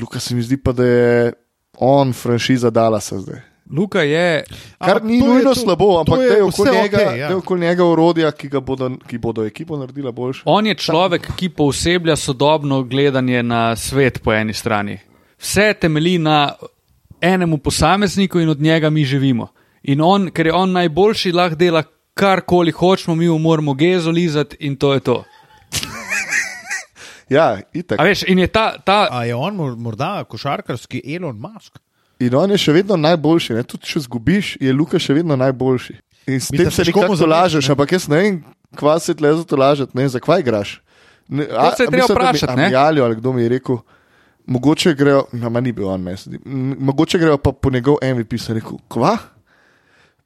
Speaker 2: Luka se mi zdi pa, da je on franšiza dala se zdaj.
Speaker 4: Luka je,
Speaker 2: Kar
Speaker 3: Ampak
Speaker 2: ni
Speaker 3: to je
Speaker 2: nujno
Speaker 3: to-
Speaker 2: slabo, ampak
Speaker 3: to je
Speaker 2: da je okoli
Speaker 3: vse
Speaker 2: njega,
Speaker 3: okej, ja.
Speaker 2: da je okoli njega urodja, ki, ga bodo, ki bodo ekipo naredila boljšo.
Speaker 4: on je človek, ki pooseblja sodobno gledanje na svet po eni strani. Vse temelji na enemu posamezniku in od njega mi živimo. In on, ker je on najboljši, lahko dela karkoli hočemo, mi mu moramo gezo lizati in to je to.
Speaker 2: Ja, itak.
Speaker 4: A veš, in je ta, ta
Speaker 3: A je on mor- morda košarkarski Elon Musk?
Speaker 2: In on je še vedno najboljši. Ne? Tudi če zgubiš, je Luka še vedno najboljši. In s
Speaker 3: Mislim,
Speaker 2: tem se
Speaker 3: težko mu
Speaker 2: nekako
Speaker 3: zameriti,
Speaker 2: lažeš,
Speaker 3: ne.
Speaker 2: ampak jaz ne vem, kva se tle za to lažeš, ne vem, zakaj igraš. Ne,
Speaker 4: To se je treba vprašati, ne.
Speaker 2: Jalijo, ali kdo mi je rekel, mogoče grejo, no, ma ni bil on mesec, mogoče grejo pa po njegov MVP, sem rekel, kva?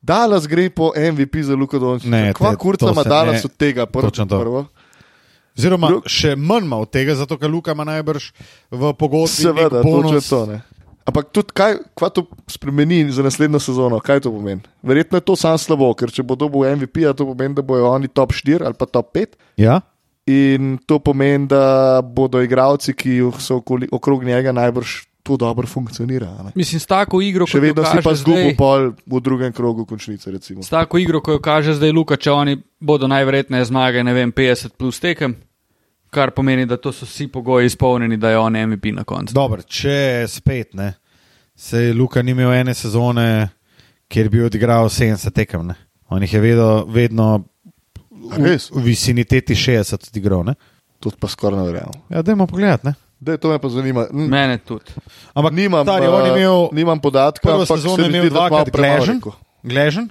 Speaker 2: Dalas gre po MVP za Luka Dončića.
Speaker 3: Ne,
Speaker 2: Kva
Speaker 3: te-
Speaker 2: kurca
Speaker 3: to
Speaker 2: ima
Speaker 3: se
Speaker 2: Dalas
Speaker 3: ne.
Speaker 2: od tega? Prvo,
Speaker 3: Točno to.
Speaker 2: prvo.
Speaker 3: Oziroma,
Speaker 2: Lu-
Speaker 3: še manj ima od tega, zato ker Luka ima najbrž v pogodbi.
Speaker 2: Seveda,
Speaker 3: nek bonus.
Speaker 2: točno to. Ne. Ampak tudi, kaj, kaj to spremeni za naslednjo sezono, kaj to pomeni? Verjetno je to samo slabo, ker če bo dobil MVP, -ja, to pomeni, da bojo oni top 4 ali pa top 5.
Speaker 3: Ja?
Speaker 2: In to pomeni, da bodo igravci, ki so okoli, okrog njega, najbrž to dobro funkcionirali.
Speaker 4: Mislim, s tako igro,
Speaker 2: Še
Speaker 4: No, kot jo
Speaker 2: vedno si
Speaker 4: kaže
Speaker 2: pa
Speaker 4: zdaj-
Speaker 2: zgubil pol v drugem krogu končnice. Recimo.
Speaker 4: S tako igro, ko jo kaže zdaj Luka, če oni bodo najverjetneje zmagali, ne vem, 50 plus tekem, kar pomeni, da to so vsi pogoji izpolnjeni, da je on MVP na koncu.
Speaker 3: Dobro, če spet ne. Sej Luka ni imel ene sezone, kjer bi odigral 70 tekem. Ne? On jih je vedel, vedno
Speaker 2: A
Speaker 3: v,
Speaker 2: res?
Speaker 3: v višini teti 60 odigral. Ne?
Speaker 2: To pa skoraj ne verjamem.
Speaker 3: Ja, dajmo pogledati. Ne?
Speaker 2: Daj, To me pa zanima. N-
Speaker 4: Mene tudi.
Speaker 3: Ampak
Speaker 2: Nimam,
Speaker 3: stari, on je
Speaker 2: eh,
Speaker 3: imel
Speaker 2: nimam podatka,
Speaker 3: prvo
Speaker 2: ampak
Speaker 3: sezono
Speaker 2: se
Speaker 3: je
Speaker 2: mi
Speaker 3: imel
Speaker 2: zdi, da malo
Speaker 3: dvakrat
Speaker 2: premalo
Speaker 3: gležen,
Speaker 2: rekel.
Speaker 3: gležen,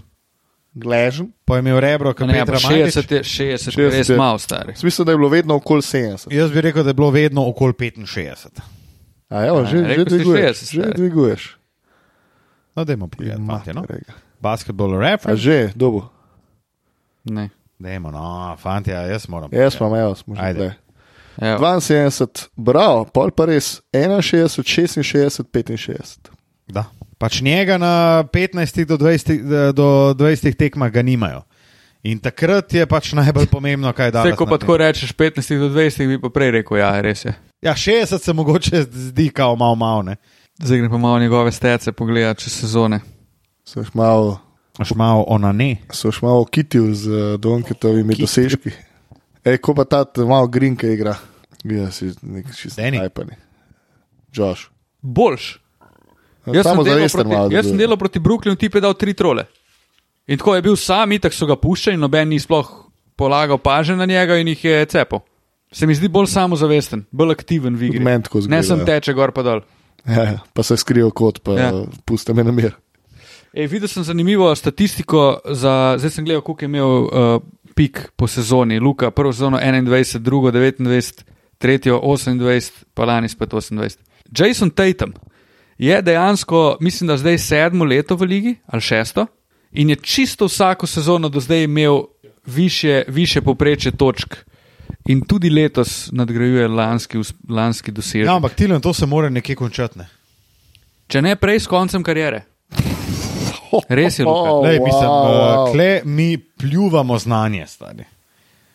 Speaker 2: Gležen.
Speaker 3: pa je imel rebro,
Speaker 4: A
Speaker 3: kot
Speaker 4: Ne,
Speaker 3: je
Speaker 4: ampak 60 je, 60 je res
Speaker 2: 60 je.
Speaker 4: malo star.
Speaker 2: Smisel, da je bilo vedno okoli 70.
Speaker 3: Jaz bi rekel, da je bilo vedno okoli 65.
Speaker 2: A evo,
Speaker 4: Ja,
Speaker 2: že, že
Speaker 4: rekel si
Speaker 2: dviguješ.
Speaker 4: 60,
Speaker 2: Že
Speaker 4: stari.
Speaker 2: dviguješ.
Speaker 3: No, dajmo pogledati. Fantje, no?
Speaker 2: Materega.
Speaker 3: Basketball rap.
Speaker 2: A že, dobo.
Speaker 4: Ne.
Speaker 3: Dajmo, no, fanti, ja, jaz moram.
Speaker 2: Jaz imam, jaz smo že.
Speaker 3: Ajde.
Speaker 2: tule.
Speaker 4: Evo.
Speaker 2: 72, bravo, pol pa res 61, 66, 65.
Speaker 3: Da. Pač njega na 15 do 20, do 20 tekmah ga nimajo. In takrat je pač najbolj pomembno, kaj da.
Speaker 4: Vse, ko pa tako rečeš 15 do 20, bi pa prej rekel, ja, res je.
Speaker 3: Ja, 60 se mogoče zdi kao malo malo.
Speaker 4: Zdaj gre pa malo njegove stece pogledati čez sezone.
Speaker 2: So še malo,
Speaker 3: Aš malo ona ne.
Speaker 2: so še malo kitil z eh, Donketovimi dosežki. Ej, ko pa ta t- malo grinka igra, gleda si nek čist
Speaker 3: Danny.
Speaker 2: najpani. Josh.
Speaker 4: Boljš.
Speaker 2: No,
Speaker 4: Jaz sem, delal
Speaker 2: samozavesten malo
Speaker 4: proti, jaz sem
Speaker 2: deluje.
Speaker 4: delal proti Brooklynu, ti je dal tri trole. In tako je bil sam, itak so ga puščali, noben ni sploh polagal paže na njega in jih je cepal. Se mi zdi bolj samozavesten, bolj aktiven v igri.
Speaker 2: Tudi meni tako zgleda,
Speaker 4: ne sem
Speaker 2: ja.
Speaker 4: teče gor pa dol.
Speaker 2: Ja, ja, pa se skrijo kot, pa
Speaker 4: Ja.
Speaker 2: ja. puste me na mir.
Speaker 4: E, videl sem zanimivo statistiko, za, zdaj sem gledal, koliko je imel uh, pik po sezoni. Luka, prvo sezono 21, drugo 29, tretjo 28, pa lani spet 28. Jason Tatum je dejansko, mislim, da zdaj sedmo leto v ligi ali šesto in je čisto vsako sezono do zdaj imel više, više poprečje točk. In tudi letos nadgrajuje lanski, us- lanski dosežek.
Speaker 3: Ja, ampak Tilan, to se mora nekje končati. Ne?
Speaker 4: Če ne prej s koncem kariere. Res je, Luka.
Speaker 2: Oh,
Speaker 3: Lej,
Speaker 2: wow,
Speaker 3: mislim,
Speaker 2: wow.
Speaker 3: wow. Kle mi pljuvamo znanje, stari.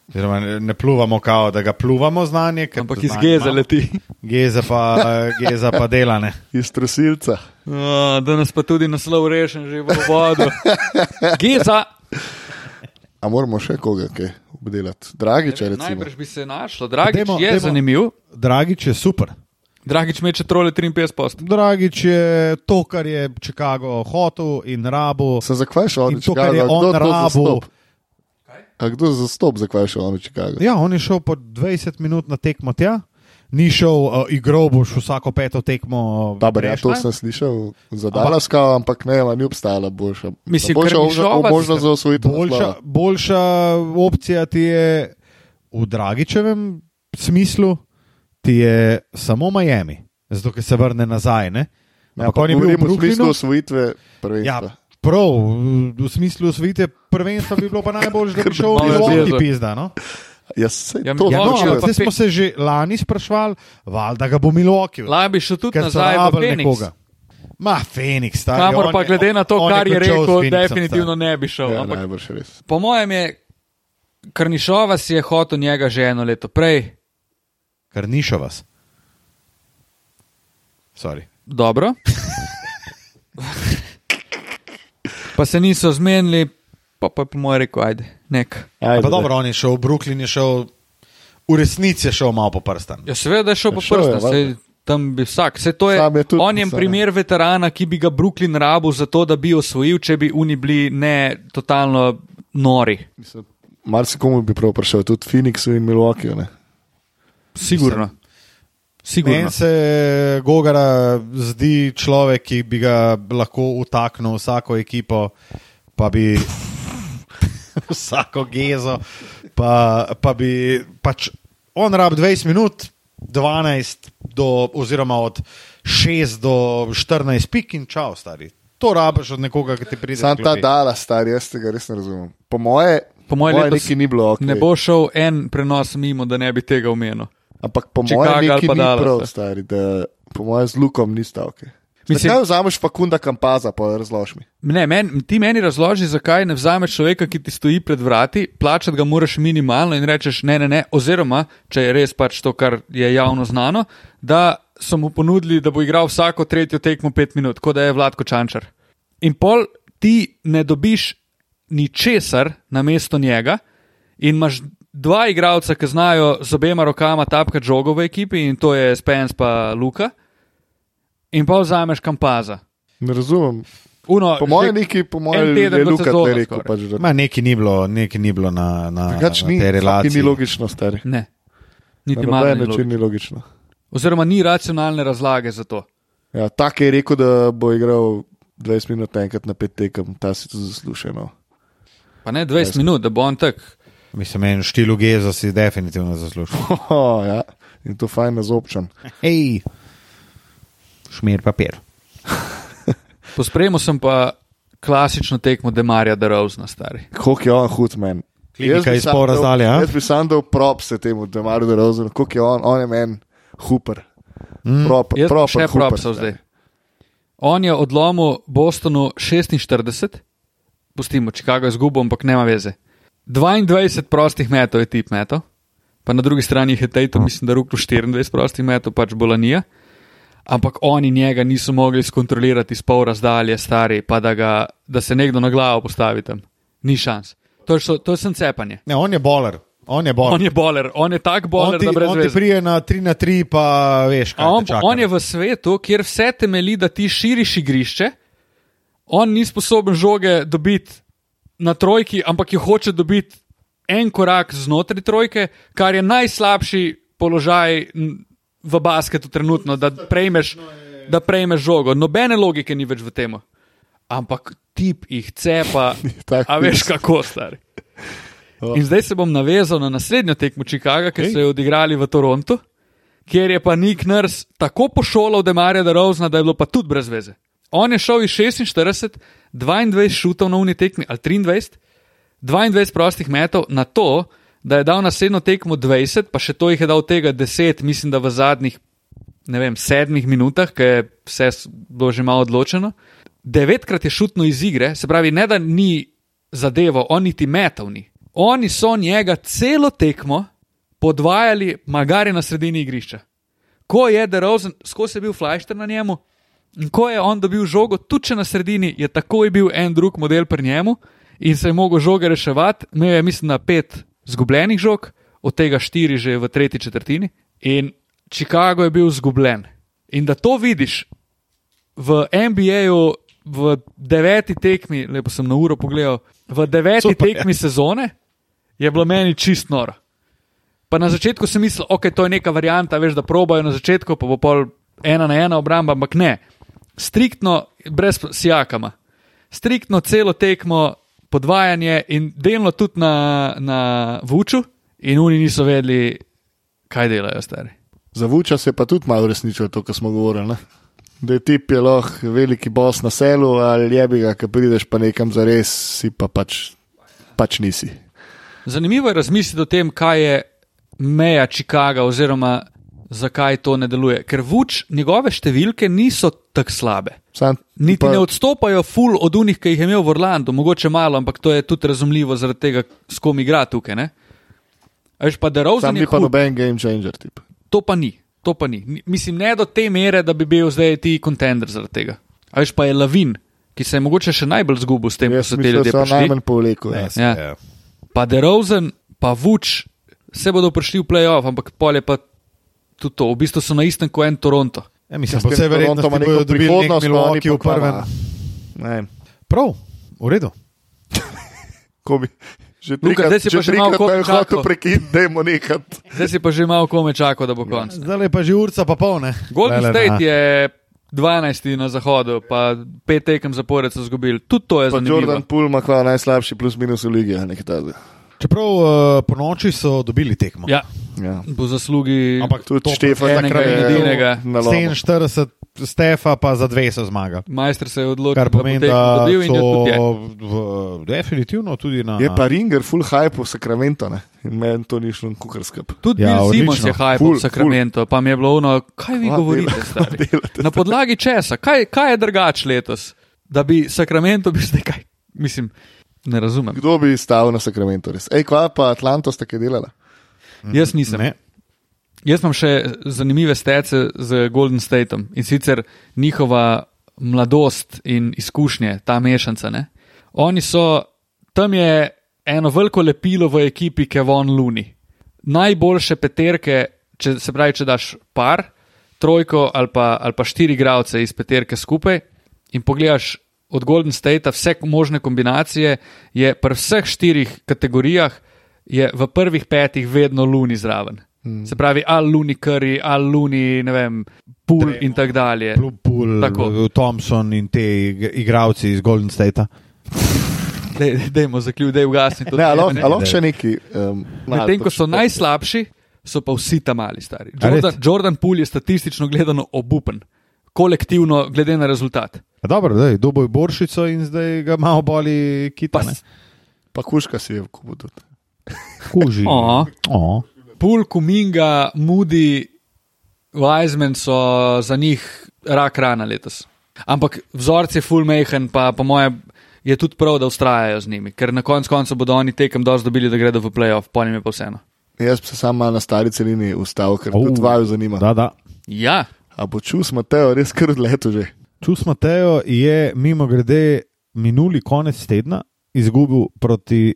Speaker 3: Oziroma, ne- ne pljuvamo kao, da ga pljuvamo znanje. ker
Speaker 4: Ampak
Speaker 3: znanje
Speaker 4: iz geze
Speaker 3: imamo.
Speaker 4: leti.
Speaker 3: Geza pa, geza pa delane.
Speaker 2: Iz trasilca.
Speaker 4: Uh, danes pa tudi naslov rešen, že v vodu. Geza.
Speaker 2: A moramo še koga kaj obdelati? Dragič, recimo.
Speaker 4: Najbrž bi se našlo. Dragič
Speaker 3: Dajmo,
Speaker 4: je
Speaker 3: dajmo.
Speaker 4: zanimiv,
Speaker 3: Dragič je super.
Speaker 4: Dragič meče trole 53 post.
Speaker 3: Dragič je to, kar je Chicago hotel in rabo.
Speaker 2: Sem zakvaj šel
Speaker 3: In
Speaker 2: v
Speaker 3: to, kar je
Speaker 2: Chicago,
Speaker 3: on
Speaker 2: kdo to
Speaker 3: rabo.
Speaker 2: zastop? A kdo zastop, zakvaj šel on v Chicago?
Speaker 3: Ja, on je šel po 20 minut na tekmo tja, ni šel uh, igro, boš vsako peto tekmo. eh,
Speaker 2: Dobar, ja, to
Speaker 3: prešla.
Speaker 2: sem slišal za Dalaska, ampak ne, ma, ni obstajala boljša.
Speaker 4: Mislim,
Speaker 2: boljša
Speaker 4: Krnišova
Speaker 2: možna- možnost
Speaker 4: sicer.
Speaker 2: za osvojitev.
Speaker 3: boljša,
Speaker 2: naslova.
Speaker 3: boljša opcija ti je v Dragičevem smislu, ti je samo Miami, zato ker se vrne nazaj. Ne?
Speaker 2: Ja,
Speaker 3: Ampak ja, on je bil
Speaker 2: govorim
Speaker 3: v
Speaker 2: v smislu
Speaker 3: Brooklynu.
Speaker 2: osvojitve
Speaker 3: Ja,
Speaker 2: prvenstva.
Speaker 3: prav, v smislu svite prvenstva bi bilo pa najbolj, da bi šel
Speaker 4: Malo
Speaker 3: v
Speaker 4: je
Speaker 3: Milwaukee,
Speaker 4: zvezo.
Speaker 3: pizda. No?
Speaker 2: Ja, saj
Speaker 4: Ja,
Speaker 2: to
Speaker 4: ja,
Speaker 3: Ja, no,
Speaker 4: Mogoče,
Speaker 2: hočejo.
Speaker 4: pa
Speaker 3: ampak zdaj smo
Speaker 4: pe-
Speaker 3: se že lani sprašvali, valjda ga bo Milwaukee.
Speaker 4: Labi še tudi
Speaker 3: Ker so
Speaker 4: nazaj v
Speaker 3: rabili
Speaker 4: Phoenix.
Speaker 3: nekoga. Ma, Feniks, ta
Speaker 4: Kamor pa glede na to, kar je rekel, definitivno ne bi šel.
Speaker 2: Ja,
Speaker 4: ampak
Speaker 2: najbrž res.
Speaker 4: po mojem je Krnišova si je hotel njega že eno leto prej.
Speaker 3: Kar nišo vas. Sorry.
Speaker 4: Dobro. pa se niso zmenili, pa pa je po mojem rekel, ajde, nek.
Speaker 3: Pa
Speaker 2: Ajde, daj.
Speaker 3: dobro, on je šel, Brooklyn je šel, v resnici je šel malo po prstan.
Speaker 4: Ja, seveda je šel po
Speaker 2: šel je,
Speaker 4: prstih, sej
Speaker 2: valjda.
Speaker 4: tam bi vsak. Sej to je,
Speaker 2: Sam je tudi,
Speaker 4: on je
Speaker 2: mislim,
Speaker 4: primer veterana, ki bi ga Brooklyn rabil za to, da bi osvojil, če bi oni bili ne totalno nori.
Speaker 2: Mislim, Marsikomu bi prav prišel, tudi Phoenixu in Milwaukeeju. ne.
Speaker 4: Sigurno. Sigurno.
Speaker 3: Meni se Gogara zdi človek, ki bi ga lahko utaknil vsako ekipo, pa bi vsako gezo, pa, pa bi pač on rab 20 minut, 12 do, oziroma od 6 do 14 pik in čau, stari. To rabiš od nekoga, ki ti pride.
Speaker 2: Sam
Speaker 3: s
Speaker 2: ta
Speaker 3: klopi.
Speaker 2: Dala, star, jaz tega res ne razumem. Po moje,
Speaker 4: Po mojem
Speaker 2: Moje
Speaker 4: letos
Speaker 2: nekaj ni bilo, okej.
Speaker 4: Ne bo šel en prenos mimo, da ne bi tega omenil.
Speaker 2: Ampak po
Speaker 4: Chicago ali
Speaker 2: mojem neki
Speaker 4: pa
Speaker 2: ni
Speaker 4: Dallas,
Speaker 2: prav,
Speaker 4: ne.
Speaker 2: stari, da po mojem z lukom ni stavke.
Speaker 4: Mislim-
Speaker 2: Mislim, da vzameš fakunda kampaza, pa razloži mi.
Speaker 4: Ne, men, ti meni razloži, zakaj ne vzameš človeka, ki ti stoji pred vrati, plačati ga moraš minimalno in rečeš ne, ne, ne, oziroma, če je res pač to, kar je javno znano, da so mu ponudili, da bo igral vsako tretjo tekmo pet minut, kot da je Vladko Čančar. In pol ti ne dobiš ničesar na mesto njega in imaš dva igralca, ki znajo z obema rokama tapkati žogo v ekipi in to je Spence pa Luka, in pa vzameš kampaza.
Speaker 2: Ne razumem.
Speaker 4: Uno,
Speaker 2: Po mojem
Speaker 4: že-
Speaker 2: neki, po
Speaker 4: en
Speaker 2: mojem
Speaker 4: teden
Speaker 2: je
Speaker 4: kot
Speaker 2: Luka
Speaker 4: sezono
Speaker 2: tle rekel.
Speaker 4: skoraj.
Speaker 2: Pač, da,
Speaker 3: Ma, nekaj ni bilo, nekaj ni bilo na, na, na
Speaker 2: drugač
Speaker 3: tej
Speaker 2: ni, fucking
Speaker 3: relaciji.
Speaker 2: ni logično, stari.
Speaker 4: Ne,
Speaker 2: Na
Speaker 4: niti malo.
Speaker 2: noben
Speaker 4: ni
Speaker 2: način
Speaker 4: logike.
Speaker 2: ni logično.
Speaker 4: Oziroma, ni racionalne razlage za to.
Speaker 2: Ja, tak je rekel, da bo igral 20 minut enkrat na pet tekem, ta si to no. zaslušeno.
Speaker 4: Pa ne 20 minut, da bo on tak.
Speaker 3: Mislim, en štilu geza si definitivno zaslužil.
Speaker 2: Oh, ja. In to fajn nazobčan.
Speaker 3: Hej, šmir papir.
Speaker 4: Po spremu sem pa klasično tekmo Demarja Darovzna, stari.
Speaker 2: Kolik je on hud men.
Speaker 3: Klinika
Speaker 2: Jaz bi
Speaker 3: iz
Speaker 2: sam
Speaker 3: pol
Speaker 2: dal-
Speaker 3: razdalje, a?
Speaker 2: Jaz bi sam dal prop se temu, da mar da razumem, kolik je on, on je men huper. Prop,
Speaker 4: Mm, Jaz
Speaker 2: prop,
Speaker 4: prop, še propsal zdaj. On je odlomil Bostonu 46, pustimo Chicago izgubo, ampak nema veze. 22 prostih metov je tip metov, pa na drugi strani jih je Tatum, mislim, da ruklo 24 prostih metov, pač Bolanija. Ampak oni njega niso mogli skontrolirati iz pol razdalje, stari, pa da, ga, da se nekdo na glavo postavi tam. Ni šans. To je, šlo- to je sem cepanje.
Speaker 3: Ne, on je boler. On je boler.
Speaker 4: On je boler, on je tak boler,
Speaker 3: on ti,
Speaker 4: da brez
Speaker 3: on ti
Speaker 4: veze.
Speaker 3: prije na 3 na 3, pa veš, kaj.
Speaker 4: A On,
Speaker 3: te čaka.
Speaker 4: on je v svetu, kjer vse temelji, da ti širiš igrišče, on ni sposoben žoge dobiti na trojki, ampak jo hoče dobiti en korak znotraj trojke, kar je najslabši položaj n- v basketu trenutno, da prejmeš, da prejmeš žogo. Nobene logike ni več v tem. Ampak tip jih cepa,
Speaker 2: Tak
Speaker 4: a veš kako star. In zdaj se bom navezal na naslednjo tekmo Chicaga, ki so jo odigrali v Torontu kjer je pa Nick Nurse tako pošolal Demarja Darovzna, da je bilo pa tudi brez veze. On je šel iz 46, 22 šutov na uni tekmi, ali 23, 22 prostih metov na to, da je dal naslednjo tekmo 20, pa še to jih je dal tega 10, mislim, da v zadnjih, ne vem, sedmih minutah, ker je vse s- bilo že malo odločeno. Devetkrat je šutno iz igre, se pravi, ne da ni zadevo, on niti metal ni. Oni so njega celo tekmo podvajali, magari na sredini igrišča. Ko je DeRozan, skozi je bil flashter na njemu, in ko je on dobil žogo, tudi če na sredini, je takoj bil en drug model pri njemu in se je mogel žoge reševati. Imel je, mislim, na pet zgubljenih žog, od tega štiri že v tretji četrtini, in Chicago je bil zgubljen. In da to vidiš v NBA-ju, v deveti tekmi, lepo sem na uro pogledal, v deveti
Speaker 3: Super,
Speaker 4: Super,
Speaker 3: ja.
Speaker 4: tekmi je. sezone je bilo meni čist noro. Pa na začetku sem mislil, da okay, to je neka varianta, veš, da probajo na začetku, pa bo pol ena na ena obramba, ampak ne. Striktno, brez sijakama. Striktno celo tekmo, podvajanje in delno tudi na, na Vuču, in oni niso vedeli, kaj delajo stari.
Speaker 2: Zavuča se je pa tudi malo resničilo to, kar smo govorili. Ne? Da je tip je lahko veliki bos na selu ali je bi ga, ki prideš pa nekam za res, si pa pač, pač nisi.
Speaker 4: Zanimivo je razmisliti o tem, kaj je meja Chicaga, oziroma zakaj to ne deluje. Ker Vuč, njegove številke niso tako slabe.
Speaker 2: Sam,
Speaker 4: Niti pa... ne odstopajo ful od unih, ki jih je imel v Orlandu, mogoče malo, ampak to je tudi razumljivo zaradi tega, s kom igra tukaj. Ne? A Veš pa, da
Speaker 2: Sam
Speaker 4: Rosen
Speaker 2: ni
Speaker 4: je
Speaker 2: pa
Speaker 4: hud,
Speaker 2: noben game changer tip.
Speaker 4: to pa ni. To pa ni. Ni- Mislim, ne do te mere, da bi bil zdaj ti kontender zaradi tega. A veš pa je Lavin, ki se je mogoče še najbolj zgubil s tem, da
Speaker 2: Jaz
Speaker 4: so te
Speaker 2: mislim, da
Speaker 4: ljudje
Speaker 2: se on
Speaker 4: prišli.
Speaker 2: najmanj povleko.
Speaker 3: Ne,
Speaker 2: Ja.
Speaker 3: se,
Speaker 4: Ja.
Speaker 3: ja.
Speaker 4: Pa DeRozan, pa Vuč, se bodo prišli v playoff, ampak pol je pa tudi to. V bistvu so na istem kot en Toronto.
Speaker 3: Ja, mislim,
Speaker 2: S
Speaker 3: po
Speaker 2: tem
Speaker 3: vsej verjetnosti
Speaker 2: Torontom ima neko
Speaker 3: bodo dobili nek
Speaker 2: prihodnost, pa oni
Speaker 3: Milwaukee
Speaker 2: pa
Speaker 3: v prvem.
Speaker 2: kava. Ne vem.
Speaker 3: Prav, v redu.
Speaker 2: Ko bi- Že
Speaker 4: Luka, zdaj
Speaker 2: trikrat,
Speaker 4: si
Speaker 2: že
Speaker 4: pa že malo
Speaker 2: trikrat
Speaker 4: kot
Speaker 2: me
Speaker 4: Ja,
Speaker 2: je hotel
Speaker 4: čakal.
Speaker 2: prekiniti, da je mu nekaj.
Speaker 4: Zdaj si pa že malo kome čakal, da bo konec.
Speaker 3: Zdaj je pa že urca pa polne.
Speaker 4: Golden State je 12 na zahodu, pa pet tekem zapored so izgubili. Tudi to je
Speaker 2: Pa Jordan
Speaker 4: zanimivo.
Speaker 2: Pool ima kva najslabši plus minus v ligi. a nekaj takega.
Speaker 3: Čeprav uh, po noči so dobili tekmo.
Speaker 4: Ja,
Speaker 2: Ja.
Speaker 4: po zaslugi
Speaker 3: Ampak
Speaker 2: Tudi
Speaker 3: to
Speaker 2: Štefan
Speaker 4: enega in edinega.
Speaker 2: na lomu.
Speaker 3: 47, Stefa, pa za dve so zmagali.
Speaker 4: Majster se je odločil,
Speaker 3: Kar pomeni, da
Speaker 4: bo in je tudi je.
Speaker 3: so v- definitivno tudi na.
Speaker 2: Je pa Ringer, full hype v Sacramento, ne? in meni to ni šlo kukar skrb.
Speaker 4: Tudi
Speaker 3: Ja,
Speaker 4: ja, bil Simon
Speaker 3: odlično.
Speaker 4: je hajpal
Speaker 2: Ful,
Speaker 4: v Sacramento, pa mi je bilo ono, kaj vi
Speaker 2: Kva
Speaker 4: govorite,
Speaker 2: dela-
Speaker 4: stari?
Speaker 2: kva delate?
Speaker 4: Na podlagi česa, kaj, kaj je drugače letos, da bi Sacramento bil zdaj kaj? Mislim, ne razumem.
Speaker 2: Kdo bi stavil na Sacramento res? Ej, kva pa Atlanto sta kaj delala?
Speaker 4: Jaz nisem.
Speaker 3: Ne.
Speaker 4: Jaz imam še zanimive stece z Golden Stateom in sicer njihova mladost in izkušnje, ta mešanica. Ne? Oni so, tam je eno veliko lepilo v ekipi Kevon Luni. Najboljše peterke, če, se pravi, če daš par, trojko ali pa, ali pa štiri igralce iz peterke skupaj in pogledaš od Golden Statea vse možne kombinacije, je pri vseh štirih kategorijah je v prvih petih vedno luni zraven.
Speaker 2: Hmm.
Speaker 4: Mm. Se pravi, ali luni kari, ali luni, ne vem, pul in tako dalje.
Speaker 3: Plupul,
Speaker 4: Eh, Tako.
Speaker 3: eh, Thompson in te ig- igravci iz Golden State.
Speaker 4: Dej- Dajmo zaključiti, da je ugasni to.
Speaker 2: Ne, ali lahko-
Speaker 4: Ne,
Speaker 2: ali lahko še neki. Um,
Speaker 4: Medtem ko so najslabši, so pa vsi tam mali stari.
Speaker 3: A res?
Speaker 4: Jordan, Jordan Pool je statistično gledano obupen, kolektivno glede na rezultat.
Speaker 3: Dobro, da je dobil Boršico in zdaj ga malo boli
Speaker 4: Pa,
Speaker 3: kitane.
Speaker 2: Pa kuška si je v kubu tudi.
Speaker 3: Kuži.
Speaker 4: o,
Speaker 3: O.
Speaker 4: Pool, Kuminga, Moody, Wiseman so za njih rak rana letos. Ampak vzorec je full mehen, pa po mojem je tudi prav, da ustrajajo z njimi, ker na koncu konca bodo oni tekem dosti dobili, da gredo v playoff, po njem je pa vseeno.
Speaker 2: Jaz bi se sam malo na stari celini ustavil, ker
Speaker 3: Au.
Speaker 2: tudi vaju zanima.
Speaker 3: Da, da.
Speaker 4: Ja,
Speaker 2: A bo čus Mateo res kar odletel že.
Speaker 3: Čus Matejo je mimo grede minuli konec tedna izgubil proti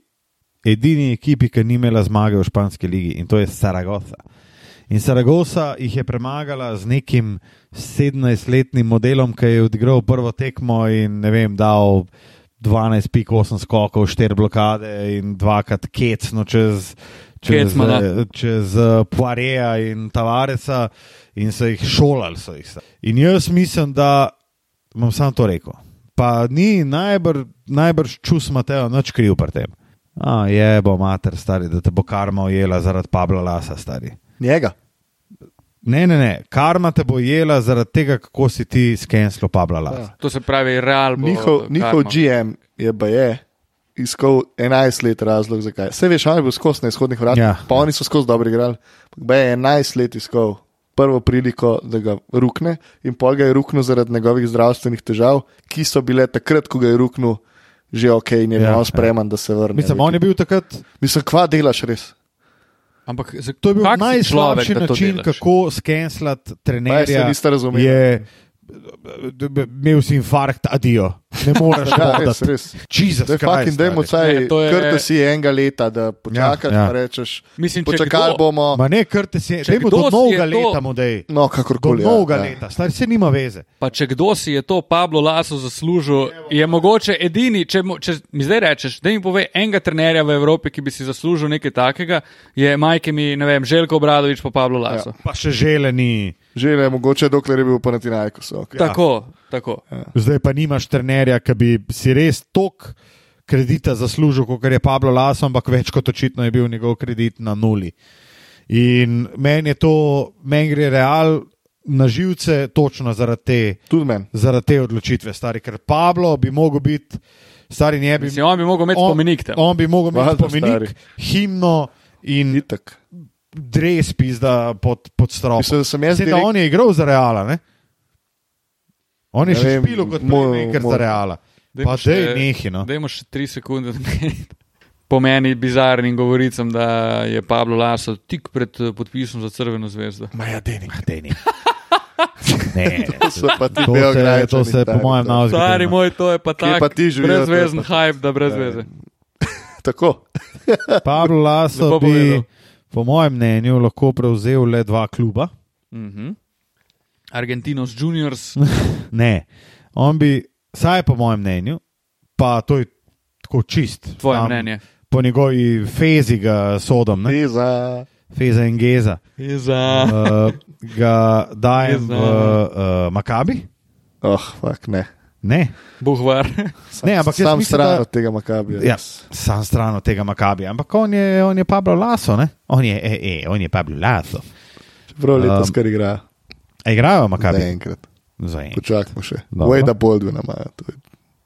Speaker 3: edini ekipi, ki ni imela zmage v španski ligi in to je Saragosa. In Saragosa jih je premagala z nekim 17-letnim modelom, ki je odigral prvo tekmo in ne vem, dal 12,8 skokov, 4 blokade in dvakrat kecno čez. Čez,
Speaker 4: Kecmana.
Speaker 3: eh, čez Poireja in Tavaresa, in so jih šolali. So jih. In jaz mislim, da bom sam to rekel. Pa ni najbrž najbr čus Mateo, noč kriv pri tem. A, je bo mater, stari, da te bo karma ujela zaradi Pabla Lasa, stari.
Speaker 2: Njega.
Speaker 3: Ne, ne, ne, karma te bo jela zaradi tega, kako si ti skenslo Pabla Lasa.
Speaker 4: to se pravi, real bo.
Speaker 2: Njihov, njihov
Speaker 4: karma.
Speaker 2: GM je pa je iskal 11 let razlog, zakaj. Vse veš, on je bil skozi na izhodnih vratih,
Speaker 3: Ja.
Speaker 2: ja. pa oni so skozi dobro igrali. Pa je 11 let iskal prvo priliko, da ga rukne in pol ga je ruknil zaradi njegovih zdravstvenih težav, ki so bile takrat, ko ga je ruknil, že ok in je
Speaker 3: Ja,
Speaker 2: ja,
Speaker 3: ja.
Speaker 2: on spreman, ja. da se vrne.
Speaker 3: Mislim,
Speaker 2: v
Speaker 3: on je
Speaker 2: ekipo.
Speaker 3: bil takrat
Speaker 2: Mislim, kva delaš res?
Speaker 4: Ampak za-
Speaker 3: To je bil
Speaker 4: kak si človek,
Speaker 3: najslabši
Speaker 4: da to
Speaker 3: način,
Speaker 4: delaš?
Speaker 3: kako skenslati trenerja.
Speaker 2: Pa jaz se nista razumela.
Speaker 3: Je, imel si infarkt, adijo. Ne moreš
Speaker 2: Ja, res,
Speaker 3: hoditi.
Speaker 2: res.
Speaker 3: Jezus,
Speaker 2: Zdaj, fucking, dajmo
Speaker 4: Ne,
Speaker 2: vsaj,
Speaker 4: to je-
Speaker 2: krte si enega leta, da počakaš,
Speaker 3: Ja,
Speaker 2: ja,
Speaker 3: ja.
Speaker 2: ja. pa rečeš,
Speaker 4: Mislim, če
Speaker 2: počakali
Speaker 4: kdo-
Speaker 2: bomo.
Speaker 3: Ma ne, krte si,
Speaker 4: Če
Speaker 3: dajmo
Speaker 4: kdo
Speaker 3: do
Speaker 4: si
Speaker 3: novega
Speaker 4: je to-
Speaker 3: leta mu dej.
Speaker 2: No,
Speaker 3: Do
Speaker 2: kakorkoli. ja,
Speaker 3: novega
Speaker 2: ja.
Speaker 3: leta, star se nima veze.
Speaker 4: Pa če kdo si je to Pablo Laso zaslužil, je mogoče edini, če, mu- če mi zdaj rečeš, da mi pove enega trenerja v Evropi, ki bi si zaslužil nekaj takega, je Majke mi, ne vem, Željko Obradovič pa Pablo Laso.
Speaker 3: Pa še želeni.
Speaker 2: Že ne, mogoče dokler je bil Panatinajko. Okay.
Speaker 4: Ja. Tako, tako.
Speaker 3: Ja. Zdaj pa nimaš trenerja, ki bi si res tok kredita zaslužil, kot je Pablo Laso, ampak več kot očitno je bil njegov kredit na nuli. In meni je to, meni gre real na živce, točno zaradi te
Speaker 2: Tudi meni.
Speaker 3: zaradi te odločitve, stari, ker Pablo bi mogel biti, stari ne bi.
Speaker 4: Mislim, on bi mogel imeti spomenik tam.
Speaker 3: On bi mogel imeti
Speaker 2: Valjda,
Speaker 3: spomenik,
Speaker 2: stari.
Speaker 3: himno in
Speaker 2: Itak.
Speaker 3: dres pizda pod, pod stropom.
Speaker 2: Mislim, da sem jaz
Speaker 3: Saj, da
Speaker 2: direkt-
Speaker 3: on je igral za reala, ne? On je
Speaker 2: Ne
Speaker 3: še
Speaker 2: vem,
Speaker 3: špilo kot
Speaker 2: moj-
Speaker 3: playmaker
Speaker 2: moj-
Speaker 3: za reala. Pa
Speaker 4: še-
Speaker 3: že nehi, no.
Speaker 4: Dajmo še tri sekunde. da meni- Po meni bizarnim govoricam, da je Pablo Laso tik pred eh, podpisom za Crveno zvezdo.
Speaker 2: Maja Denik.
Speaker 3: ja, Daj nehaj. Ne,
Speaker 2: To so pa ti
Speaker 3: to se,
Speaker 2: beograjčani,
Speaker 3: to se po
Speaker 2: stari,
Speaker 3: mojem
Speaker 2: to-
Speaker 3: nauči.
Speaker 4: Stari moj, to je pa
Speaker 2: Kje
Speaker 4: No tak
Speaker 2: pa ti živijo, to je pa Ja,
Speaker 4: brezvezen
Speaker 2: tako.
Speaker 4: hype, da brez veze.
Speaker 2: Tako.
Speaker 3: Pablo Laso
Speaker 4: Lepo
Speaker 3: bi,
Speaker 4: povedal.
Speaker 3: po mojem mnenju, lahko prevzel le dva kluba.
Speaker 4: Mhm. Argentinos Juniors,
Speaker 3: Ne, on bi, saj po mojem mnenju, pa to je tako čist.
Speaker 4: tvoje
Speaker 3: tam
Speaker 4: mnenje.
Speaker 3: Po njegovi fezi ga sodom, ne?
Speaker 2: Ti za
Speaker 3: feza in geza,
Speaker 4: Za...
Speaker 3: uh, ga dajem v
Speaker 4: Geza. ja.
Speaker 3: uh, Makabi.
Speaker 2: Oh, fak, ne.
Speaker 3: Ne,
Speaker 4: Buhvar.
Speaker 2: Sam,
Speaker 3: Ne, ampak jaz
Speaker 2: sam
Speaker 3: mislim,
Speaker 2: stran
Speaker 3: da-
Speaker 2: od tega makabija.
Speaker 3: ja, sam stran od tega Makabija, ampak on je, on je Pablo Laso, ne? on je, e, e, on je Pablo Laso.
Speaker 2: Čeprav letos
Speaker 3: Um,
Speaker 2: um, kar igra.
Speaker 3: A igrajo v Makabi?
Speaker 2: Ne enkrat.
Speaker 3: Za en.
Speaker 2: Počakajmo še.
Speaker 3: Dobro.
Speaker 2: Vejda Boldvina ima, to je,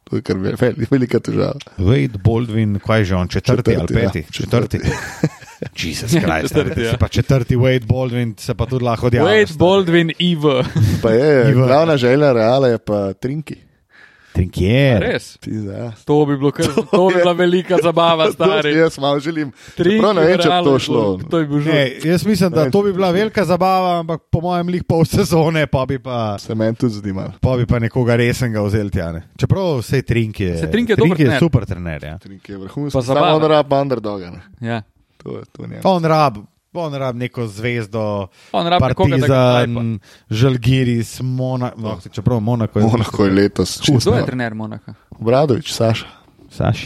Speaker 2: to je kar ve- vel- velika težava.
Speaker 3: Wade Baldwin, kaj je že on, četrti, četrti ali
Speaker 2: Četrti, ja.
Speaker 3: peti? Četrti. Jezus Kristus,
Speaker 4: Četrti,
Speaker 3: četrti,
Speaker 4: ja.
Speaker 3: ja. četrti Wade Baldwin se pa tudi lahko
Speaker 2: Ja,
Speaker 3: odjavi.
Speaker 4: Wade Baldwin, IV.
Speaker 2: Pa je,
Speaker 3: Ivan.
Speaker 2: glavna želja reala je pa trinki.
Speaker 3: Trinkier.
Speaker 4: Res.
Speaker 2: Ti za.
Speaker 4: To bi, bilo, kar, to bi bila velika zabava,
Speaker 2: To
Speaker 4: stari.
Speaker 2: Jaz malo želim.
Speaker 4: Tri
Speaker 2: Prav ne vem, če bi
Speaker 4: generale,
Speaker 2: to šlo.
Speaker 4: To je bil že.
Speaker 3: Ne, jaz mislim, da to bi bila velika zabava, ampak po mojem lih pol sezone pa bi pa,
Speaker 2: Se meni tudi zdi malo.
Speaker 3: pa, bi pa nekoga resnega vzel tjane. Čeprav vse trinke je,
Speaker 4: Saj Trink je dober
Speaker 3: Trink je
Speaker 4: trener.
Speaker 3: super trener. Ja.
Speaker 2: Trinki je vrhunski.
Speaker 4: Pa
Speaker 2: Samo
Speaker 4: zabava.
Speaker 2: on rab underdoga. Ne.
Speaker 4: Ja.
Speaker 2: To je to njemu.
Speaker 3: On rab. On rab neko zvezdo,
Speaker 4: On rabi nekoga, da ga
Speaker 3: Partizan, Žalgiris, Monako. No, čeprav Monako je
Speaker 2: Monako je letos. čisto-
Speaker 4: Kdo je trener Monaka?
Speaker 2: Obradovič, Saša.
Speaker 3: Saš.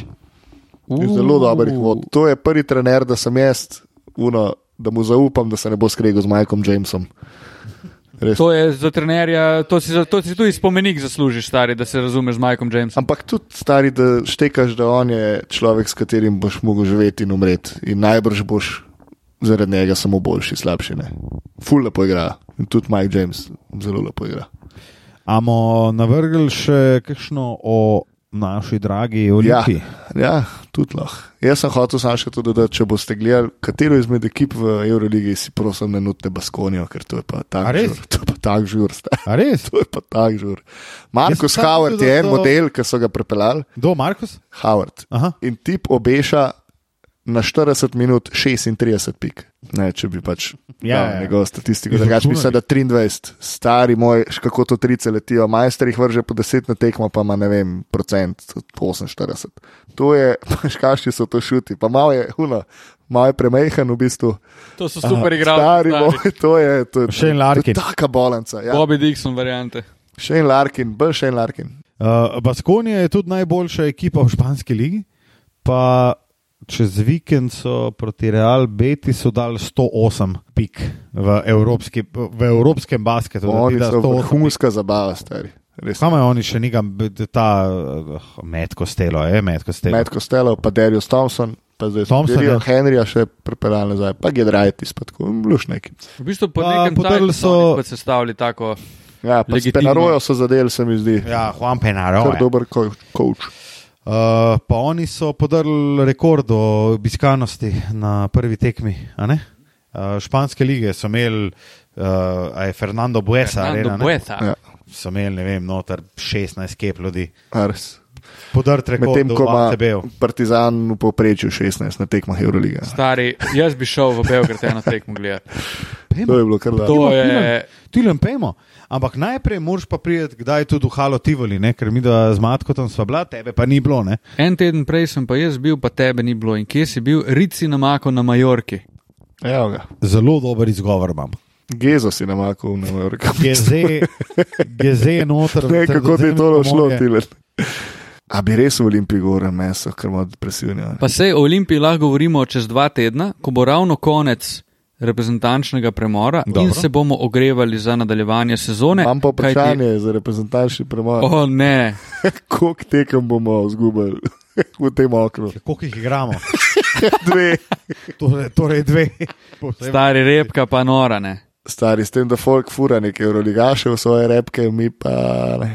Speaker 2: Je Zelo dobrih vod.
Speaker 4: Uh.
Speaker 2: To je prvi trener, da sem jaz, uno, da mu zaupam, da se ne bo skregal z Michaelom Jamesom. Res.
Speaker 4: To je za trenerja, to si, za- to si tudi spomenik zaslužiš, stari, da se razumeš z Mikom Jamesom.
Speaker 2: Ampak tudi stari, da štekaš, da on je človek, s katerim boš mogel živeti in umreti. In najbrž boš zaradi njega samo boljši, slabši. Ne? Ful lepo igra. In tudi Mike James zelo lepo igra.
Speaker 3: Amo navrgli še kakšno o naši dragi
Speaker 2: Ja,
Speaker 3: Olimpiji?
Speaker 2: ja tudi lahko. Jaz sem hotel samo še to dodati, če boste gledali, katero izmed ekip v Euroligi si prosim ne nutite Baskonijo, ker to je pa
Speaker 3: A
Speaker 2: tak
Speaker 3: res?
Speaker 2: žur. To je pa tak žur. stari.
Speaker 3: A res?
Speaker 2: To je pa tak žur. Markus
Speaker 3: Jaz sem
Speaker 2: Howard
Speaker 3: tudi,
Speaker 2: je
Speaker 3: da
Speaker 2: en
Speaker 3: so-
Speaker 2: model, ki so ga prepeljali.
Speaker 3: Kdo, Markus?
Speaker 2: Howard.
Speaker 3: Aha.
Speaker 2: In tip obeša na 40 minut 36 pik. Ne, če bi pač
Speaker 3: Ja,
Speaker 2: ja,
Speaker 3: ja.
Speaker 2: ja. njegovo statistiko.
Speaker 3: Izračunali.
Speaker 2: Drugač mislim, da 23, stari moj, š- kako to trice letijo, majster jih vrže po 10 na tekmo, pa ima ne vem, procent 48. To je, škašči so to šuti, pa malo je, huno, malo je premehen v bistvu.
Speaker 4: To so super
Speaker 2: stari
Speaker 4: igralci.
Speaker 2: moj, to je, to je, to
Speaker 3: Shane
Speaker 2: je
Speaker 3: Larkin.
Speaker 2: taka bolanca. Ja.
Speaker 4: Bobby Dixon variante.
Speaker 2: Še en Larkin, bolj še en Larkin.
Speaker 3: Uh, Baskonija je tudi najboljša ekipa v španski ligi, pa čez vikend so proti Real Betisu dali 108 pik v, evropski, v evropskem basketu. da ti
Speaker 2: Oni
Speaker 3: da
Speaker 2: so
Speaker 3: 108 pik.
Speaker 2: vrhunska zabava, stari. Res.
Speaker 3: Samo je oni še nekam, ta uh, metko stelo, je metko stelo.
Speaker 2: Matt Costello, pa Darius Thompson, pa zdaj
Speaker 3: Thompson, ja.
Speaker 2: Dario Henryja še pripeljal nazaj, pa Gedrajtis, pa tako mluš neki.
Speaker 4: V bistvu po
Speaker 3: Pa
Speaker 4: nekem
Speaker 3: podrli
Speaker 4: času
Speaker 3: so-
Speaker 4: so sestavili tako.
Speaker 2: Ja, pa
Speaker 4: Legitimno.
Speaker 2: Spenarojo so zadeli, se mi zdi. Ja,
Speaker 3: Ja, Juan Penaro.
Speaker 2: Kar
Speaker 3: je.
Speaker 2: dober ko- coach.
Speaker 3: Uh, pa oni so podarili rekord o obiskanosti na prvi tekmi. a ne? Uh, španske lige so imeli, uh, a je Fernando Buesa,
Speaker 4: Fernando
Speaker 3: arena, ne?
Speaker 4: Buesa.
Speaker 2: Ja,
Speaker 3: so imeli, ne vem, noter 16 kep ljudi.
Speaker 2: a res.
Speaker 3: Podrt rekord,
Speaker 2: Medtem ko ima
Speaker 3: tebe.
Speaker 2: Partizan v povprečju 16 na tekmah Euroliga.
Speaker 4: Stari, jaz bi šel v Belgrad eno tekmo gledati.
Speaker 2: To je bilo kar dobro.
Speaker 4: To je,
Speaker 3: Tilem pejmo. Ampak najprej moraš pa priti, kdaj tudi v Halo Tivoli, ne? ker mi da z matko tam sva bila, tebe pa ni bilo. Ne?
Speaker 4: en teden prej sem pa jaz bil, pa tebe ni bilo. In kje si bil? Rici na Mako na Majorki.
Speaker 2: Evo ga. Zelo
Speaker 3: Zelo dober izgovor imam.
Speaker 2: Gezo si namakal na Euroliga.
Speaker 3: Geze, geze je noter.
Speaker 2: Ne, kako ti je
Speaker 3: sredozemlje
Speaker 2: to šlo,
Speaker 3: pomorje.
Speaker 2: Tilen. A bi res v Olimpiji gore meso, ker ima depresivni.
Speaker 4: Pa se o Olimpiji lahko govorimo čez dva tedna, ko bo ravno konec reprezentančnega premora Dobro. in
Speaker 3: Dobro.
Speaker 4: se bomo ogrevali za nadaljevanje sezone.
Speaker 2: Imam pa
Speaker 4: kajti- Oh.
Speaker 2: vprašanje za reprezentančni premor.
Speaker 4: O ne,
Speaker 2: koliko tekem bomo izgubili v tem oknu.
Speaker 3: Koliko jih igramo?
Speaker 2: Dve,
Speaker 3: Torej, torej dve.
Speaker 4: stari repka pa nora ne.
Speaker 2: stari, s tem, da folk fura neke euroligaše v svoje repke, mi pa ne.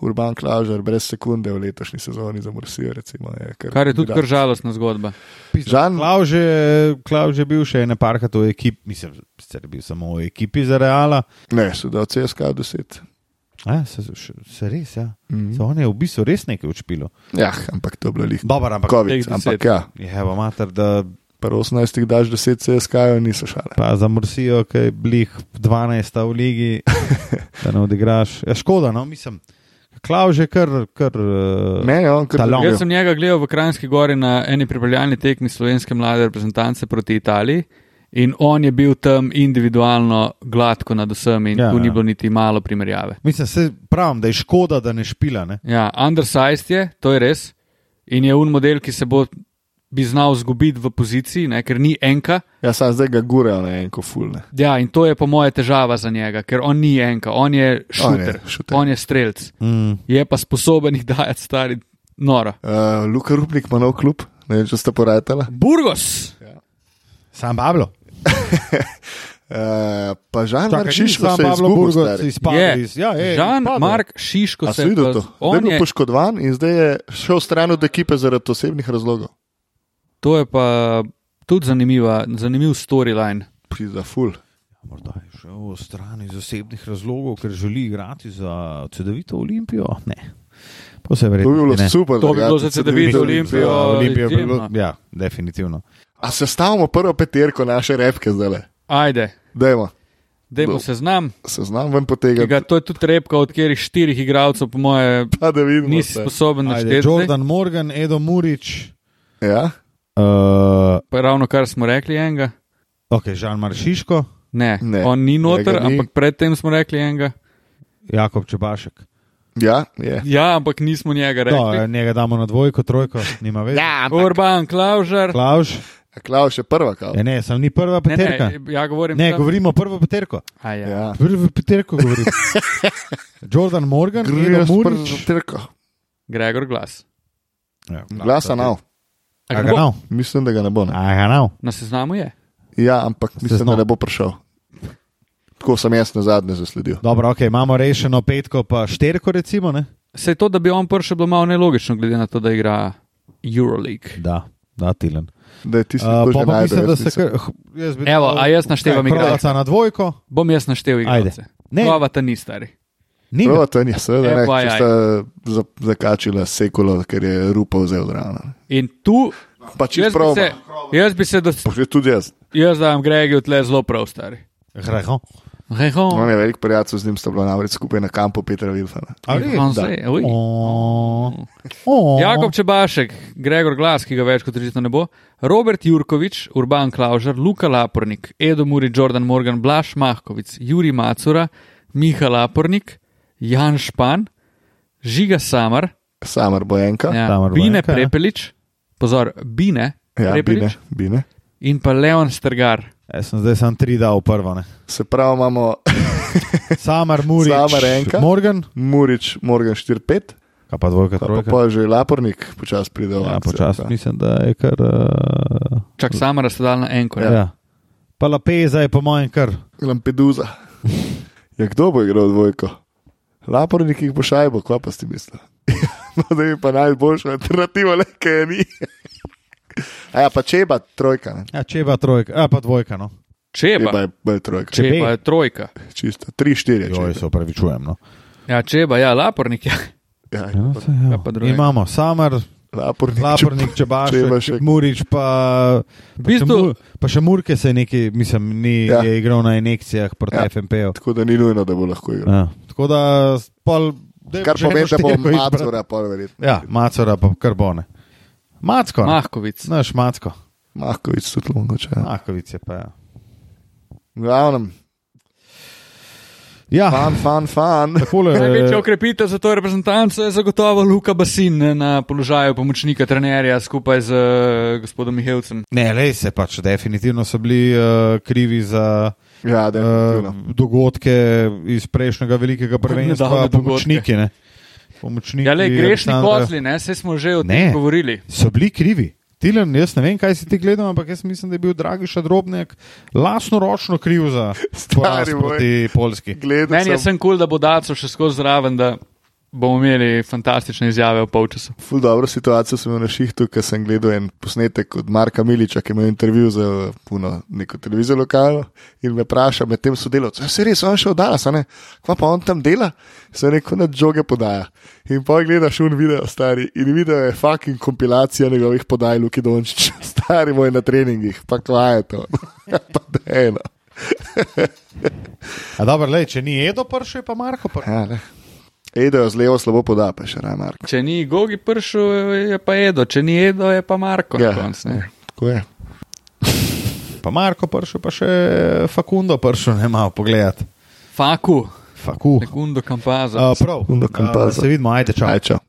Speaker 2: Urban Klaužer brez sekunde v letošnji sezoni zamrsijo. Recimo, je, kar,
Speaker 4: Kar je tudi kar žalostna zgodba.
Speaker 2: Žan,
Speaker 3: Klaus je, Klaus je bil še ena parka v ekipi, mislim, sicer je bil samo v ekipi za Reala.
Speaker 2: Ne, so da od CSK 10.
Speaker 3: A, se, se, se res, ja. Mm -hmm. On je v bistvu res nekaj učpilo.
Speaker 2: Ja, ampak to je bilo lih.
Speaker 3: Dobar, ampak
Speaker 2: COVID,
Speaker 4: teh
Speaker 2: ampak
Speaker 4: 10.
Speaker 2: ja,
Speaker 3: je pa mater, da
Speaker 2: pri 18 daš 10 CSK-jev, niso šale.
Speaker 3: pa zamrsijo, kaj je blih 12 v ligi, da ne odigraš. Je škoda, no, mislim. Klaus je kar, kar eh,
Speaker 2: Ne, no, on kar
Speaker 3: Talon.
Speaker 4: Jaz sem njega gledal v Kranjski gori na eni pripravljalni tekmi slovenske mlade reprezentance proti Italiji in on je bil tam individualno gladko nad vsem in
Speaker 3: Ja,
Speaker 4: ja, tu ni
Speaker 3: ja.
Speaker 4: bilo niti malo primerjave.
Speaker 3: mislim, se pravim, da je škoda, da ne špila. Ne?
Speaker 4: Ja, undersized je, to je res. In je un model, ki se bo bi znal zgubiti v poziciji, ne, ker ni enka.
Speaker 2: Ja, sam zdaj ga gurejo na enko fulne.
Speaker 4: Ja, in to je po moje težava za njega, ker on ni enka, on je šuter, on je,
Speaker 2: šuter.
Speaker 4: on je strelc.
Speaker 3: Mm.
Speaker 4: Je pa sposoben jih dajati stari nora.
Speaker 2: Uh, Luka Rupnik ima nov klub, ne vem, če ste poratela.
Speaker 4: Burgos!
Speaker 3: Sam Pablo.
Speaker 2: Eh, Uh, pa žal, da
Speaker 3: Čakaj,
Speaker 2: si šel
Speaker 3: nisva
Speaker 2: na
Speaker 3: Pablo
Speaker 2: Pablo
Speaker 3: Burgos
Speaker 2: Burgos.
Speaker 3: izpadli iz- ja, je,
Speaker 4: Žan,
Speaker 3: izpadel.
Speaker 4: Mark, Šiško
Speaker 2: A
Speaker 4: se
Speaker 2: si videl to? Zdaj je
Speaker 4: On
Speaker 2: bil
Speaker 4: je,
Speaker 2: poškodovan in zdaj je šel stran od ekipe zaradi osebnih razlogov.
Speaker 4: to je pa tudi zanimiva, zanimiv storyline.
Speaker 2: Pizda, ful.
Speaker 3: Morda je šel stran iz osebnih razlogov, ker želi igrati za cedevito Olimpijo. Ne. To se
Speaker 2: To bi
Speaker 3: verjetno
Speaker 2: bilo
Speaker 3: ne.
Speaker 2: super.
Speaker 4: To bi
Speaker 2: da ga
Speaker 4: bilo za
Speaker 2: Cedevito
Speaker 4: Cedevito Olimpijo.
Speaker 3: Za Olimpijo bi
Speaker 4: izjemno.
Speaker 3: ja, bilo, ja, definitivno.
Speaker 2: A sestavimo prvo peterko naše repke zdaj le.
Speaker 4: Ajde,
Speaker 2: Dajmo,
Speaker 4: dajmo
Speaker 2: Dobro. Ja.
Speaker 4: seznam.
Speaker 2: seznam ven
Speaker 4: ki
Speaker 2: potegati,
Speaker 4: ga- To je tudi repka, od katerih štirih igralcev, po moje,
Speaker 2: pa da vidimo.
Speaker 4: nisi
Speaker 2: se.
Speaker 4: sposoben
Speaker 3: Ajde,
Speaker 4: našteti. zdaj.
Speaker 3: Jordan Morgan, Edo Murič,
Speaker 2: Ja,
Speaker 3: uh,
Speaker 4: Pa ravno kar smo rekli enega.
Speaker 3: ok, Žan Maršiško,
Speaker 4: Ne,
Speaker 2: Ne,
Speaker 4: ne, on ni noter,
Speaker 2: njega ni.
Speaker 4: ampak predtem smo rekli enega.
Speaker 3: Jakob Čebašek.
Speaker 2: ja, je.
Speaker 4: Ja, ampak nismo njega
Speaker 3: No,
Speaker 4: rekli.
Speaker 3: eh, njega damo na dvojko, trojko, nima več. Ja.
Speaker 4: Urban Klaužar.
Speaker 3: Klauž,
Speaker 2: Klaus je prva, kao.
Speaker 3: e, ne, sem ni prva
Speaker 4: Ne,
Speaker 3: peterka.
Speaker 4: ne, ja, govorim.
Speaker 3: Ne,
Speaker 4: tam-
Speaker 3: govorimo prvo peterko.
Speaker 4: A, ja.
Speaker 2: Ja.
Speaker 3: Prvo peterko govorimo. Jordan Morgan,
Speaker 2: Gre
Speaker 3: Edo
Speaker 2: s prvo
Speaker 3: Murič.
Speaker 2: peterko.
Speaker 4: Gregor glas.
Speaker 3: Ja,
Speaker 2: Glasa nav.
Speaker 4: A
Speaker 3: A
Speaker 4: ga
Speaker 3: ga
Speaker 4: bo?
Speaker 3: nav?
Speaker 2: Mislim, da ga ne bo. Ne.
Speaker 3: A ga nav?
Speaker 4: Na seznamu je.
Speaker 2: Ja, ampak mislim, da
Speaker 3: Seznam.
Speaker 2: ne bo prišel. Tako sem jaz na zadnje zasledil.
Speaker 3: Dobro, ok, imamo rešeno petko, pa šterko, recimo. Ne?
Speaker 4: Se je to, da bi on prišel, bilo malo nelogično, glede na to, da igra Euroleague.
Speaker 3: Da, da, tilen.
Speaker 2: Da je tisti,
Speaker 3: Uh,
Speaker 2: ki
Speaker 3: pa
Speaker 2: že
Speaker 3: pa
Speaker 2: najde.
Speaker 3: mislim, da
Speaker 2: jaz
Speaker 3: se
Speaker 2: nisem.
Speaker 3: kar. h- jaz bi
Speaker 4: Evo,
Speaker 3: dal-
Speaker 4: a jaz naštevam
Speaker 3: Kaj,
Speaker 4: igralce.
Speaker 3: Provca na dvojko,
Speaker 4: Bom jaz naštel igralce.
Speaker 3: Ajde. Ne.
Speaker 4: Novata ni stari.
Speaker 3: ni ga.
Speaker 2: Prvo to je, seveda ne,
Speaker 4: FYI.
Speaker 2: ki sta za- zakačila sekulo, ker je rupa vzel zraven.
Speaker 4: In tu,
Speaker 2: Pa če
Speaker 4: jaz bi
Speaker 2: prav,
Speaker 4: se, jaz bi se, dos-
Speaker 2: pošlji tudi jaz.
Speaker 4: jaz dam Gregi tle zelo prav stari.
Speaker 3: Hreho.
Speaker 4: Reho.
Speaker 2: On je velik prijatelj, z njim sta bila namreč skupaj na kampu Petra Vilfana.
Speaker 3: A
Speaker 4: In
Speaker 3: res,
Speaker 4: on
Speaker 3: da?
Speaker 4: se je, uj.
Speaker 3: O, o.
Speaker 4: Jakob Čebašek, Gregor Glas, ki ga več kot očitno ne bo, Robert Jurkovič, Urban Klaužar, Luka Lapornik, Edo Muri, Jordan Morgan, Blaž Mahkovic, Juri Macura, Miha Lapornik, Jan Špan, Žiga Samar,
Speaker 2: Samar Bojenka, ja,
Speaker 4: ja,
Speaker 3: Samar
Speaker 4: Bine
Speaker 3: Bojenka, ja.
Speaker 4: Prepelič, pozor, Bine
Speaker 2: ja, bine,
Speaker 4: Prepelič
Speaker 2: bine.
Speaker 4: in pa Leon Strgar.
Speaker 3: Jaz E, sem zdaj sam tri dal, prvo. Ne.
Speaker 2: Se pravi, imamo
Speaker 3: Samar Muri,
Speaker 2: Samar enka.
Speaker 3: Morgan,
Speaker 2: Murič, Morgan 4-5,
Speaker 3: kaj pa dvojka,
Speaker 2: pa, pa,
Speaker 3: trojka.
Speaker 2: pa že Lapornik, počasi pride v
Speaker 3: ja,
Speaker 2: akcijo,
Speaker 3: počasi
Speaker 2: pa.
Speaker 3: mislim, da je kar. Uh,
Speaker 4: Čak Samara ste dal na enko.
Speaker 3: ja.
Speaker 4: Ja.
Speaker 3: ja. Pa Lapeza je po mojem kar.
Speaker 2: Lampedusa. Ja, kdo bo igral dvojko? Lapornik jih bo šajbo, kva pa si misli. no, da je pa najboljša alternativa, le kaj ni. A ja, pa čeba, trojka. Ne?
Speaker 3: Ja, čeba trojka, a pa dvojka. No.
Speaker 4: Čeba,
Speaker 2: Čeba je, je trojka, Če...
Speaker 3: Čebe.
Speaker 4: čeba je trojka.
Speaker 2: čisto. Tri, štiri. Ja, je
Speaker 3: Joj,
Speaker 2: Čeba.
Speaker 3: se upravičujem. No.
Speaker 4: Ja, čeba, ja, Lapornik. Ja.
Speaker 2: Ja, je
Speaker 3: Ja,
Speaker 2: pa
Speaker 3: se, ja.
Speaker 4: Ja, pa drugega.
Speaker 3: Imamo Samar,
Speaker 2: Lapornik,
Speaker 3: Lapornik,
Speaker 2: Čeba še-
Speaker 3: Čebašek, Murič, pa,
Speaker 4: V
Speaker 3: pa, še
Speaker 4: bistvu-
Speaker 3: Mur- pa še Murke se je nekaj, mislim, ni,
Speaker 2: Ja.
Speaker 3: ja. je igral na injekcijah proti
Speaker 2: Ja.
Speaker 3: ja. FMP-ju.
Speaker 2: Tako da ni nujno, da bo lahko igral.
Speaker 3: Ja. Tako da, pol, dajmo
Speaker 2: Kar
Speaker 3: še eno
Speaker 2: pomeni, da bo
Speaker 3: številko izbrati.
Speaker 2: Macura, pa verjetno.
Speaker 3: Ja, Macora pa karbone. Macko, ne?
Speaker 4: Mahkovic.
Speaker 3: znaš Macko,
Speaker 2: Mahkovič tudi mogoče. Ja.
Speaker 3: Makovic je pa. Ja,
Speaker 2: V Glavnem,
Speaker 3: ja
Speaker 2: fan, fan, fan.
Speaker 3: takole,
Speaker 2: eh,
Speaker 4: Največja okrepitev za to reprezentanco je zagotovo Luka Basin na položaju pomočnika trenerja skupaj z eh, gospodom Mihevcem.
Speaker 3: ne, lej se pač, definitivno so bili uh, krivi za uh,
Speaker 2: Ja, definitivno.
Speaker 3: dogodke iz prejšnjega velikega
Speaker 4: Nedavne
Speaker 3: prvenstva,
Speaker 4: dogodke.
Speaker 3: pomočniki. Ne? Pomočniki
Speaker 4: Ja, le grešni
Speaker 3: Aleksandra
Speaker 4: kozli, ne, se smo že o
Speaker 3: Ne.
Speaker 4: tem govorili.
Speaker 3: So bili krivi. Tilen, jaz ne vem, kaj si ti gledal, ampak jaz mislim, da je bil Dragiš Drobnjak lasno ročno kriv za poraz
Speaker 2: moj.
Speaker 3: proti Polski.
Speaker 2: Gledal
Speaker 4: Meni je
Speaker 2: sem,
Speaker 4: sem kul, cool, da bo Daco še skozi zraven, da bomo imeli fantastične izjave o polčasu.
Speaker 2: ful dobro situacijo sem imel na šihtu, ker sem gledal en posnetek od Marka Miliča, ki je imel intervju za eh, puno, neko televizijo lokalno in me vpraša med tem sodelovcem, se res, on še odala, ne, kva pa on tam dela, se neko nad žoge podaja. In pa gledaš un video, stari, in video je fucking kompilacija njegovih podaj Luki Dončić, stari moj na treningih, pa kva je to, pa dejno.
Speaker 3: A dobro, lej, če ni Edo pršel, je pa Marko pršel.
Speaker 2: Ja, ne. Edo je z levo slabo poda, pa še ne, Marko.
Speaker 4: Če ni Gogi pršel, je pa Edo, če ni Edo, je pa Marko.
Speaker 2: Ja.
Speaker 4: Ja. Konc, ne.
Speaker 2: Tako je.
Speaker 3: Pa Marko pršel, pa še eh, Fakundo pršel, ne malo pogledati.
Speaker 4: Faku,
Speaker 3: Faku.
Speaker 4: Nekundo Kampaza.
Speaker 3: Uh, prav,
Speaker 2: Facundo
Speaker 3: uh,
Speaker 2: Campazzo.
Speaker 3: se vidimo, ajde, čau.
Speaker 2: Ajčo.